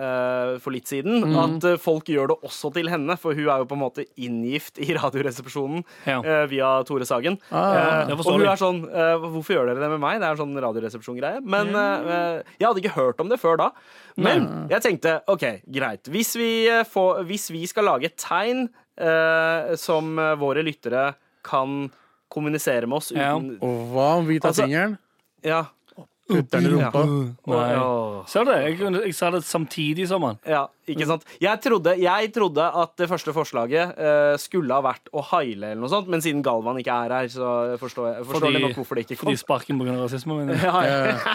Speaker 3: eh, for litt siden.
Speaker 5: Mhm.
Speaker 3: At eh, folk gjør det også til henne, for hun er jo på en måte inngift i Radioresepsjonen
Speaker 5: Ja.
Speaker 3: eh, via Tore Sagen.
Speaker 6: Ah,
Speaker 3: Eh,
Speaker 5: det
Speaker 3: og hun
Speaker 5: forstår vi.
Speaker 3: er sånn eh, Hvorfor gjør dere det med meg? Det er en sånn Radioresepsjon-greie. Men eh, eh, jeg hadde ikke hørt om det før da. Men jeg tenkte OK, greit. Hvis vi, eh, får, hvis vi skal lage et tegn eh, som eh, våre lyttere kan kommunisere med oss
Speaker 5: Ja.
Speaker 3: uten
Speaker 6: Og hva om vi tar
Speaker 3: Altså-
Speaker 6: fingeren,
Speaker 3: Ja.
Speaker 6: putter den i rumpa?
Speaker 5: Nei.
Speaker 3: Åh.
Speaker 5: Ser du det? Jeg, kunne- jeg sa det samtidig som han.
Speaker 3: Ja, ikke sant? Jeg trodde, jeg trodde at det første forslaget eh, skulle ha vært å haile eller noe sånt, men siden Galvan ikke er her, så forstår jeg forstår
Speaker 5: Fordi-
Speaker 3: jeg nok hvorfor det ikke kom.
Speaker 5: Fordi sparken pga. rasisme. mener jeg.
Speaker 3: Ja,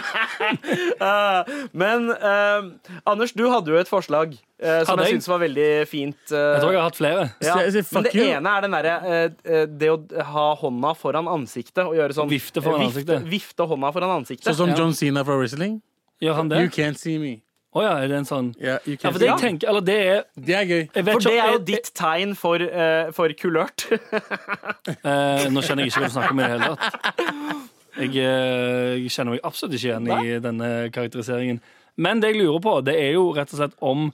Speaker 3: ja. Eh, men eh, Anders, du hadde jo et forslag eh, som
Speaker 5: Hadde
Speaker 3: jeg
Speaker 5: jeg?
Speaker 3: syns var veldig fint. eh,
Speaker 5: Jeg tror jeg har hatt flere.
Speaker 3: ja,
Speaker 6: Så jeg sier,
Speaker 3: men
Speaker 6: fuck
Speaker 3: det
Speaker 6: you.
Speaker 3: ene er den derre eh, eh, Det å ha hånda foran ansiktet og gjøre sånn
Speaker 5: Vifte foran
Speaker 3: eh,
Speaker 5: ansiktet.
Speaker 3: Vifte hånda foran ansiktet.
Speaker 6: Sånn som
Speaker 5: Ja.
Speaker 6: John Cena fra wrestling?
Speaker 5: Gjør han
Speaker 6: You
Speaker 5: det?
Speaker 6: can't see me.
Speaker 5: Å ja, er det en sånn
Speaker 6: Ja,
Speaker 5: Ja,
Speaker 6: you
Speaker 5: for
Speaker 6: can't see
Speaker 5: det
Speaker 6: me.
Speaker 5: jeg tenker Eller det er
Speaker 6: Det er gøy.
Speaker 5: jeg vet
Speaker 3: for
Speaker 5: ikke om-
Speaker 3: det er jo
Speaker 5: jeg-
Speaker 3: ditt tegn for, eh, for kulørt.
Speaker 5: Eh, nå skjønner jeg ikke hva du snakker om i det hele tatt. Jeg, eh, jeg kjenner meg absolutt ikke igjen i denne karakteriseringen. Men det jeg lurer på, det er jo rett og slett om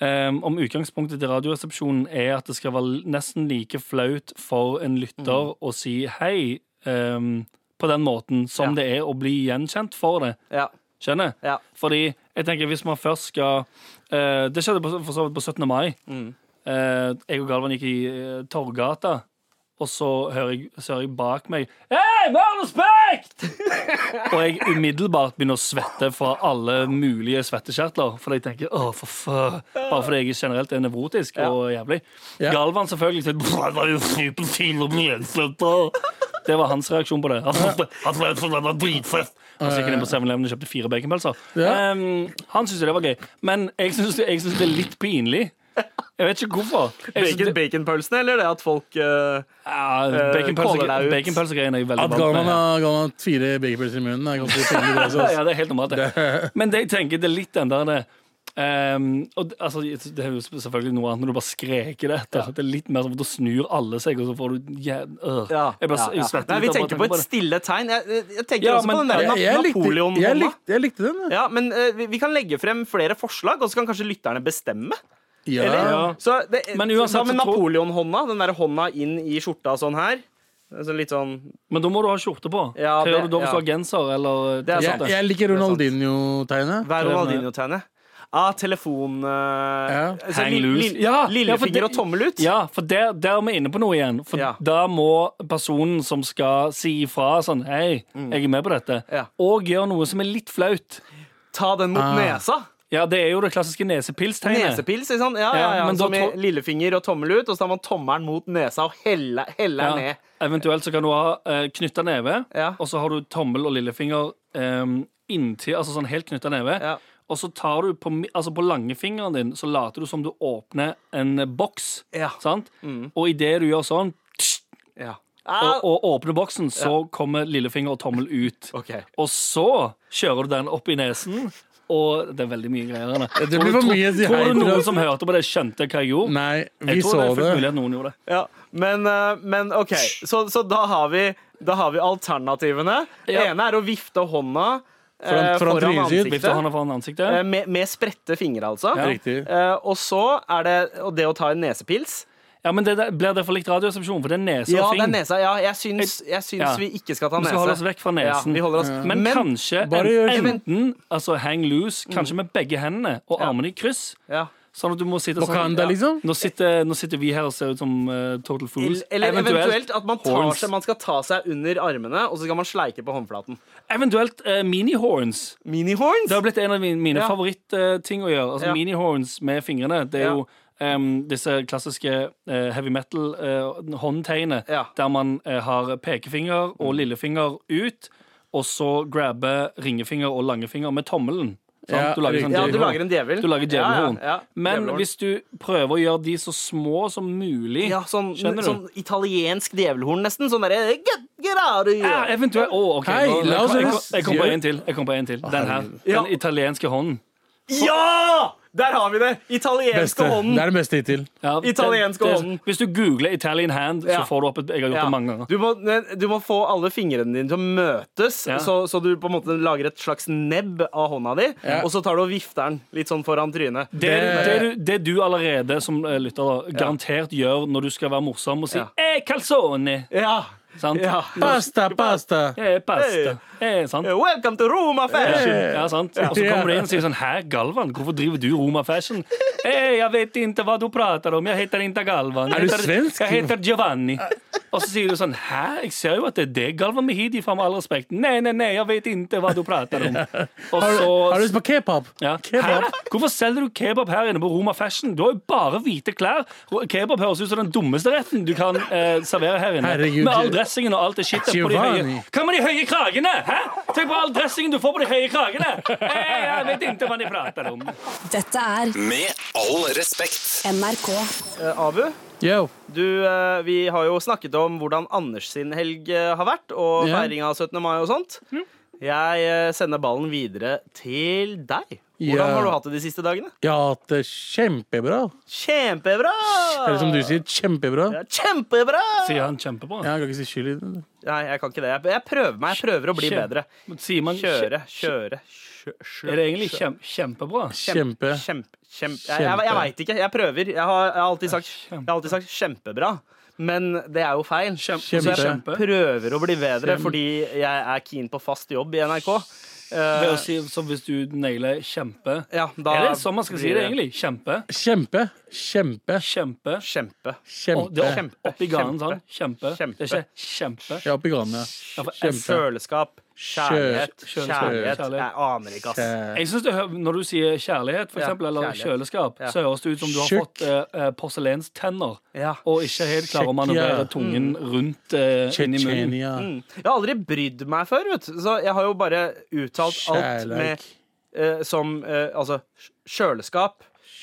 Speaker 5: eh, om utgangspunktet til Radioresepsjonen er at det skal være nesten like flaut for en
Speaker 3: Mm.
Speaker 5: lytter å si hei eh, på den måten som
Speaker 3: Ja.
Speaker 5: det er å bli gjenkjent for det.
Speaker 3: ja.
Speaker 5: Skjønner?
Speaker 3: Ja.
Speaker 5: Fordi jeg tenker hvis man først skal eh, Det skjedde på, for så vidt på 17. mai. Eh, jeg og Galvan gikk i eh, Torgata Og så hører jeg, så hører jeg bak meg Hei, vær respekt! og jeg umiddelbart begynner å svette fra alle mulige svettekjertler. For jeg tenker, åh, for faen Bare fordi jeg generelt er nevrotisk og jævlig.
Speaker 6: Ja.
Speaker 5: Galvan selvfølgelig så, «Pff, det var jo superfint og meningsløst, da». Det var hans reaksjon på det. Han syntes det- han syntes det var dritfett. Han gikk inn på 7-Eleven og kjøpte fire baconpølser.
Speaker 6: Ja.
Speaker 5: Ehm, han syntes jo det var gøy, men jeg syns det, jeg synes det er litt pinlig. Jeg vet ikke hvorfor. Jeg
Speaker 3: Bacon,
Speaker 5: synes det-
Speaker 3: baconpølsene, eller det at folk eh,
Speaker 5: ja,
Speaker 3: kåler deg
Speaker 5: baconpølse-
Speaker 3: ut.
Speaker 5: Baconpølsegreiene er jeg veldig
Speaker 6: At
Speaker 5: vant
Speaker 6: Galvan
Speaker 5: med.
Speaker 6: har Galvan har fire baconpølser i munnen, er ganske pinlig. det også,
Speaker 5: Ja,
Speaker 6: ass.
Speaker 5: det er helt normalt, det. Men det jeg tenker, det er litt den der det ehm, og det, altså, det er jo selvfølgelig noe annet når du bare skreker det etter. Det er litt mer sånn at Da snur alle seg, og så får du jæv- øh.
Speaker 3: ja,
Speaker 5: Jeg bare jeg
Speaker 3: ja, ja.
Speaker 5: svetter
Speaker 3: Nei,
Speaker 5: litt
Speaker 3: Vi
Speaker 5: av bare
Speaker 3: tenker på et
Speaker 5: tanken det.
Speaker 3: stille tegn. Jeg, jeg- jeg tenker
Speaker 5: Ja,
Speaker 3: også
Speaker 5: men-
Speaker 3: på den der
Speaker 5: Ja,
Speaker 6: Jeg, jeg, likte,
Speaker 3: Napoleon-hånda.
Speaker 6: jeg, likte, jeg likte den. jeg.
Speaker 3: Ja, men eh, vi, vi kan legge frem flere forslag, og så kan kanskje lytterne bestemme. Eller?
Speaker 6: Ja.
Speaker 3: Så det,
Speaker 5: Men uansett
Speaker 3: hva med
Speaker 5: så tror-
Speaker 3: Napoleon-hånda? Den der hånda inn i skjorta sånn her. Så litt sånn
Speaker 5: Men da må du ha skjorte på.
Speaker 3: Ja,
Speaker 5: Hva
Speaker 3: det-
Speaker 5: gjør du da hvis
Speaker 3: ja.
Speaker 5: du har genser eller øh,
Speaker 3: Det er sant,
Speaker 6: Jeg,
Speaker 3: det.
Speaker 6: jeg liker Ronaldinho-tegnet.
Speaker 3: Hva er Ronaldinho-tegnet? Ah, telefon eh,
Speaker 6: Ja.
Speaker 3: altså,
Speaker 5: Hang
Speaker 3: li-
Speaker 5: loose.
Speaker 3: li-
Speaker 5: Ja, ja, for
Speaker 3: Lillefinger
Speaker 5: det-
Speaker 3: og tommel ut?
Speaker 5: Ja, for der, der er vi inne på noe igjen. For
Speaker 3: Ja.
Speaker 5: da må personen som skal si ifra sånn Hei, jeg er med på dette,
Speaker 3: Mm. Ja.
Speaker 5: og gjør noe som er litt flaut.
Speaker 3: Ta den mot
Speaker 6: Ah.
Speaker 3: nesa.
Speaker 5: Ja, det er jo det klassiske nesepilstegnet.
Speaker 3: Nesepils. ikke sant? Ja, ja,
Speaker 5: Ja,
Speaker 3: ja.
Speaker 5: men da
Speaker 3: Som i
Speaker 5: to-
Speaker 3: lillefinger og tommel ut, og så tar man tommelen mot nesa og heller, heller
Speaker 5: Ja.
Speaker 3: ned.
Speaker 5: Eventuelt så kan du ha eh, knytta neve,
Speaker 3: Ja.
Speaker 5: og så har du tommel og lillefinger em, inntil, altså sånn helt knytta neve.
Speaker 3: Ja.
Speaker 5: Og så tar du på, mi- altså på langefingeren din, så later du som du åpner en eh, boks.
Speaker 3: Ja. Mm.
Speaker 5: Sant? Og idet du gjør sånn,
Speaker 3: Ja. Ah!
Speaker 5: og, og åpner boksen, så kommer lillefinger og tommel ut.
Speaker 3: Ok.
Speaker 5: Og så kjører du den opp i nesen. Og det er veldig mye greier. her, da.
Speaker 6: Det
Speaker 5: Tror
Speaker 6: blir
Speaker 5: du-
Speaker 6: for mye å si
Speaker 5: Tror
Speaker 6: hei
Speaker 5: du
Speaker 6: til,
Speaker 5: noen
Speaker 6: ass.
Speaker 5: som hørte på det, skjønte hva jeg gjorde?
Speaker 6: Nei, vi
Speaker 5: jeg tror
Speaker 6: så
Speaker 5: det er fullt mulig
Speaker 6: det.
Speaker 5: at noen gjorde det.
Speaker 3: Ja, men, eh, men OK, så, så da, har vi, da har vi alternativene. Det
Speaker 5: Ja.
Speaker 3: ene er å vifte hånda eh,
Speaker 6: Foran- foran
Speaker 3: foran,
Speaker 6: trynet sitt.
Speaker 3: ansiktet.
Speaker 5: Vifter hånda foran ansiktet.
Speaker 3: Eh, Med, med spredte fingre, altså.
Speaker 5: Ja.
Speaker 6: Riktig.
Speaker 3: Eh, og så er det og det å ta en nesepils.
Speaker 5: Ja, men det, der- blir det for likt radioresepsjon? For det er nese
Speaker 3: Ja,
Speaker 5: og
Speaker 3: det er
Speaker 5: fing.
Speaker 3: nesa. Ja, jeg syns, jeg syns
Speaker 5: Ja.
Speaker 3: vi ikke skal ta
Speaker 5: Vi
Speaker 3: nese.
Speaker 5: skal holde oss vekk fra nesen.
Speaker 3: Ja, vi holder oss.
Speaker 5: Men, kanskje
Speaker 6: bare gjør
Speaker 5: en,
Speaker 6: sånn.
Speaker 5: enten altså hang loose, kanskje med begge hendene og armene i kryss.
Speaker 3: Mm. ja.
Speaker 5: Sånn at du må sitte sånn
Speaker 6: Wakanda, liksom?
Speaker 5: nå, sitter, nå sitter vi her og ser ut som eh, total fools.
Speaker 3: Eller eller eventuelt at man, tar
Speaker 5: horns.
Speaker 3: seg, man skal ta seg under armene, og så skal man sleike på håndflaten.
Speaker 5: Eventuelt eh, mini-horns.
Speaker 3: Minihorns?
Speaker 5: Det har blitt en av mine, mine
Speaker 3: Ja.
Speaker 5: favorittting å gjøre.
Speaker 3: Ja.
Speaker 5: Altså Mini-horns med fingrene. Det er
Speaker 3: Ja.
Speaker 5: jo em, disse klassiske eh, heavy metal-håndtegnene
Speaker 3: Ja. Mm.
Speaker 5: der man eh, har pekefinger og lillefinger ut, og så grabber ringefinger og langefinger med tommelen. Sant?
Speaker 6: Ja,
Speaker 5: du lager sånn
Speaker 6: riktig.
Speaker 3: Ja, du
Speaker 5: djevelhorn.
Speaker 3: lager en djevel.
Speaker 5: Du lager djevelhorn.
Speaker 3: Ja, ja, ja.
Speaker 5: Men
Speaker 3: Djevelhorn.
Speaker 5: hvis du prøver å gjøre de så små som mulig
Speaker 3: ja, sånn,
Speaker 5: Skjønner du?
Speaker 3: sånn italiensk djevelhorn, nesten. Sånn derre get, get out of here.
Speaker 5: Ja, eventuelt. Å, ok.
Speaker 6: Hei,
Speaker 5: nå-
Speaker 6: la oss
Speaker 5: jeg, kom, jeg kom
Speaker 6: gjøre-
Speaker 5: på en til. Jeg kom på en til. Den her.
Speaker 3: Ja.
Speaker 5: Den italienske hånden.
Speaker 3: Ja! Der har vi det! Italienske
Speaker 6: Beste. Det
Speaker 3: hånden.
Speaker 6: er det beste hittil.
Speaker 5: Ja, det-
Speaker 3: Italienske
Speaker 5: det- sånn,
Speaker 3: hånden.
Speaker 5: Hvis du googler 'Italian hand',
Speaker 3: Ja.
Speaker 5: så får du opp et Jeg har gjort
Speaker 3: Ja.
Speaker 5: det mange ganger.
Speaker 3: Du, må, du må få alle fingrene dine til å møtes,
Speaker 5: Ja.
Speaker 3: så, så du på en måte lager et slags nebb av hånda di,
Speaker 6: Ja.
Speaker 3: og så tar du og vifter den litt sånn foran trynet.
Speaker 5: Det, det, du, det du allerede som eh, lytter da, garantert gjør når du skal være morsom og si
Speaker 3: Ja.
Speaker 5: eh, 'calzone'.
Speaker 3: Ja.
Speaker 5: Sant?
Speaker 3: ja.
Speaker 6: Pasta, pasta!
Speaker 5: Eh, pasta. Eh, sant?
Speaker 3: Welcome to Roma fashion!
Speaker 5: Ja, sant? Og så kommer du inn og sier sånn Hæ, Galvan, hvorfor driver du Roma Fashion? Eh, jeg vet ikke hva du prater om. Jeg heter ikke Galvan. Jeg
Speaker 6: Er du
Speaker 5: heter-
Speaker 6: svensk?
Speaker 5: Jeg heter Giovanni. Og så sier du sånn Hæ, jeg ser jo at det er det Galvan Mehidi, for med all respekt. Nei, nei, nei, jeg vet ikke hva du prater om. Og
Speaker 6: Har du, har du
Speaker 5: så
Speaker 6: lyst på kebab?
Speaker 5: ja.
Speaker 6: Kebab?
Speaker 5: Hæ? Hvorfor selger du kebab her inne på Roma Fashion? Du har jo bare hvite klær. Ro- Kebab høres ut som den dummeste retten du kan eh, servere her inne.
Speaker 6: Herregud.
Speaker 5: Med all dressingen og alt det shitet på de høye
Speaker 6: Giovanni.
Speaker 5: Hva med de høye kragene? Hæ? Tenk på all dressingen du får på de høye kragene! Eh, jeg vet ikke hva de prater om.
Speaker 4: Dette er
Speaker 1: Med all respekt.
Speaker 4: NRK.
Speaker 3: Eh, Abu,
Speaker 6: Yo.
Speaker 3: du, eh, vi har jo snakket om hvordan Anders sin helg eh, har vært, og
Speaker 6: Ja.
Speaker 3: feiring av 17. mai og sånt. Jeg eh, sender ballen videre til deg. Hvordan
Speaker 6: Ja.
Speaker 3: har du hatt det de siste dagene?
Speaker 6: Jeg har hatt det kjempebra.
Speaker 3: Kjempebra!
Speaker 5: Ah.
Speaker 6: Eller som du sier, kjempebra.
Speaker 3: Ja, kjempebra!
Speaker 5: Sier han kjempebra.
Speaker 6: Ja, Jeg kan ikke si skyld i det.
Speaker 3: Nei, jeg kan ikke det. Jeg- Jeg prøver meg. Jeg prøver å bli
Speaker 5: Kjem-
Speaker 3: bedre.
Speaker 5: Sier man
Speaker 3: Kjøre, kjøre, kjø- kjø-
Speaker 5: Er det egentlig kjem, kjempebra?
Speaker 6: Kjempe.
Speaker 3: Kjempe, kjempe. Jeg, jeg, jeg veit ikke. Jeg prøver. Jeg har, jeg, har alltid sagt, jeg har alltid sagt kjempebra. Men det er jo feil.
Speaker 5: Kjempe.
Speaker 3: Så jeg
Speaker 6: Kjempe.
Speaker 3: prøver å bli bedre fordi jeg er keen på fast jobb i NRK.
Speaker 5: Ved
Speaker 3: Eh,
Speaker 5: å si, så hvis du nailer kjempe
Speaker 3: ja, da
Speaker 5: Er det sånn man skal si
Speaker 3: blir
Speaker 5: det, egentlig? Kjempe.
Speaker 6: Kjempe. Kjempe.
Speaker 5: Kjempe.
Speaker 3: Kjempe.
Speaker 5: Å, det er
Speaker 6: Kjempe.
Speaker 5: opp, oppi ganen,
Speaker 3: Kjempe.
Speaker 5: sant? Kjempe. Det er ikke kjempe.
Speaker 6: Ja, opp i granen, ja.
Speaker 5: Ja, for
Speaker 6: Kjempe.
Speaker 5: S-
Speaker 3: Kjøleskap. Kjærlighet.
Speaker 5: Kjø-
Speaker 3: Kjærlighet.
Speaker 5: kjøleskap.
Speaker 3: Jeg aner ikke, ass.
Speaker 6: Kjæ-
Speaker 5: Jeg synes det, hø- Når du sier kjærlighet, for
Speaker 3: Ja,
Speaker 5: eksempel, eller
Speaker 3: kjærlighet.
Speaker 5: kjøleskap,
Speaker 3: Ja.
Speaker 5: så høres det ut som du har
Speaker 6: Tjukk.
Speaker 5: fått eh, eh, porselenstenner
Speaker 3: Ja.
Speaker 5: og ikke helt klarer å manøvrere
Speaker 6: Tjekkia.
Speaker 5: tungen rundt eh, inn i munnen. Mm,
Speaker 6: Tsjetsjenia.
Speaker 3: Jeg har aldri brydd meg før, vet du. Så jeg har jo bare uttalt alt med
Speaker 6: Kjærleik.
Speaker 3: eh, som eh, altså sj- kjøleskap,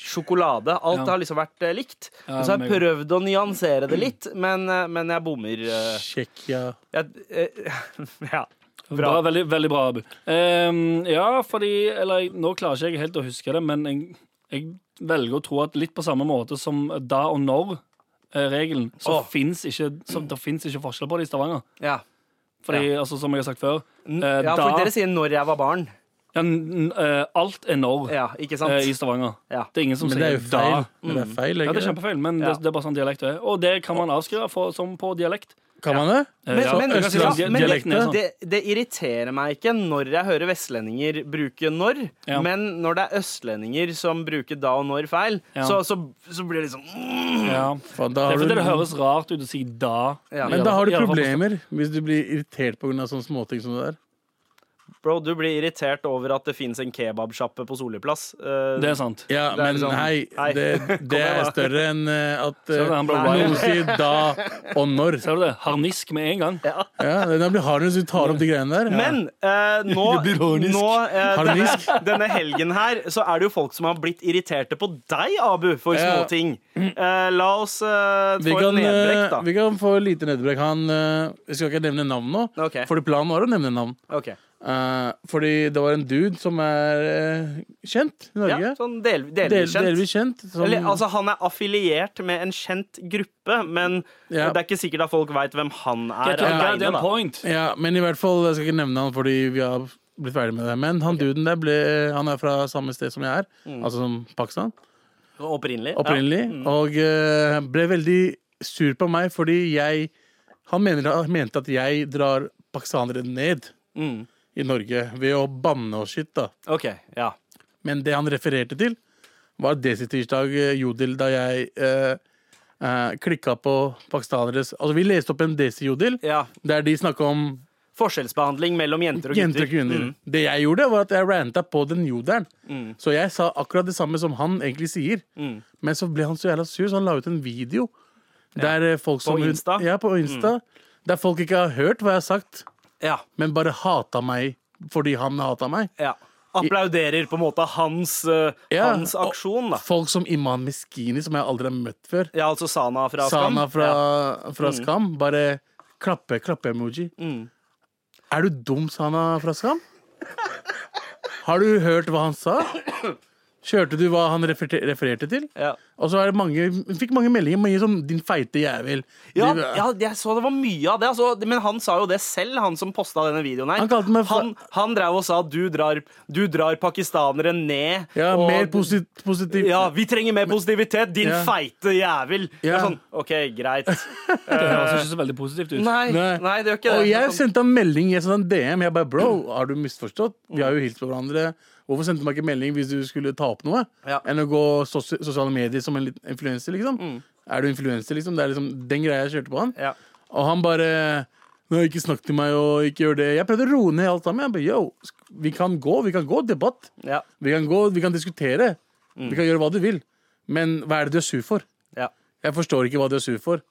Speaker 3: sjokolade. Alt
Speaker 5: Ja.
Speaker 3: har liksom vært eh, likt.
Speaker 5: Ja,
Speaker 3: og så har
Speaker 5: meg
Speaker 3: jeg prøvd å nyansere det litt, men, eh, men jeg bommer. eh,
Speaker 6: Tsjekkia.
Speaker 3: jeg, eh, ja.
Speaker 5: Bra, veldig, veldig bra, Abu. Ehm, ja, fordi Eller jeg- nå klarer ikke jeg helt å huske det, men jeg, jeg velger å tro at litt på samme måte som da og når-regelen, så
Speaker 3: Åh.
Speaker 5: finnes ikke, så, det finnes ikke forskjell på det i Stavanger.
Speaker 3: ja.
Speaker 5: Fordi, altså, som jeg har sagt før
Speaker 3: N-
Speaker 5: eh,
Speaker 3: ja,
Speaker 5: da,
Speaker 3: for dere sier 'når jeg var barn'.
Speaker 5: ja, n- eh, Alt er når
Speaker 3: Ja, ikke sant?
Speaker 5: eh, i Stavanger.
Speaker 3: Ja.
Speaker 5: Det er ingen som
Speaker 6: Men det er
Speaker 5: sier
Speaker 6: jo feil.
Speaker 5: da. Mm.
Speaker 6: Men det er feil,
Speaker 5: Ja, det er
Speaker 6: ikke det?
Speaker 5: kjempefeil, men
Speaker 3: Ja.
Speaker 5: det, det er bare sånn dialekt det er. Og det kan man avskrive for, som på dialekt.
Speaker 6: Kan man det?
Speaker 5: Eh,
Speaker 3: Men,
Speaker 5: ja,
Speaker 3: men,
Speaker 5: jeg kan si sånn,
Speaker 3: ja,
Speaker 5: dia-
Speaker 3: men
Speaker 5: dialekten er
Speaker 3: det,
Speaker 5: sånn.
Speaker 3: det, det irriterer meg ikke når jeg hører vestlendinger bruke 'når',
Speaker 5: Ja.
Speaker 3: men når det er østlendinger som bruker 'da' og 'når' feil,
Speaker 5: Ja.
Speaker 3: så, så, så blir det liksom mm,
Speaker 5: Ja.
Speaker 6: Faen, da
Speaker 5: Det
Speaker 6: har
Speaker 5: er fordi det
Speaker 6: du
Speaker 5: høres rart ut å si da.
Speaker 3: Ja.
Speaker 6: men da har du
Speaker 5: I alle fall-
Speaker 6: problemer hvis du blir irritert pga. sånne småting som det der.
Speaker 3: Bro, du blir irritert over at det fins en kebabsjappe på Solli plass. Eh,
Speaker 5: Det er sant.
Speaker 6: Ja,
Speaker 3: Det er
Speaker 6: men
Speaker 3: sånn,
Speaker 6: hei,
Speaker 3: hei,
Speaker 6: det, det
Speaker 3: igjen,
Speaker 6: er
Speaker 3: da.
Speaker 6: større enn eh, at
Speaker 5: Ser du det,
Speaker 6: eh,
Speaker 5: han ble
Speaker 3: Nei.
Speaker 5: wild.
Speaker 6: noen sier da og når.
Speaker 5: Ser du det? Harnisk med en gang.
Speaker 6: Ja, den blir hard hvis du tar opp de greiene der.
Speaker 3: Men eh, nå,
Speaker 6: Det blir harnisk.
Speaker 3: nå eh, denne,
Speaker 6: Harnisk.
Speaker 3: denne helgen her, så er det jo folk som har blitt irriterte på deg, Abu, for
Speaker 6: Ja.
Speaker 3: småting. Eh, la oss eh,
Speaker 6: Vi
Speaker 3: få
Speaker 6: kan,
Speaker 3: et nedbrekk,
Speaker 6: eh,
Speaker 3: da.
Speaker 6: vi kan få lite nedbrekk. Han eh, Jeg skal ikke nevne navn nå,
Speaker 3: Ok.
Speaker 6: Fordi planen var å nevne navn.
Speaker 3: Ok.
Speaker 6: Eh, fordi det var en dude som er eh, kjent i Norge.
Speaker 3: Ja, sånn del,
Speaker 6: Del,
Speaker 3: delvis kjent.
Speaker 6: Delvis sånn- kjent. Som,
Speaker 3: Eller, altså, han er affiliert med en kjent gruppe, men
Speaker 6: Ja.
Speaker 3: det er ikke sikkert at folk veit hvem han
Speaker 5: Jeg
Speaker 3: er
Speaker 5: tror ikke det er
Speaker 3: alene,
Speaker 5: en
Speaker 3: da.
Speaker 5: point.
Speaker 6: ja, men i hvert fall, jeg skal ikke nevne han fordi vi har blitt ferdig med det. Men han duden der ble, han er fra samme sted som jeg er,
Speaker 3: Mm.
Speaker 6: altså som Pakistan,
Speaker 3: Opprinnelig. ja. Mm.
Speaker 6: opprinnelig. Og eh, ble veldig sur på meg fordi jeg Han mener, han mente at jeg drar pakistanere ned
Speaker 3: Mm.
Speaker 6: i Norge ved å banne og shit, da.
Speaker 3: OK. Ja.
Speaker 6: Men det han refererte til, var Desi-tirsdag eh, Jodel, da jeg eh, eh, klikka på pakistaneres Altså, vi leste opp en Desi-jodel
Speaker 3: ja.
Speaker 6: der de snakka om
Speaker 3: Forskjellsbehandling mellom jenter og gutter.
Speaker 6: jenter og kvinner. Mm. Det jeg gjorde, var at jeg ranta på den jodelen.
Speaker 3: Mm.
Speaker 6: Så jeg sa akkurat det samme som han egentlig sier. Men så ble han så jævla sur, så han la ut en video der eh, folk som
Speaker 3: Insta? Mm.
Speaker 6: Ja, på Insta. Der folk ikke har hørt hva jeg har sagt,
Speaker 3: Ja.
Speaker 6: men bare hata meg fordi han hata meg.
Speaker 3: ja. Applauderer på en måte hans, eh,
Speaker 6: Ja,
Speaker 3: hans
Speaker 6: og-
Speaker 3: aksjon, da.
Speaker 6: Folk som Iman Meskini, som jeg aldri har møtt før.
Speaker 3: Ja, altså Sana fra Skam.
Speaker 6: Sana fra,
Speaker 3: Ja. Mm.
Speaker 6: fra Skam. Bare klappe, klappe-emoji. Er du dum, Sana fra Skam? Har du hørt hva han sa? Kjørte du hva han refererte, refererte til?
Speaker 3: Ja.
Speaker 6: Og så er det mange, hun fikk mange meldinger. Mange sånn 'din feite jævel'.
Speaker 3: Ja,
Speaker 6: Du-
Speaker 3: ja, jeg så det var mye av det. Altså, men han sa jo det selv, han som posta denne videoen her.
Speaker 6: Han kalte meg for-
Speaker 3: han, han drev og sa du drar, du drar pakistanere ned.
Speaker 6: ja,
Speaker 3: og,
Speaker 6: mer posit positiv.
Speaker 3: Ja, vi trenger mer positivitet, din
Speaker 6: Ja.
Speaker 3: feite jævel. Det
Speaker 6: Ja.
Speaker 3: er sånn, OK, greit.
Speaker 5: Det høres ikke så veldig positivt ut.
Speaker 3: Nei,
Speaker 6: Nei.
Speaker 3: nei, det gjør ikke det. sånn,
Speaker 6: Og jeg sendte han melding. Jeg sendte han DM. Jeg bare 'bro, har du misforstått? Vi har jo hilst på hverandre'. Hvorfor sendte du meg ikke melding hvis du skulle ta opp noe?
Speaker 3: Ja.
Speaker 6: Enn å gå sos sosiale medier som en liten influenser, liksom. Er du influenser, liksom? Det er liksom den greia jeg kjørte på han.
Speaker 3: Mm. ja.
Speaker 6: Og han bare Nå, ikke snakk til meg, og ikke gjør det. Jeg prøvde å roe ned alt sammen. Jeg bare, yo, sk- vi kan gå, vi kan gå debatt.
Speaker 3: Ja. Mm.
Speaker 6: Vi kan gå, vi kan diskutere. Vi kan gjøre hva du vil. Men hva er det du er sur for?
Speaker 3: Ja.
Speaker 6: Jeg forstår ikke hva du er sur for.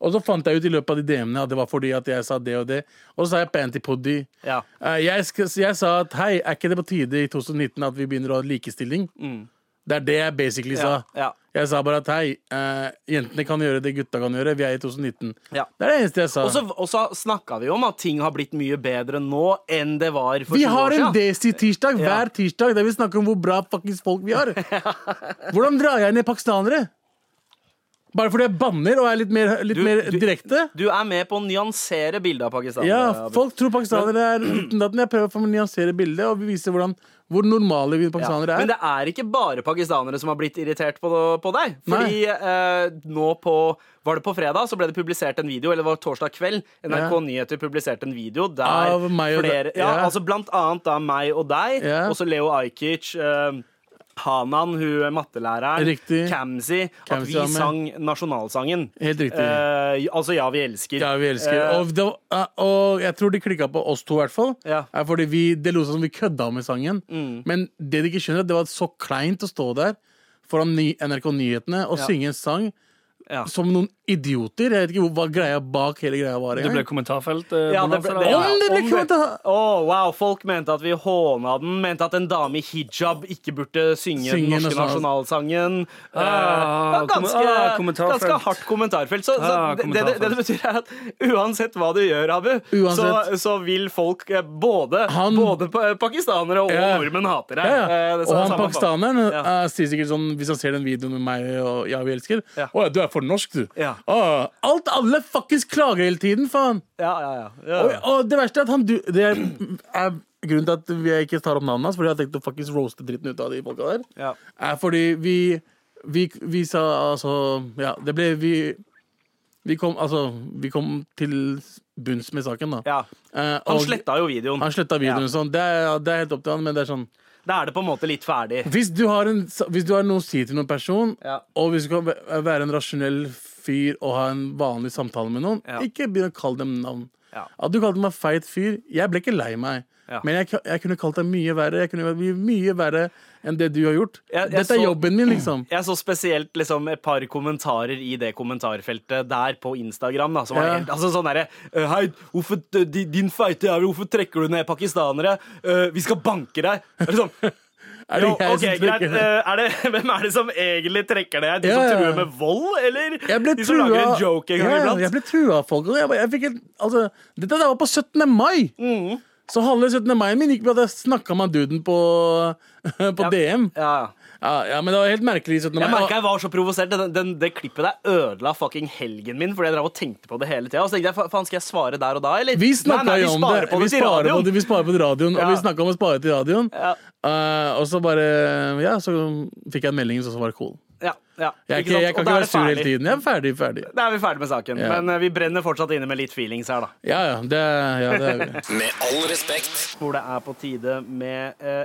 Speaker 6: Og så fant jeg ut i løpet av de DM-ene at det var fordi at jeg sa det og det. Og så sa jeg pantypoddy.
Speaker 3: Ja.
Speaker 6: Eh, Jeg, sk- jeg sa at hei, er ikke det på tide i 2019 at vi begynner å ha likestilling? Det er det jeg basically
Speaker 3: Mm. Ja.
Speaker 6: sa.
Speaker 3: Ja.
Speaker 6: Jeg sa bare at hei, eh, jentene kan gjøre det gutta kan gjøre. Vi er i 2019.
Speaker 3: Ja.
Speaker 6: Det er det eneste jeg sa.
Speaker 3: Og så, og så snakka vi om at ting har blitt mye bedre nå enn det var for
Speaker 6: vi
Speaker 3: 20
Speaker 6: har
Speaker 3: år
Speaker 6: en
Speaker 3: siden.
Speaker 6: Desi-tirsdag
Speaker 3: Ja.
Speaker 6: hver tirsdag der vi snakker om hvor bra faktisk folk vi har. Hvordan drar jeg ned pakistanere? Bare fordi jeg banner og er litt mer, litt
Speaker 3: Du-
Speaker 6: mer
Speaker 3: du-
Speaker 6: direkte.
Speaker 3: Du er med på å nyansere bildet av Pakistan. eh,
Speaker 6: Ja,
Speaker 3: Abid.
Speaker 6: folk tror pakistanere er utendaten. Jeg prøver å få nyansere bildet og vise hvordan, hvor normale vi
Speaker 3: Ja.
Speaker 6: pakistanere
Speaker 3: Men
Speaker 6: er.
Speaker 3: det er ikke bare pakistanere som har blitt irritert på, på deg. Fordi eh, nå på Var det på fredag så ble det publisert en video, eller det var torsdag kveld. NRK
Speaker 6: Ja.
Speaker 3: Nyheter publiserte en video der
Speaker 6: Av meg og
Speaker 3: flere
Speaker 6: deg,
Speaker 3: ja,
Speaker 6: ja.
Speaker 3: altså Blant annet da meg og deg,
Speaker 6: Ja.
Speaker 3: og så Leo Ajkic. eh, Hanan, hun mattelæreren,
Speaker 6: Riktig.
Speaker 3: Kamzy, at
Speaker 6: Kamzy
Speaker 3: vi
Speaker 6: var med.
Speaker 3: sang nasjonalsangen.
Speaker 6: Helt riktig.
Speaker 3: Eh, altså Ja, vi elsker.
Speaker 6: Ja, vi elsker.
Speaker 3: Eh,
Speaker 6: Og, det, og jeg tror de klikka på oss to, i hvert fall.
Speaker 3: Ja. Mm.
Speaker 6: Er Fordi vi, det lot som vi kødda med sangen. Men det de ikke skjønner, er at det var så kleint å stå der foran ny, NRK Nyhetene og
Speaker 3: Ja.
Speaker 6: synge en sang
Speaker 3: Ja.
Speaker 6: som noen idioter. Jeg vet ikke hvor- hva greia bak hele greia var.
Speaker 5: Det ble
Speaker 6: engang.
Speaker 5: kommentarfelt. eh,
Speaker 3: Ja, det
Speaker 5: bonanza,
Speaker 3: ble,
Speaker 5: da.
Speaker 3: ja,
Speaker 6: Om det ble
Speaker 3: om
Speaker 6: kult, da.
Speaker 3: Å, wow, Folk mente at vi håna den, mente at en dame i hijab ikke burde synge den
Speaker 6: Synge
Speaker 3: norske
Speaker 6: nasjonal-
Speaker 3: nasjonalsangen. Eh,
Speaker 5: Ah,
Speaker 3: det var ganske,
Speaker 5: kommen- ah, kommentarfelt.
Speaker 3: ganske hardt kommentarfelt. Så, så
Speaker 5: Ah,
Speaker 3: det, det, det det betyr er at uansett hva du gjør, Abu, så,
Speaker 6: Uansett.
Speaker 3: så vil folk eh, både,
Speaker 6: Han-
Speaker 3: både pa- pakistanere og
Speaker 6: Ja.
Speaker 3: nordmenn hater deg.
Speaker 6: Ja,
Speaker 3: Eh,
Speaker 6: ja.
Speaker 3: det er samme
Speaker 6: Og han
Speaker 3: faen.
Speaker 6: pakistaneren
Speaker 3: Ja.
Speaker 6: eh, sier sikkert sånn hvis han ser den videoen med meg og Ja, vi elsker.
Speaker 3: Ja.
Speaker 6: Å ja, du er for norsk, du.
Speaker 3: Ja.
Speaker 6: Å, alt alle fuckings klager hele tiden, faen.
Speaker 3: Ja, ja, ja. ja.
Speaker 6: Og, og det verste er at han du, Det er, er grunnen til at jeg ikke tar opp navnet hans, fordi jeg har tenkt å faktisk roaste dritten ut av de folka der,
Speaker 3: Ja.
Speaker 6: er fordi vi Vi, vi sa altså Ja, det ble vi vi kom, altså, vi kom til bunns med saken, da.
Speaker 3: Ja.
Speaker 6: Eh,
Speaker 3: Han
Speaker 6: og-
Speaker 3: sletta jo videoen.
Speaker 6: han sletta videoen.
Speaker 3: Ja.
Speaker 6: Sånn. Det, er, det er helt opp til han, men det er sånn
Speaker 3: Da er det på en måte litt ferdig.
Speaker 6: Hvis du har, en, hvis du har noe å si til noen person,
Speaker 3: Ja.
Speaker 6: og hvis du kan væ- være en rasjonell fyr og ha en vanlig samtale med noen,
Speaker 3: Ja.
Speaker 6: ikke begynn å kalle dem navn.
Speaker 3: Ja.
Speaker 6: At du kalte meg feit fyr Jeg ble ikke lei meg.
Speaker 3: Ja.
Speaker 6: Men jeg, jeg kunne kalt deg mye verre. Jeg kunne vært mye, mye verre enn det du har gjort.
Speaker 3: Jeg- jeg
Speaker 6: Dette er
Speaker 3: så-
Speaker 6: jobben min, liksom.
Speaker 3: Jeg så spesielt liksom, et par kommentarer i det kommentarfeltet der på Instagram. Da, som var
Speaker 6: Ja.
Speaker 3: helt, altså sånn derre «Øh, Hei, hvorfor, d- di- din feite jævel, hvorfor trekker du ned pakistanere? Øh, vi skal banke deg! Er det sånn,
Speaker 6: Er
Speaker 3: jo,
Speaker 6: det jeg
Speaker 3: ok,
Speaker 6: som
Speaker 3: greit,
Speaker 6: trekker-
Speaker 3: øh, er det, Hvem er det som egentlig trekker ned? De som
Speaker 6: Ja, ja.
Speaker 3: truer med vold, eller
Speaker 6: Jeg ble
Speaker 3: de som
Speaker 6: trua
Speaker 3: lager en joke en gang
Speaker 6: Ja, ja, Jeg
Speaker 3: iblant?
Speaker 6: ble trua av folk. og Jeg, bare- jeg fikk helt, altså, dette der var på 17. mai!
Speaker 3: Mm.
Speaker 6: Så halve 17. mai min gikk med at jeg snakka med duden på, på DM.
Speaker 3: Ja, ja.
Speaker 6: Ja, ja, men det var helt merkelig 17. mai.
Speaker 3: Jeg merka jeg var så provosert. Den, den, det klippet der ødela fucking helgen min. Fordi jeg drev og tenkte på det hele tida. Og så tenkte jeg, "Fa- faen, skal jeg svare der og da, eller?
Speaker 6: Vi
Speaker 3: Nei,
Speaker 6: snakka
Speaker 3: nei,
Speaker 6: jo
Speaker 3: vi
Speaker 6: om
Speaker 3: sparer
Speaker 6: det.
Speaker 3: På
Speaker 6: vi,
Speaker 3: det til
Speaker 6: sparer på
Speaker 3: radioen.
Speaker 6: det, vi sparer på det radioen,
Speaker 3: Ja.
Speaker 6: og vi snakka om å spare til radioen.
Speaker 3: Ja.
Speaker 6: Eh, og så bare Ja, så fikk jeg en melding som var cool.
Speaker 3: Ja, ja,
Speaker 6: Jeg, er
Speaker 3: ikke
Speaker 6: ikke,
Speaker 3: sant?
Speaker 6: jeg kan
Speaker 3: Og da
Speaker 6: ikke
Speaker 3: er
Speaker 6: være
Speaker 3: det
Speaker 6: sur hele
Speaker 3: ferdig.
Speaker 6: tiden. Jeg er ferdig, ferdig.
Speaker 3: Da er vi ferdig med saken.
Speaker 6: Ja.
Speaker 3: Men eh, vi brenner fortsatt inne med litt feelings her, da.
Speaker 6: Ja, ja. Det, ja, det er greit.
Speaker 1: Med all respekt.
Speaker 3: Hvor det er på tide med eh,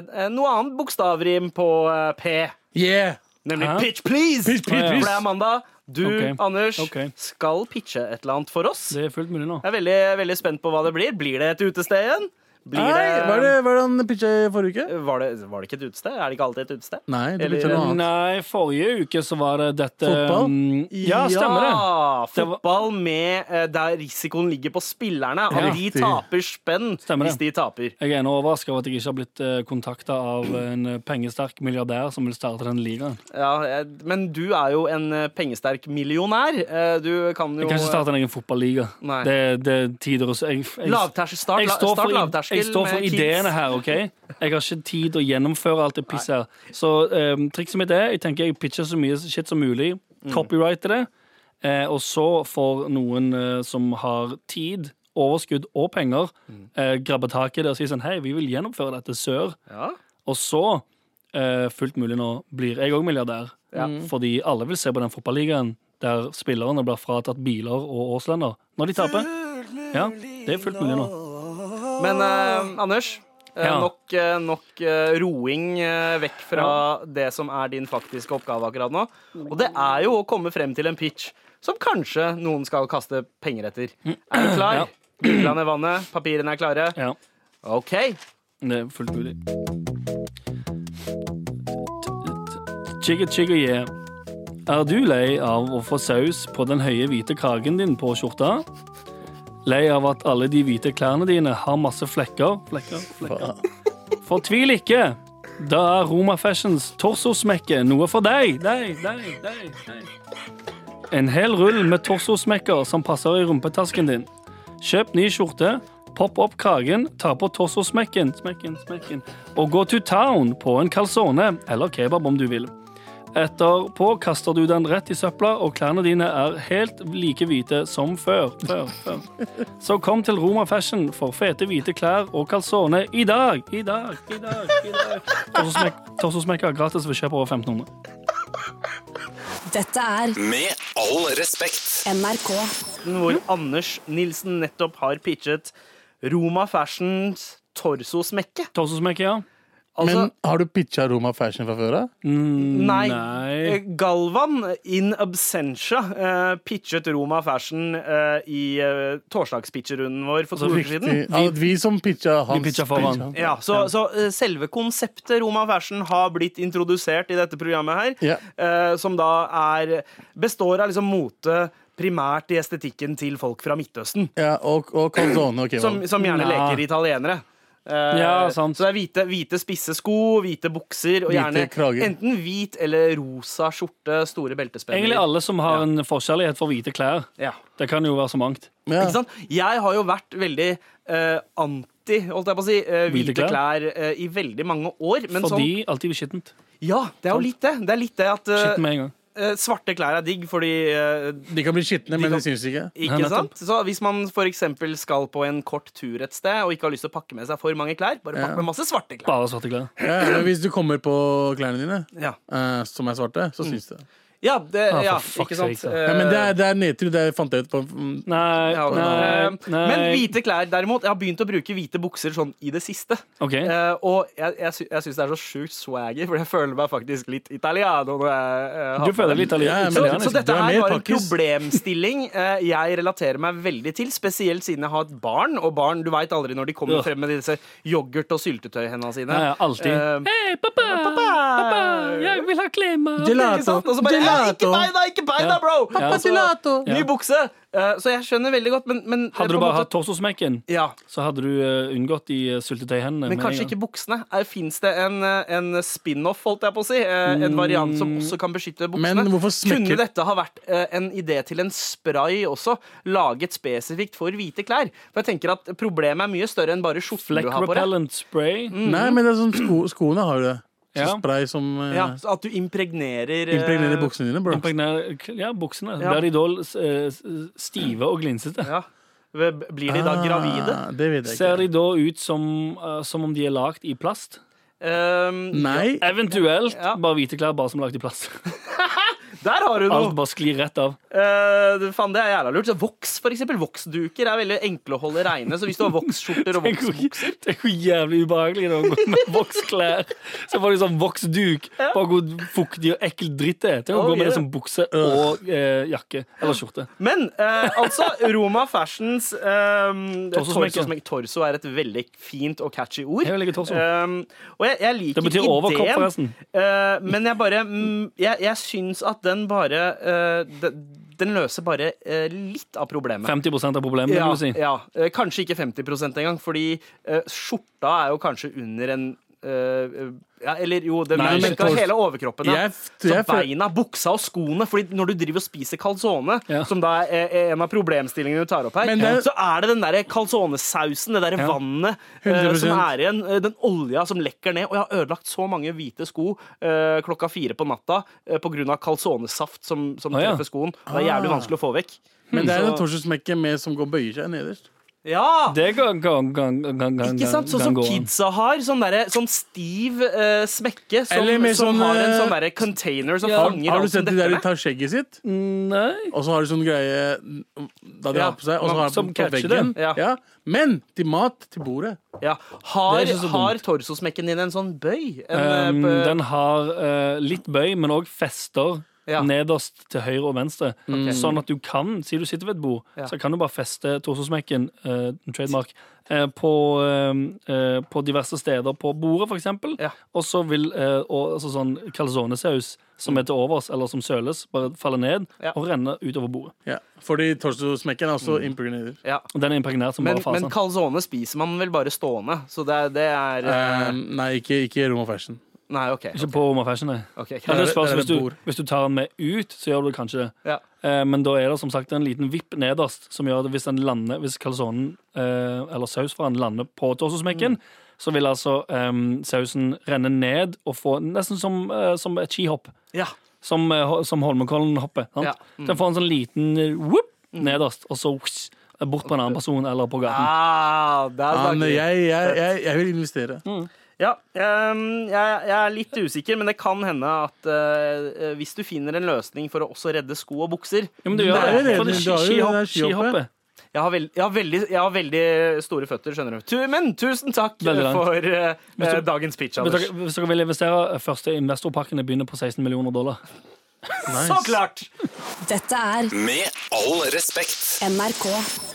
Speaker 3: en- en- noe annet bokstavrim på eh, P.
Speaker 6: Yeah!
Speaker 3: Nemlig
Speaker 5: Hæ?
Speaker 3: pitch, please!
Speaker 6: Pitch, pitch,
Speaker 3: For
Speaker 6: please.
Speaker 3: det er mandag. Du,
Speaker 5: Ok.
Speaker 3: Anders,
Speaker 5: Ok.
Speaker 3: skal pitche et eller annet for oss.
Speaker 5: Det er fullt mulig nå.
Speaker 3: Jeg er veldig, veldig spent på hva det blir. Blir det et utested igjen? Blir
Speaker 6: Hei, var det, var det han pitcha i forrige uke?
Speaker 3: var det, var det ikke et utested? Er det ikke alltid et utested?
Speaker 6: Nei, det
Speaker 3: Eller-
Speaker 6: pitcha noe annet.
Speaker 5: Nei, forrige uke så var det dette
Speaker 6: Fotball?
Speaker 5: mm, Ja, stemmer det.
Speaker 3: Ja,
Speaker 5: Det var-
Speaker 3: Fotball med, eh, der risikoen ligger på spillerne. At
Speaker 5: Ja.
Speaker 3: de taper spenn
Speaker 5: Stemmer
Speaker 3: hvis
Speaker 5: det.
Speaker 3: de taper.
Speaker 5: Jeg er ennå overraska over at jeg ikke har blitt kontakta av en eh, pengesterk milliardær som vil starte den ligaen.
Speaker 3: Ja, jeg- men du er jo en eh, pengesterk millionær. Eh, Du kan jo
Speaker 5: Jeg kan ikke starte en egen fotballiga.
Speaker 3: eh, Nei.
Speaker 5: Det, det er tider og så- jeg, jeg,
Speaker 3: Lavterskel, start,
Speaker 5: jeg står
Speaker 3: start
Speaker 5: for, id-
Speaker 3: lavterskel
Speaker 5: jeg står for
Speaker 3: med
Speaker 5: ideene
Speaker 3: kids.
Speaker 5: her, OK? Jeg har ikke tid til å gjennomføre alt det pisset her. Så eh, trikset mitt er jeg tenker jeg pitcher så mye shit som mulig,
Speaker 3: Mm.
Speaker 5: copyrighter det, eh, og så får noen eh, som har tid, overskudd og penger,
Speaker 3: Mm.
Speaker 5: eh, grabbe tak i det og si sånn Hei, vi vil gjennomføre dette sør.
Speaker 3: Ja.
Speaker 5: Og så, eh, fullt mulig nå, blir jeg òg milliardær. Fordi alle vil se på den fotballigaen der spillerne blir fratatt biler og årslender når de taper. Ja, det er fullt mulig nå.
Speaker 3: Men eh, Anders, eh,
Speaker 5: Ja.
Speaker 3: nok, eh, nok eh, roing eh, vekk fra det som er din faktiske oppgave akkurat nå. Og det er jo å komme frem til en pitch som kanskje noen skal kaste penger etter. Er du klar?
Speaker 5: Ja.
Speaker 3: Gugla ned vannet, papirene er klare.
Speaker 5: Ja,
Speaker 3: OK.
Speaker 5: det er fullt mulig. Chigga chigga yeah. Er du lei av å få saus på den høye hvite kragen din på skjorta? Lei av at alle de hvite klærne dine har masse flekker? Flekker, flekker. Fortvil ikke! Da er Roma Fashions torsosmekke noe for deg. Deg, deg, deg, deg. En hel rull med torsosmekker som passer i rumpetasken din. Kjøp ny skjorte, popp opp kragen, ta på torsosmekken, smekken, smekken, og gå to town på en calzone eller kebab om du vil. Etterpå kaster du den rett i søpla, og klærne dine er helt like hvite som før. før, før. Så kom til Roma Fashion for fete hvite klær og calzone i dag! I dag, i dag, i dag. Torsosmekka gratis ved kjøp over 1500.
Speaker 4: Dette er
Speaker 1: Med all respekt.
Speaker 4: NRK.
Speaker 3: hvor Anders Nilsen nettopp har pitchet Roma Fashions torsosmekke.
Speaker 5: Torsosmekka, ja.
Speaker 3: Altså,
Speaker 6: Men har du pitcha Roma Fashion fra før av?
Speaker 3: nei. eh,
Speaker 5: Nei.
Speaker 3: Galvan in absentia eh, pitchet Roma Fashion eh, i uh, torsdagspitcherunden vår
Speaker 6: Altså,
Speaker 3: for to uker
Speaker 5: riktig.
Speaker 3: siden.
Speaker 6: Vi, ja, vi som pitcha hans.
Speaker 5: pitcha foran.
Speaker 6: pitcha.
Speaker 3: Ja, så, så eh, selve konseptet Roma Fashion har blitt introdusert i dette programmet her,
Speaker 6: Ja.
Speaker 3: eh, som da er, består av liksom mote primært i estetikken til folk fra Midtøsten,
Speaker 6: Ja, og, og calzone og
Speaker 3: som,
Speaker 6: kebab.
Speaker 3: som gjerne
Speaker 5: Ja.
Speaker 3: leker italienere. Eh,
Speaker 5: Ja, sant.
Speaker 3: Så det er hvite, hvite spisse sko, hvite bukser og
Speaker 6: Hvite
Speaker 3: gjerne
Speaker 6: krager.
Speaker 3: enten hvit eller rosa skjorte, store
Speaker 5: Egentlig
Speaker 3: beltespenner.
Speaker 5: alle som har en forskjellighet for hvite klær.
Speaker 3: Ja.
Speaker 5: Det kan jo være så mangt.
Speaker 6: Ja.
Speaker 3: Ikke sant? Jeg har jo vært veldig eh, anti holdt jeg på å si, eh, hvite
Speaker 5: Hvite klær.
Speaker 3: klær eh, i veldig mange år. Men sånn,
Speaker 5: Fordi Sånn? alltid skittent.
Speaker 3: ja, det er jo litt det. Det er litt det at eh,
Speaker 5: Skitten med en gang.
Speaker 3: Eh, svarte klær er digg, fordi eh,
Speaker 6: De kan bli skitne, men
Speaker 3: kan-
Speaker 6: det syns ikke.
Speaker 3: Ikke
Speaker 5: Ja, nettopp.
Speaker 3: sant? Så hvis man f.eks. skal på en kort tur et sted og ikke har lyst til å pakke med seg for mange klær, bare pakk med masse svarte klær.
Speaker 5: Bare svarte klær.
Speaker 6: Ja, men hvis du kommer på klærne dine,
Speaker 3: Ja,
Speaker 6: eh, som er svarte,
Speaker 3: Mm.
Speaker 6: så syns det.
Speaker 3: ja, det,
Speaker 5: Ah, for
Speaker 3: ja
Speaker 5: fuck's
Speaker 3: ikke sant?
Speaker 5: sake, altså. da.
Speaker 6: Ja, men det
Speaker 3: Eh,
Speaker 6: er, det er nedtur. Det fant jeg ut på. mm,
Speaker 5: Nei,
Speaker 3: ja,
Speaker 5: nei,
Speaker 3: eh,
Speaker 5: nei.
Speaker 3: Men hvite klær, derimot. Jeg har begynt å bruke hvite bukser sånn i det siste.
Speaker 5: Ok.
Speaker 3: Eh, og jeg, jeg, sy jeg syns det er så sjukt swaggy, for jeg føler meg faktisk litt italiano. Når jeg, eh, har
Speaker 5: Du
Speaker 3: på
Speaker 5: føler
Speaker 3: meg.
Speaker 5: litt itali-
Speaker 6: Ja, men-
Speaker 3: Så,
Speaker 5: italiensk.
Speaker 3: så dette
Speaker 6: Du er
Speaker 3: her
Speaker 6: mer
Speaker 3: var en
Speaker 6: pakkis.
Speaker 3: problemstilling eh, jeg relaterer meg veldig til, spesielt siden jeg har et barn, og barn du veit aldri når de kommer
Speaker 5: Ja.
Speaker 3: frem med disse yoghurt- og syltetøyhendene sine.
Speaker 5: Ja, ja, alltid.
Speaker 3: Eh,
Speaker 5: Hei, pappa! Pappa, jeg vil ha klemmer!
Speaker 3: ikke sant? Og så bare «Eh, Ikke bein deg, ikke bein deg, bro!
Speaker 5: Ja.
Speaker 3: Og så,
Speaker 6: Gelato.
Speaker 3: Ny bukse! Eh, så jeg skjønner veldig godt, men, men
Speaker 5: Hadde
Speaker 3: på
Speaker 5: du
Speaker 3: en
Speaker 5: bare
Speaker 3: måte-
Speaker 5: hatt torsosmekken,
Speaker 3: ja,
Speaker 5: så hadde du eh, unngått de eh, syltetøyhendene.
Speaker 3: men
Speaker 5: med
Speaker 3: kanskje
Speaker 5: en gang.
Speaker 3: ikke buksene. Fins det en, eh, en spin-off, holdt jeg på å si? Eh, En variant som også kan
Speaker 5: Mm,
Speaker 3: beskytte buksene?
Speaker 6: Men hvorfor smekker-
Speaker 3: Kunne dette ha vært eh, en idé til en spray også, laget spesifikt for hvite klær? For jeg tenker at problemet er mye større enn bare skjorten du
Speaker 5: Fleck
Speaker 3: har på deg. Mm.
Speaker 5: repellent spray.
Speaker 6: Nei, men det er sånn sko, skoene har du det. Så
Speaker 5: Ja.
Speaker 6: Spray som eh,
Speaker 3: Ja, så at du impregnerer eh,
Speaker 6: impregnerer buksene dine, bro.
Speaker 5: Impregner- k- Ja, buksene.
Speaker 3: Ja.
Speaker 5: Blir de da eh, s- stive og glinsete?
Speaker 3: Ja. Blir de da gravide?
Speaker 6: Ah, det vet jeg
Speaker 5: Ser
Speaker 6: ikke.
Speaker 5: de da ut som, eh, som om de er lagd i plast?
Speaker 3: Ehm,
Speaker 6: Nei.
Speaker 5: Eventuelt
Speaker 3: Ja.
Speaker 5: bare hvite klær bare som er lagd i plast.
Speaker 3: der har du noe!
Speaker 5: Alt bare sklir rett av.
Speaker 3: Eh, det- faen, det er jævla lurt. Så voks, for eksempel. Voksduker er veldig enkle å holde reine. Så hvis du har voksskjorter og
Speaker 5: Tenk hvor,
Speaker 3: voksbukser
Speaker 5: tenk hvor jævlig ubehagelig det er å gå med voksklær. Så får du sånn voksduk. Bare god fuktig og ekkel dritt det er. Tenk å
Speaker 3: Oh,
Speaker 5: gå med
Speaker 3: yeah.
Speaker 5: det som bukse og eh, jakke. Eller skjorte.
Speaker 3: Men eh, altså, Roma Fashions ehm,
Speaker 5: Torsosmekke.
Speaker 3: torsosmekke. Torso er et veldig fint og catchy ord.
Speaker 5: Jeg vil legge torso.
Speaker 3: Ehm, og jeg, jeg liker
Speaker 5: Det betyr
Speaker 3: ideen,
Speaker 5: overkropp, forresten.
Speaker 3: eh, men jeg bare mm, Jeg, jeg syns at den bare eh, de, Den løser bare eh, litt av problemet.
Speaker 5: 50 av problemet,
Speaker 3: ja,
Speaker 5: vil du si.
Speaker 3: ja. Eh, Kanskje ikke 50 engang, fordi eh, skjorta er jo kanskje under en eh, ja, eller jo, det
Speaker 5: Nei,
Speaker 3: men
Speaker 5: men
Speaker 3: ikke
Speaker 6: tors-
Speaker 3: hele overkroppen. Ja.
Speaker 6: Jeg,
Speaker 3: Så
Speaker 6: jeg, føl-
Speaker 3: beina, buksa og skoene. Fordi når du driver og spiser calzone,
Speaker 5: Ja.
Speaker 3: som da er er en av problemstillingene du tar opp her,
Speaker 6: Men det-
Speaker 3: så er det den der calzonesausen, det derre
Speaker 5: Ja.
Speaker 3: vannet eh,
Speaker 6: 100%.
Speaker 3: som er igjen, eh, den olja som lekker ned. Og jeg har ødelagt så mange hvite sko eh, klokka fire på natta eh, på grunn av calzonesaft som, som
Speaker 5: Å, ja. Ah.
Speaker 3: treffer skoen. Det er jævlig vanskelig å få vekk.
Speaker 6: men det er
Speaker 3: så-
Speaker 6: en torsdagsmekke med som går og bøyer seg nederst.
Speaker 3: Ja!
Speaker 5: Det kan gang, gang, gang, gang, gang,
Speaker 3: Ikke sant? Sånn som
Speaker 5: gå an.
Speaker 3: kidsa har. Sånn, derre- sånn stiv eh, smekke som,
Speaker 6: Eller med
Speaker 3: som
Speaker 6: sånn,
Speaker 3: har en
Speaker 6: eh,
Speaker 3: sånn derre container som
Speaker 5: Ja.
Speaker 3: fanger
Speaker 6: Har du
Speaker 3: alt som
Speaker 6: sett de der
Speaker 3: detter
Speaker 6: de
Speaker 3: ned.
Speaker 6: tar skjegget sitt,
Speaker 3: eh,
Speaker 5: Nei.
Speaker 6: og så har de sånn greie mm, da de
Speaker 3: Ja,
Speaker 6: har på seg, og så har de
Speaker 5: som
Speaker 6: på
Speaker 5: catcher
Speaker 6: veggen?
Speaker 3: det. Ja.
Speaker 6: Ja. Men til mat, til bordet.
Speaker 3: Ja. Har,
Speaker 5: Det er ikke så
Speaker 3: har torsosmekken din en sånn bøy? En,
Speaker 5: Um,
Speaker 3: eh,
Speaker 5: den har eh, litt bøy, men òg fester
Speaker 3: Ja.
Speaker 5: nederst til høyre og venstre. Sånn at du kan, siden du sitter ved et bord,
Speaker 3: Ja.
Speaker 5: så kan du bare feste torsosmekken, eh, trademark, eh, på, eh, eh, på diverse steder på bordet, for eksempel.
Speaker 3: Ja.
Speaker 5: Og så vil eh, og, altså sånn calzonesaus som er til overs, eller som søles, bare falle ned
Speaker 3: Mm. Ja.
Speaker 5: og renne utover bordet.
Speaker 6: Ja. Fordi torsdagsmekken er
Speaker 3: Mm.
Speaker 6: også impregnerer.
Speaker 3: ja.
Speaker 5: Og den er impregnert som
Speaker 3: Men,
Speaker 5: bare
Speaker 3: men
Speaker 5: fasen.
Speaker 3: calzone spiser man vel bare stående, så det, er- det er
Speaker 6: Eh, nei, ikke, ikke Roma Fashion.
Speaker 3: Nei, OK.
Speaker 5: Ikke på Roma Fashion, nei.
Speaker 3: ok, ok.
Speaker 5: Ja, det
Speaker 6: Der-
Speaker 5: spørs,
Speaker 6: der er
Speaker 5: hvis,
Speaker 6: det
Speaker 5: du,
Speaker 6: bord.
Speaker 5: hvis du tar den med ut, så gjør du det kanskje det.
Speaker 3: Ja.
Speaker 5: Eh, Men da er det som sagt en liten vipp nederst som gjør at hvis den lander Hvis calzonen eh, eller saus fra den lander på torsosmekken, så vil altså em, sausen renne ned og få nesten som, eh, som et skihopp.
Speaker 3: Ja.
Speaker 5: Som, eh, ho- som Holmenkollen-hoppet. sant?
Speaker 3: Ja.
Speaker 5: Den får en sånn liten eh, whoop nederst, og så whoosh, bort på en annen person eller på gaten.
Speaker 3: Ah, det er
Speaker 6: Han,
Speaker 3: snakker vi.
Speaker 6: jeg, jeg, jeg, jeg vil investere.
Speaker 3: Ja, ehm, jeg, jeg er litt usikker, men det kan hende at eh, eh, hvis du finner en løsning for å også redde sko og bukser
Speaker 5: Ja, men du
Speaker 6: Det
Speaker 5: gjør
Speaker 6: er
Speaker 5: det.
Speaker 6: jo
Speaker 5: For det
Speaker 6: redd-
Speaker 5: ski-
Speaker 6: du har jo det der
Speaker 5: skihopp- skihoppet.
Speaker 6: skihoppet.
Speaker 3: Jeg har, veld, jeg, har veldig, jeg har veldig store føtter, skjønner du. Tu, men tusen takk
Speaker 5: Veldig langt.
Speaker 3: for eh,
Speaker 5: Hvis du-
Speaker 3: eh, dagens pitch,
Speaker 5: Hvis
Speaker 3: Anders.
Speaker 5: dere, hvis dere vil investere, første investorpakkene begynner på 16 millioner dollar.
Speaker 3: Så klart!
Speaker 4: Dette er
Speaker 1: Med all respekt.
Speaker 4: NRK.